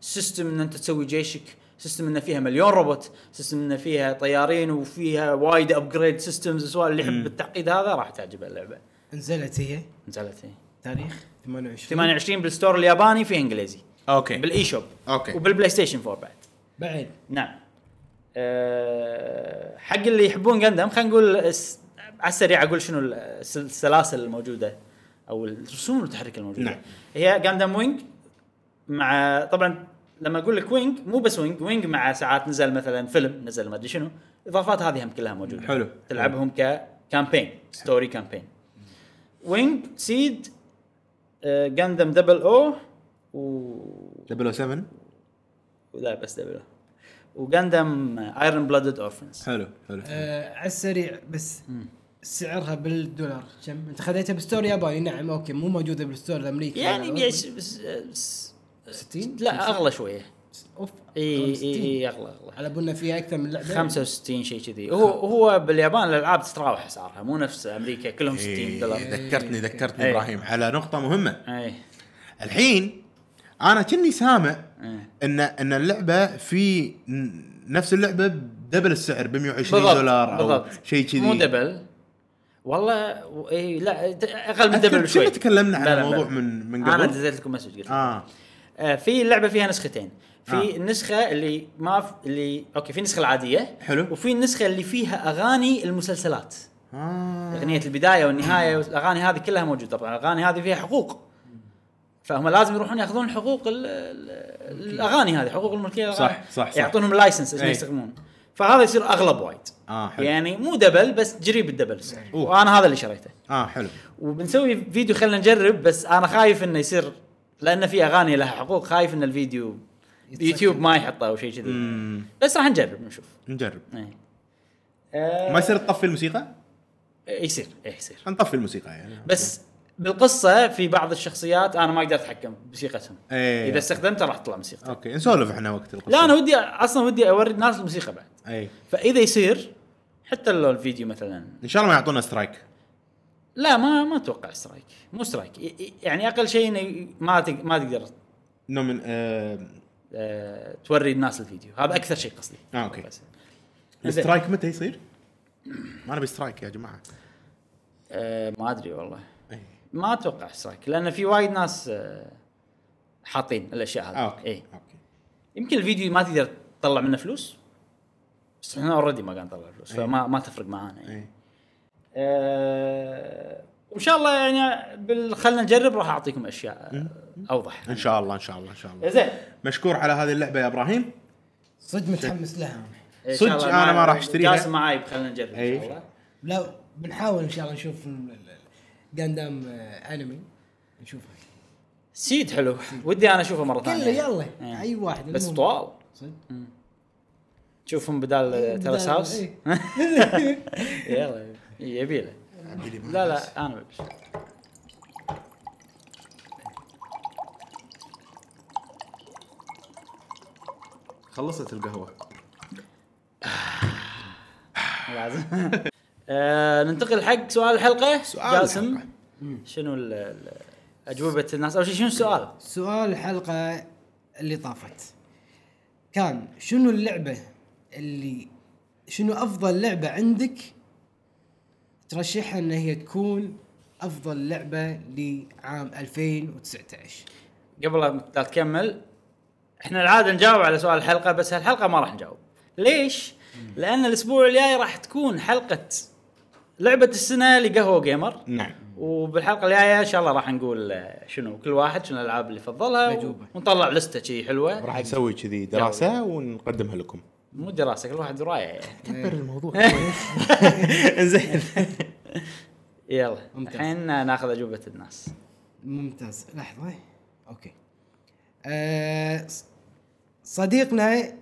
A: سيستم ان انت تسوي جيشك سيستم ان فيها مليون روبوت سيستم ان فيها طيارين وفيها وايد ابجريد سيستمز وسوالف اللي
C: إيه.
A: يحب التعقيد هذا راح تعجبه اللعبه
D: نزلت هي
A: نزلت هي
D: تاريخ 28
A: 28 بالستور الياباني في انجليزي
C: اوكي
A: بالاي شوب
C: أوكي.
A: وبالبلاي ستيشن 4 بعد
D: بعد
A: نعم أه حق اللي يحبون جندم خلينا نقول الس- على السريع اقول شنو ال- الس- السلاسل الموجوده او الرسوم المتحركه الموجوده
C: نعم.
A: هي جندم وينج مع طبعا لما اقول لك وينج مو بس وينج وينج مع ساعات نزل مثلا فيلم نزل ما ادري شنو الاضافات هذه هم كلها موجوده
C: حلو.
A: تلعبهم ككامبين ستوري كامبين وينج سيد جندم دبل او و
C: 007
A: لا بس دبليو وجندم ايرون بلادد اورفنز
C: حلو حلو
D: آه على السريع بس سعرها بالدولار كم انت خذيتها بستور ياباني نعم اوكي مو موجوده بالستور الامريكي
A: يعني
D: لا،
A: يش- بس- بس-
D: 60
A: لا اغلى شويه
D: اوف
A: اي اي
D: 65.
A: اي اغلى اغلى
D: على بالنا فيها اكثر من لعبه
A: 65 شيء كذي هو هو باليابان الالعاب تتراوح اسعارها مو نفس امريكا كلهم 60
C: إيه،
A: دولار
C: ذكرتني ذكرتني
A: إيه.
C: ابراهيم على نقطه مهمه
A: اي
C: الحين انا كني سامع
A: إيه.
C: ان ان اللعبه في ن- نفس اللعبه بدبل السعر ب 120
A: بالضبط
C: دولار او
A: بالضبط.
C: شيء كذي
A: مو دبل والله و- اي لا ت- اقل من
C: أذكر
A: دبل شوي
C: كنا تكلمنا عن
A: لا، لا،
C: الموضوع
A: بلى.
C: من- من
A: انا
C: قبل.
A: نزلت لكم مسج قلت
C: اه
A: آه، في اللعبه فيها نسختين في
C: آه.
A: آه. النسخه اللي ما ف... اللي اوكي في النسخه العاديه
C: حلو.
A: وفي النسخه اللي فيها اغاني المسلسلات
C: اه
A: اغنيه البدايه والنهايه والاغاني هذه كلها موجوده طبعا الاغاني هذه فيها حقوق فهم لازم يروحون ياخذون حقوق ال- ال- الاغاني هذه حقوق الملكيه
C: صح،
A: للأغاني.
C: صح، صح.
A: يعطونهم لايسنس عشان
C: إي.
A: يستخدمون فهذا يصير اغلب وايد
C: آه، حلو.
A: يعني مو دبل بس قريب الدبل يصير.
C: أوه.
A: وانا هذا اللي شريته
C: اه حلو
A: وبنسوي فيديو خلينا نجرب بس انا خايف انه يصير لان في اغاني لها حقوق خايف ان الفيديو يوتيوب ما يحطه او شيء كذي
C: مم،
A: بس راح نجرب نشوف
C: نجرب
A: إيه.
C: ما يصير تطفي الموسيقى؟
A: يصير إيه يصير
C: نطفي الموسيقى يعني
A: بس بالقصه في بعض الشخصيات انا ما اقدر اتحكم بموسيقتهم
C: إيه.
A: اذا استخدمتها راح تطلع موسيقى
C: اوكي نسولف احنا وقت القصه
A: لا انا ودي اصلا ودي اوري الناس الموسيقى بعد
C: اي
A: فاذا يصير حتى لو الفيديو مثلا
C: ان شاء الله ما يعطونا سترايك
A: لا ما ما اتوقع سترايك مو سترايك ي- ي- يعني اقل شيء انه ما تق- ما تقدر
C: انه من آه
A: آه، توري الناس الفيديو هذا اكثر شيء قصدي
C: آه، أوكي.
A: بس. زين.
C: السترايك متى يصير؟ ما نبي سترايك يا جماعه
A: آه، ما ادري والله
C: إيه.
A: ما اتوقع سترايك لان في وايد ناس آه، حاطين الاشياء هذه
C: آه، اوكي
A: إيه.
C: اوكي
A: يمكن الفيديو ما تقدر تطلع منه فلوس بس احنا اوريدي ما قاعد نطلع فلوس
C: إيه.
A: فما ما تفرق معانا يعني.
C: اي
A: آه، وان شاء الله يعني بال... خلينا نجرب راح اعطيكم اشياء آه، اوضح
C: ان شاء الله ان شاء الله ان شاء الله
A: زين
C: مشكور على هذه اللعبه يا ابراهيم
B: صدق متحمس لها
A: إن شاء
C: صدق
A: الله
C: أنا
A: معي-
C: ما راح أشتريها.
A: جاسم معاي خلينا نجرب ان
C: إيه.
A: شاء الله
B: لا بنحاول ان شاء الله نشوف جاندام
D: آه،
B: انمي نشوفها
A: سيد حلو ودي انا اشوفه مره
B: يلا
A: ثانيه
B: يلا
A: إيه.
B: اي واحد
A: بس
B: المهم.
A: طوال آه،
B: صدق؟
A: مم. تشوفهم بدال ترس
B: بدال-
A: هاوس
B: إيه.
A: يلا يبي له لا لا انا ببش
C: خلصت القهوه
A: لازم *laughs* آه، ننتقل حق سؤال الحلقه
C: سؤال
A: جاسم
C: الحلقة.
A: شنو ال- ال- اجوبه الناس اول شيء شنو السؤال؟
B: سؤال الحلقة اللي طافت كان شنو اللعبة اللي شنو أفضل لعبة عندك ترشحها أن هي تكون أفضل لعبة لعام 2019
A: قبل لا تكمل احنا العاده نجاوب على سؤال الحلقه بس هالحلقه ما راح نجاوب ليش؟ لان الاسبوع الجاي راح تكون حلقه لعبه السنه لقهوه جيمر
C: نعم
A: وبالحلقه الجايه ان شاء الله راح نقول آه، شنو كل واحد شنو الالعاب اللي فضلها
B: مجوبة.
A: ونطلع لسته شي حلوه
C: راح
A: حق-
C: نسوي كذي دراسه ونقدمها لكم
A: مو دراسه كل واحد درايه
B: آه،
C: كبر الموضوع *laughs* زين
A: *laughs* يلا
B: ممتاز.
A: الحين ناخذ اجوبه الناس
B: *laughs* ممتاز لحظة أوكي أه ص- صديقنا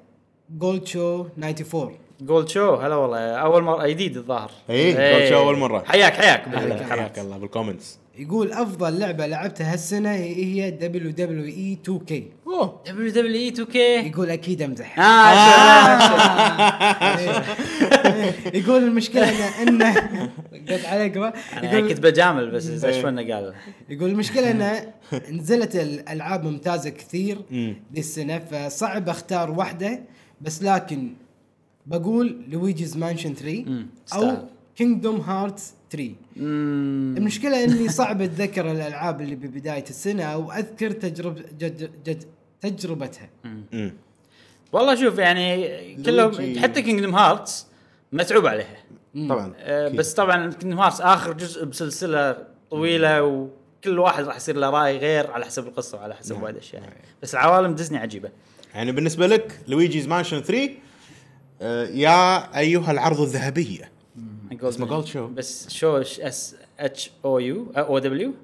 B: جولد شو 94
A: جولد شو هلا والله اول مره جديد الظاهر
C: إيه،
A: إيه.
C: جولد شو أول مرة.
A: حياك حياك
C: أهلاً،
A: بالخلاص.
C: حياك الله بالكومنتس
B: يقول أفضل لعبة لعبتها هالسنة هي WWE 2K
C: اوه
A: دبليو دبليو اي
C: *laughs*
A: 2
C: إيه.
A: كي
B: يقول أكيد
A: آه،
B: أمزح
C: آه.
A: اه
B: إيه. يقول المشكله انه انه قلت عليك ما
A: انا يعني كنت
B: يقول
A: بجامل بس اشوفنا قال
B: يقول المشكله انه نزلت الالعاب ممتازه كثير
C: مم.
B: ذي السنه فصعب اختار واحده بس لكن بقول لويجيز مانشن 3
A: مم،
B: او
A: تستاهل.
B: كينجدوم هارتس 3
A: مم.
B: المشكله اني صعب اتذكر الالعاب اللي ببدايه السنه او اذكر تجرب جد جد تجربتها
C: أمم.
A: والله شوف يعني كلهم
C: لويجي.
A: حتى كينجدم هارتس متعوب عليها
C: طبعا
A: آه،
C: أكيد.
A: بس طبعا كينجدم هارتس اخر جزء بسلسله طويله وكل واحد راح يصير له راي غير على حسب القصه وعلى
C: نعم.
A: حسب وايد اشياء بس العوالم ديزني عجيبه
C: يعني بالنسبه لك لويجيز مانشن 3 آه، يا ايها العرض الذهبيه اسمه Gold Show.
A: بس شو اس اتش او يو او دبليو
C: إيه.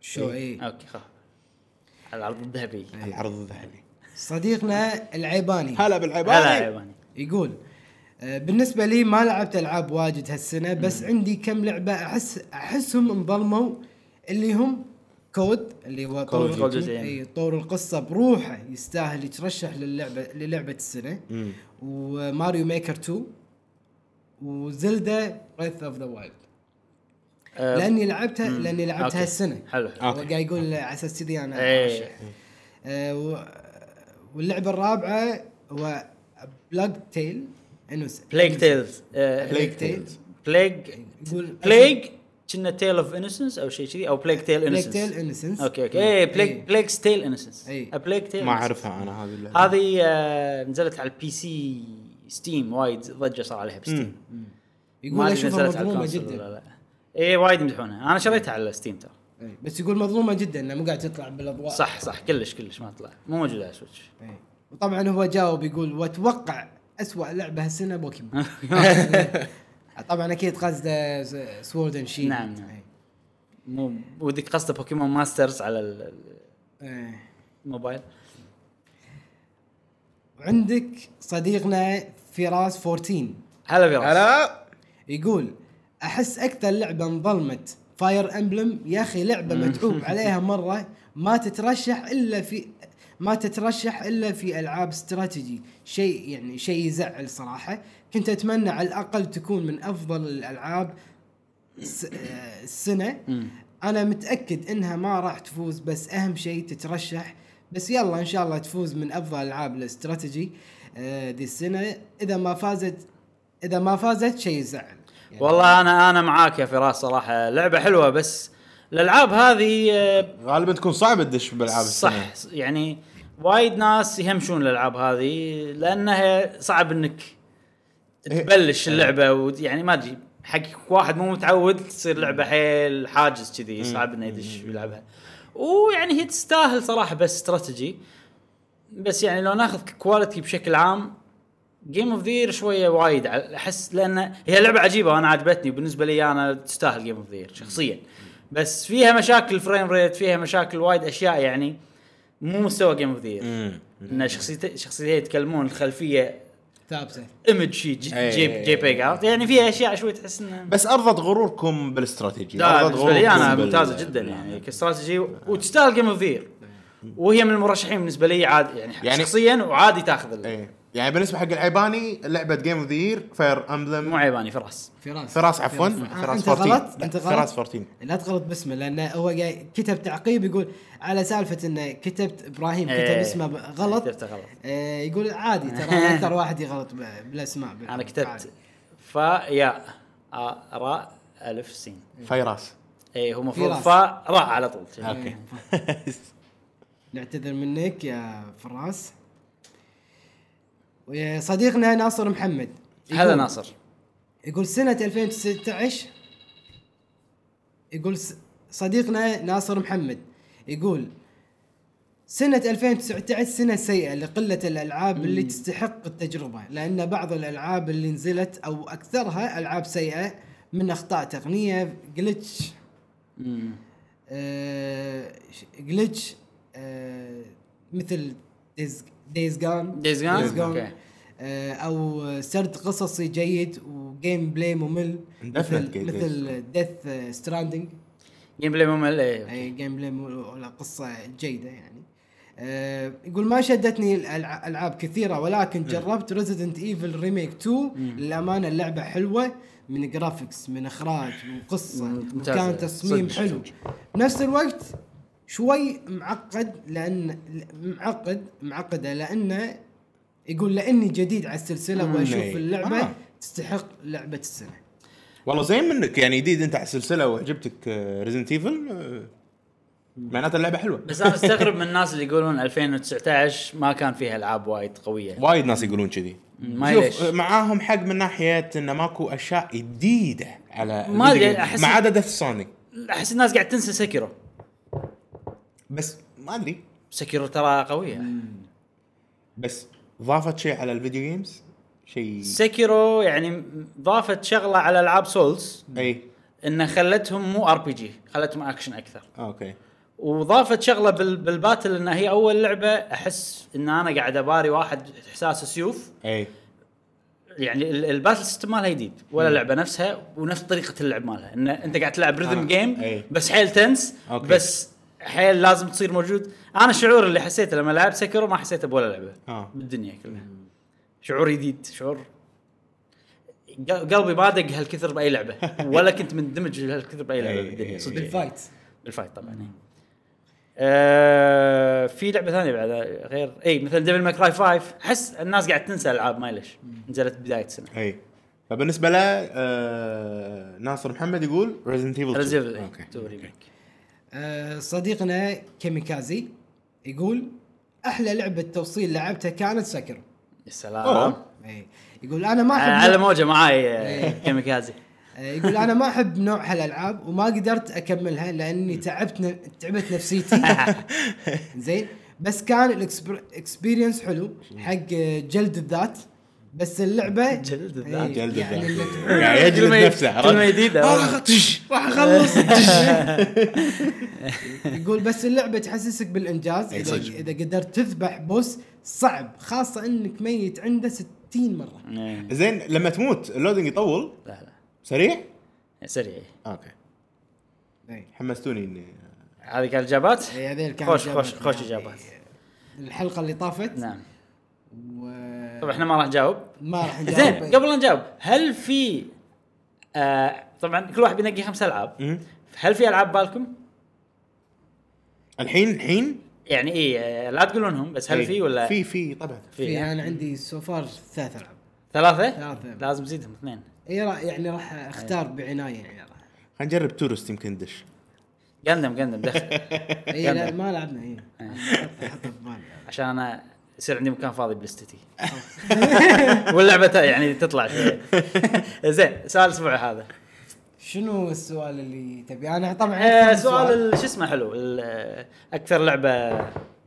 B: شو ايه
A: اوكي خلاص على العرض الذهبي
C: العرض الذهبي
B: صديقنا العيباني
C: هلا
A: هلا
C: بالعباده
A: ياباني
B: يقول آه، بالنسبة لي ما لعبت العاب واجد هالسنة بس عندي كم لعبة احس احسهم انظلموا اللي هم كود اللي هو طور
A: كود جزئين.
B: اي طور القصة بروحه يستاهل يترشح للعبة للعبة السنة
C: مم.
B: وماريو ميكر 2 وزلدا بريث اوف ذا وايلد
A: آه،
B: لاني لعبتها لاني لعبتها
A: أوكي.
B: هالسنه
A: حلو
C: آه.
A: حلو
B: هو
C: أوكي.
B: قاعد يقول على اساس كذي انا
A: إيه.
B: أرشح. آه، و- واللعبه الرابعه هو بلاك تيل انوس
A: بليك تيلز أه،
B: Plague Tales.
A: بليج
B: قول-
A: بليج كنا تيل اوف انسنس او شيء كذي او بليج تيل
B: بليك
A: انسنس
B: تيل انسنس
A: اوكي اوكي
B: إيه،
A: اي بليج بليج تيل انسنس
B: إي.
A: بليج تيل
C: ما اعرفها انا هذه اللعبه
A: هذه آه، نزلت على البي سي ستيم وايد ضجه صار عليها بستيم ما
B: يقول
A: أدري
B: اشوفها
A: نزلت على
B: مظلومه
A: الكونسول ولا
B: جدا
A: لا. اي وايد يمدحونها انا شريتها على ستيم ترى
B: إي. إيه، بس يقول مظلومه جدا انها مو قاعد تطلع بالاضواء
A: صح صح كلش كلش ما طلع مو موجود على سويتش
B: إي. وطبعا إيه. هو جاوب يقول واتوقع اسوء لعبه هالسنه
A: *laughs*
B: بوكيمون طبعا اكيد قصده سورد اند شيلد
A: نعم، نعم. مو ودك قصده بوكيمون ماسترز على ال-
B: إيه.
A: الموبايل
B: عندك صديقنا فراس 14
A: هلا فراس
C: هلا
B: يقول احس اكثر لعبه انظلمت فاير امبلم يا اخي لعبه متعوب عليها مره ما تترشح الا في ما تترشح الا في العاب استراتيجي شيء يعني شيء يزعل صراحه كنت اتمنى على الاقل تكون من افضل الالعاب س- آه، السنه انا متاكد انها ما راح تفوز بس اهم شيء تترشح بس يلا ان شاء الله تفوز من افضل العاب الاستراتيجي آه، دي السنه اذا ما فازت اذا ما فازت شيء يزعل يعني
A: والله انا انا معاك يا فراس صراحه لعبه حلوه بس الالعاب هذه آه،
C: غالبا تكون صعبه تدش بالعاب السنة.
A: صح يعني وايد ناس يهمشون الالعاب هذه لانها صعب انك
C: إيه.
A: تبلش اللعبه ويعني ما ادري حق واحد مو متعود تصير لعبه حيل حاجز
C: إيه.
A: كذي صعب انه يدش ويلعبها ويعني هي تستاهل صراحه بس استراتيجي بس يعني لو ناخذ كواليتي بشكل عام جيم اوف ذير شويه وايد ع- احس لان هي لعبه عجيبه وانا عجبتني وبالنسبه لي انا تستاهل جيم اوف ذير شخصيا بس فيها مشاكل فريم ريت فيها مشاكل وايد اشياء يعني مو مستوى جيم اوف ذير
C: مم.
A: ان شخصيتين شخصيتين يتكلمون الخلفيه
B: ثابته
A: ايمج شي جي,
C: أي-
A: جي, جي بيج عرفت يعني فيها اشياء شوي تحس انه
C: إيه، بس ارضت غروركم بالاستراتيجي
A: لا
C: ارضت
A: بالنسبه لي انا
C: غروركم بال-
A: ممتازه جدا يعني كاستراتيجي و- وتستاهل جيم اوف ذير وهي من المرشحين بالنسبه لي عادي يعني,
C: يعني-
A: شخصيا وعادي تاخذ ال-
C: ايه يعني بالنسبه حق العيباني لعبه جيم اوف ذا يير فاير امبلم
A: مو عيباني فراس
B: فراس
C: فراس عفوا
B: آه،
C: فراس
B: انت
C: 14
B: غلط
C: لا،
B: انت غلط
C: فراس 14
B: لا تغلط باسمه لان هو جاي كتب تعقيب يقول على سالفه انه كتبت ابراهيم كتب
A: إيه.
B: اسمه ب- غلط
A: كتبته غلط.
B: آه يقول عادي ترى أنا اكثر واحد يغلط ب- بالاسماء
A: انا
B: نعم، عادي.
A: كتبت فا يا آ- راء الف سين
C: فيراس
A: اي إيه، هو المفروض
B: فراس.
A: فا راء على طول إيه.
C: اوكي
A: *laughs*
B: نعتذر منك يا فراس ويا صديقنا ناصر محمد
A: هذا
B: يقول-
A: ناصر
B: يقول سنة 2016 يقول س- صديقنا ناصر محمد يقول سنة 2019 سنة سيئة لقلة الألعاب اللي تستحق التجربة لأن بعض الألعاب اللي نزلت أو أكثرها ألعاب سيئة من أخطاء تقنية جلتش آه جلتش آه مثل دايز جان
A: Days Gone؟ أوكي.
B: او آه، سرد قصصي جيد وجيم بلاي ممل
C: Definite
B: مثل
C: Days
B: مثل ديث ستراندنج
A: جيم بلاي ممل اي
B: اي جيم بلاي مو- ولا قصه جيده يعني آه، يقول ما شدتني الألع- العاب كثيره ولكن جربت ريزيدنت ايفل ريميك 2 للامانه اللعبه حلوه من جرافيكس من اخراج وقصه
A: مم، ممتازة.
B: وكان تصميم
A: صدق،
B: حلو بنفس الوقت شوي معقد لان معقد معقده لانه يقول لاني جديد على السلسله واشوف
A: إيه.
C: إي.
B: اللعبه
C: آه.
B: تستحق لعبه السنه
C: والله زين منك يعني جديد انت على السلسله وعجبتك آه، ريزنت ايفل معناته اللعبه حلوه
A: بس انا استغرب من الناس اللي يقولون 2019 ما كان فيها العاب وايد قويه
C: وايد ناس يقولون كذي
A: ما ليش.
C: شوف معاهم حق من ناحيه انه ماكو اشياء جديده على
A: ما
C: الفيديو
A: أدري،
C: جيم.
A: أحس-
C: ما عدا ديث سوني
A: احس الناس قاعد تنسى سكيرو
C: بس ما ادري
A: سكيرو ترى قويه
C: بس ضافت شيء على الفيديو جيمز شيء
A: سكيرو يعني ضافت شغله على العاب سولز
C: اي
A: انه خلتهم مو ار بي جي خلتهم اكشن اكثر
C: اوكي
A: وضافت شغله بال- بالباتل ان هي اول لعبه احس ان انا قاعد اباري واحد احساس سيوف
C: اي
A: يعني ال- الباتل سيستم مالها جديد ولا لعبه نفسها ونفس طريقه اللعب مالها ان انت قاعد تلعب ريذم
C: آه،
A: جيم
C: أي.
A: بس حيل تنس
C: أوكي.
A: بس حيل لازم تصير موجود انا الشعور اللي حسيته لما لعبت سكرو ما حسيته بولا لعبه
C: آه.
A: بالدنيا كلها شعور جديد شعور قل- قلبي ما دق هالكثر باي
C: *laughs*
A: لعبه ولا كنت مندمج هالكثر باي لعبه
C: أي،
A: بالدنيا
C: أي،
A: صدق
C: أي.
B: بالفايت
A: الفايت طبعا آه في لعبه ثانيه بعد غير إيه، اي مثل ديفل ماكراي 5 احس الناس قاعد تنسى العاب ما ليش نزلت بدايه السنه
C: اي فبالنسبه له آه ناصر محمد يقول ريزنت ايفل
A: ريزيفل ريميك
B: آه، صديقنا كيميكازي يقول احلى لعبه توصيل لعبتها كانت سكر
A: يا
C: أوه.
A: سلام آه،
B: إي. يقول انا ما احب
A: على موجه معاي كيميكازي
B: آه، يقول انا ما احب نوع هالالعاب وما قدرت اكملها لاني تعبت ن...
A: *laughs*
B: تعبت نفسيتي زين بس كان الاكسبيرينس حلو حق آه، جلد الذات بس اللعبه
A: جلد الذات.
B: إي،
C: جلد
B: يعني
C: الذات. *laughs*
B: اللي-
C: قاعد يجلد
A: كلمة-
C: نفسه عرفت؟
A: كلمة جديدة.
C: آه، راح أخ- راح
B: *laughs*
C: اخلص
B: يقول بس اللعبه تحسسك بالانجاز
C: أي
B: اذا
C: صدق.
B: اذا قدرت تذبح بوس صعب خاصه انك ميت عنده 60 مره
A: إيه.
C: زين لما تموت اللودنج يطول
A: لا لا
C: سريع
A: سريع
C: اوكي
B: اي
C: حمستوني آه، اني
A: هذه كانت اجابات
B: إي، هذيل كانت
A: خوش
B: إجابات.
A: خوش خوش
B: يعني
A: اجابات
B: الحلقه اللي طافت
A: نعم
B: و...
A: طبعا احنا ما راح نجاوب
B: ما راح نجاوب.
A: زين قبل لا نجاوب هل في آه طبعا كل واحد بينقي خمس العاب
C: مم.
A: هل في العاب بالكم؟
C: الحين الحين
A: يعني ايه لا تقولونهم بس هل
C: إيه.
A: في ولا
C: في في طبعا
B: في
A: في
B: انا عندي سوفار ثلاث العاب
A: ثلاثة؟
B: ثلاثة.
A: لازم تزيدهم اثنين
B: اي راح يعني راح اختار بعنايه يعني راح
C: خلينا نجرب تورست يمكن دش
A: قندم قندم *laughs* دخل
B: اي لا ما لعبنا اي حطها في بالي
A: عشان انا يصير عندي مكان فاضي *laughs* بلستتي واللعبة ت- يعني تطلع شوية *laughs* زين سؤال الاسبوع هذا
B: شنو السؤال اللي تبي انا طبعا عندي
A: آه
B: كم
A: سؤال ال- شو اسمه حلو ال- آه، اكثر لعبة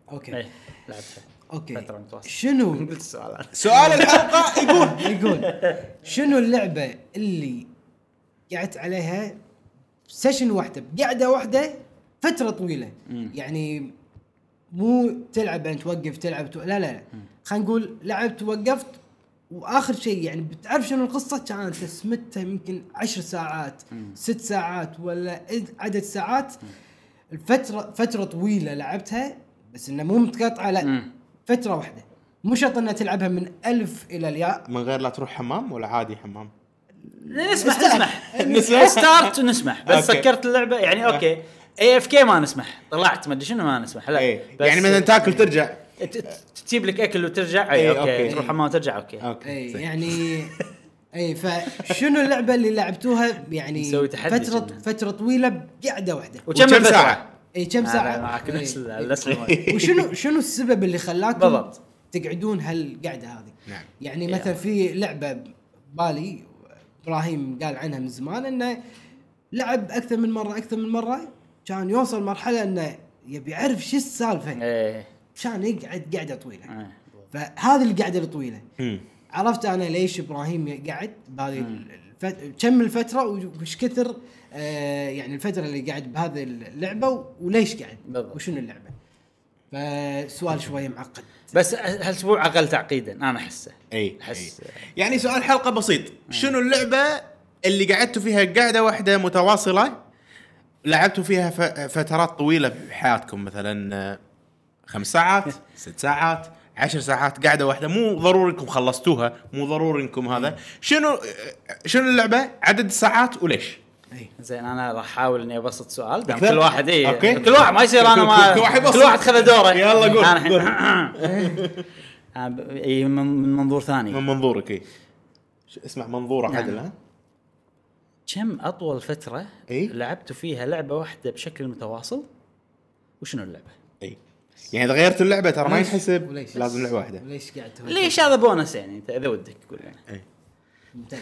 B: اوكي
A: ايه
C: *laughs*
A: لعبتها
B: اوكي
A: فترة متواصلة *laughs*
B: شنو
A: قلت السؤال أنا.
C: سؤال الحلقه يقول
B: يقول شنو اللعبه اللي قعدت عليها سيشن واحده بقعده واحده فتره طويله يعني مو تلعب انت توقف تلعب تو... لا لا لا خلينا نقول لعبت وقفت واخر شيء يعني بتعرف شنو القصه كانت سمتها يمكن عشر ساعات ست ساعات ولا إد- عدد ساعات الفتره فتره طويله لعبتها بس انها مو متقطعه لا
A: مم.
B: فتره واحده مو شرط انها تلعبها من الف الى الياء
C: من غير لا تروح حمام ولا عادي حمام
A: نسمح نسمح
C: نسمح.
A: نسمح ستارت ونسمح بس
C: أوكي.
A: سكرت اللعبة يعني اوكي اي اف كي ما نسمح طلعت ما ادري شنو ما نسمح لا
C: ايه
A: بس إيه.
C: يعني مثلا تاكل ترجع
A: ت- ت- تجيب لك اكل وترجع
C: إيه،
A: اي اوكي
C: أوكي.
A: تروح حمام وترجع اوكي
C: اوكي
B: اي
C: زين.
B: يعني اي فشنو اللعبه اللي لعبتوها يعني
A: نسوي تحدي
B: فتره
A: كنا.
B: فتره طويله بقعده واحده
A: وكم
C: وكم
A: الفترة؟
C: ساعة؟
B: اي كم إيه.
A: لا،
B: ساعه
A: لا، معك
B: إي.
A: نفس ال-
B: إي.
A: نفس الوقت.
B: *laughs* وشنو شنو السبب اللي خلاكم
A: بالضبط.
B: تقعدون هالقعده هذه
C: نعم.
B: يعني مثلا في لعبه بالي ابراهيم قال عنها من زمان انه لعب اكثر من مره اكثر من مره كان يوصل مرحله انه يبي يعرف شو السالفه
A: ايه
B: كان يقعد قعده طويله
A: إيه.
B: فهذه القعده الطويله
C: مم.
B: عرفت انا ليش ابراهيم قعد بهذه الفت... كم الفتره وش كثر آه يعني الفتره اللي قاعد بهذه اللعبه وليش قاعد
A: بالضبط.
B: وشنو اللعبه فسؤال شوي معقد
A: بس هالاسبوع اقل تعقيدا انا احسه
C: اي
A: أحس-
C: أي.
B: إيه.
C: يعني سؤال حلقه بسيط شنو اللعبه اللي قعدتوا فيها قاعده واحده متواصله لعبتوا فيها ف- فترات طويله بحياتكم مثلا آه، خمس
B: *laughs*
C: ساعات ست ساعات عشر ساعات قاعده واحده مو ضروري انكم خلصتوها مو ضروري انكم
B: إيه.
C: هذا شنو آه، شنو اللعبه عدد الساعات وليش
A: زين انا راح احاول اني ابسط سؤال دام
C: أكثر؟
A: كل واحد اي
C: أوكي.
A: كل واحد ما يصير انا ما
C: كل واحد بسط.
A: كل واحد خذ دوره
C: يلا قول،
A: أنا الحين-
C: قول.
A: *laughs* أنا ب- إي، من من منظور ثاني
C: من منظورك اي ش- اسمع منظوره
B: نعم.
C: عدل ها
A: كم اطول فتره
C: إي.
A: لعبتوا فيها لعبه واحده بشكل متواصل وشنو
C: *laughs*
A: اللعبه؟
C: اي يعني اذا غيرت اللعبه ترى ما
B: ليش؟
C: ينحسب
B: وليش؟
C: لازم لعبه واحده
B: ليش قاعد تهوي؟
A: ليش هذا بونس يعني انت اذا ودك قول يعني *laughs*
B: ممتاز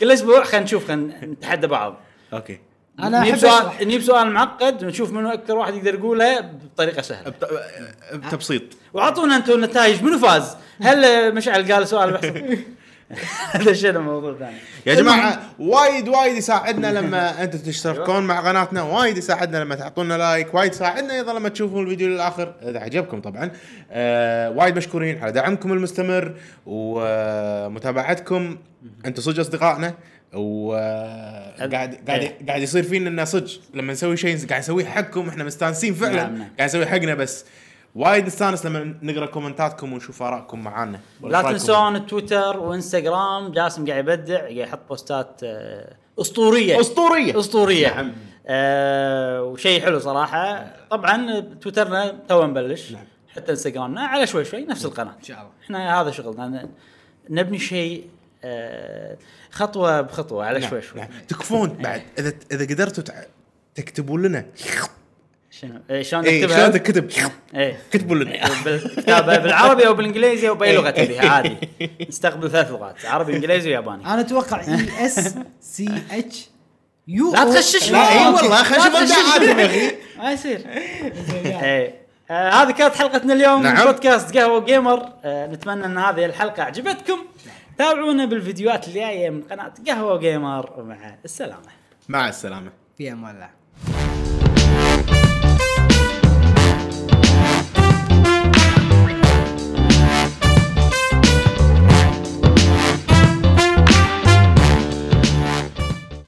A: كل اسبوع خلينا نشوف خلينا نتحدى بعض
C: اوكي
B: انا
A: نجيب
B: احب اشرح
A: سؤال نجيب سؤال معقد ونشوف منو اكثر واحد يقدر يقولها بطريقه سهله
C: بت-
B: أه.
C: بتبسيط
A: واعطونا انتم النتائج منو فاز؟ هل مشعل قال سؤال *laughs* بحصل؟ دشينا موضوع ثاني
C: يا جماعه وايد وايد يساعدنا
A: *laughs*
C: لما انتم
A: أيوه.
C: تشتركون مع قناتنا وايد يساعدنا لما تعطونا لايك وايد يساعدنا ايضا لما تشوفون الفيديو للاخر اذا عجبكم طبعا آه وايد مشكورين على دعمكم المستمر ومتابعتكم انتم صدق اصدقائنا وقاعد قاعد
A: إيه.
C: قاعد يصير فينا انه صدق لما نسوي شيء قاعد نسويه حقكم احنا مستانسين فعلا
A: نعم، نعم.
C: قاعد نسوي حقنا بس وايد نستانس لما نقرا كومنتاتكم ونشوف ارائكم معانا
A: لا تنسون تويتر وانستغرام جاسم قاعد يبدع قاعد يحط بوستات آه، اسطوريه
C: اسطوريه
A: اسطوريه
C: نعم.
A: آه وشيء حلو صراحه طبعا تويترنا تو نبلش
C: نعم.
A: حتى انستغرامنا على شوي شوي نفس القناه
B: ان شاء الله
A: احنا هذا شغلنا ن- نبني شيء آه، خطوه بخطوه على
C: نعم،
A: شوي شوي إيه.
C: نعم. تكفون بعد اذا اذا قدرتوا تع- تكتبون لنا
A: شنو إيه، شلون
C: اي شلون
A: نكتبها؟
C: تكتب
A: ايه
C: كتبوا لنا
A: بالكتابه بالعربي او بالانجليزي او باي لغه
C: إيه.
A: تبيها عادي نستقبل ثلاث لغات عربي انجليزي وياباني
C: آه،
D: انا
C: *laughs*
D: اتوقع
B: E
D: اي اس سي اتش يو
A: لا تغششني.
C: لا اي
A: أوكي.
C: والله خلينا
A: لا
C: نشوف
A: تغششني.
C: ابداع عادي يا اخي
A: ما يصير ايه آه، هذه كانت حلقتنا اليوم من
C: نعم.
A: بودكاست قهوه جيمر آه، نتمنى ان هذه الحلقه عجبتكم تابعونا بالفيديوهات الجايه من قناه قهوه جيمر ومع السلامه
C: مع السلامه
D: في امان الله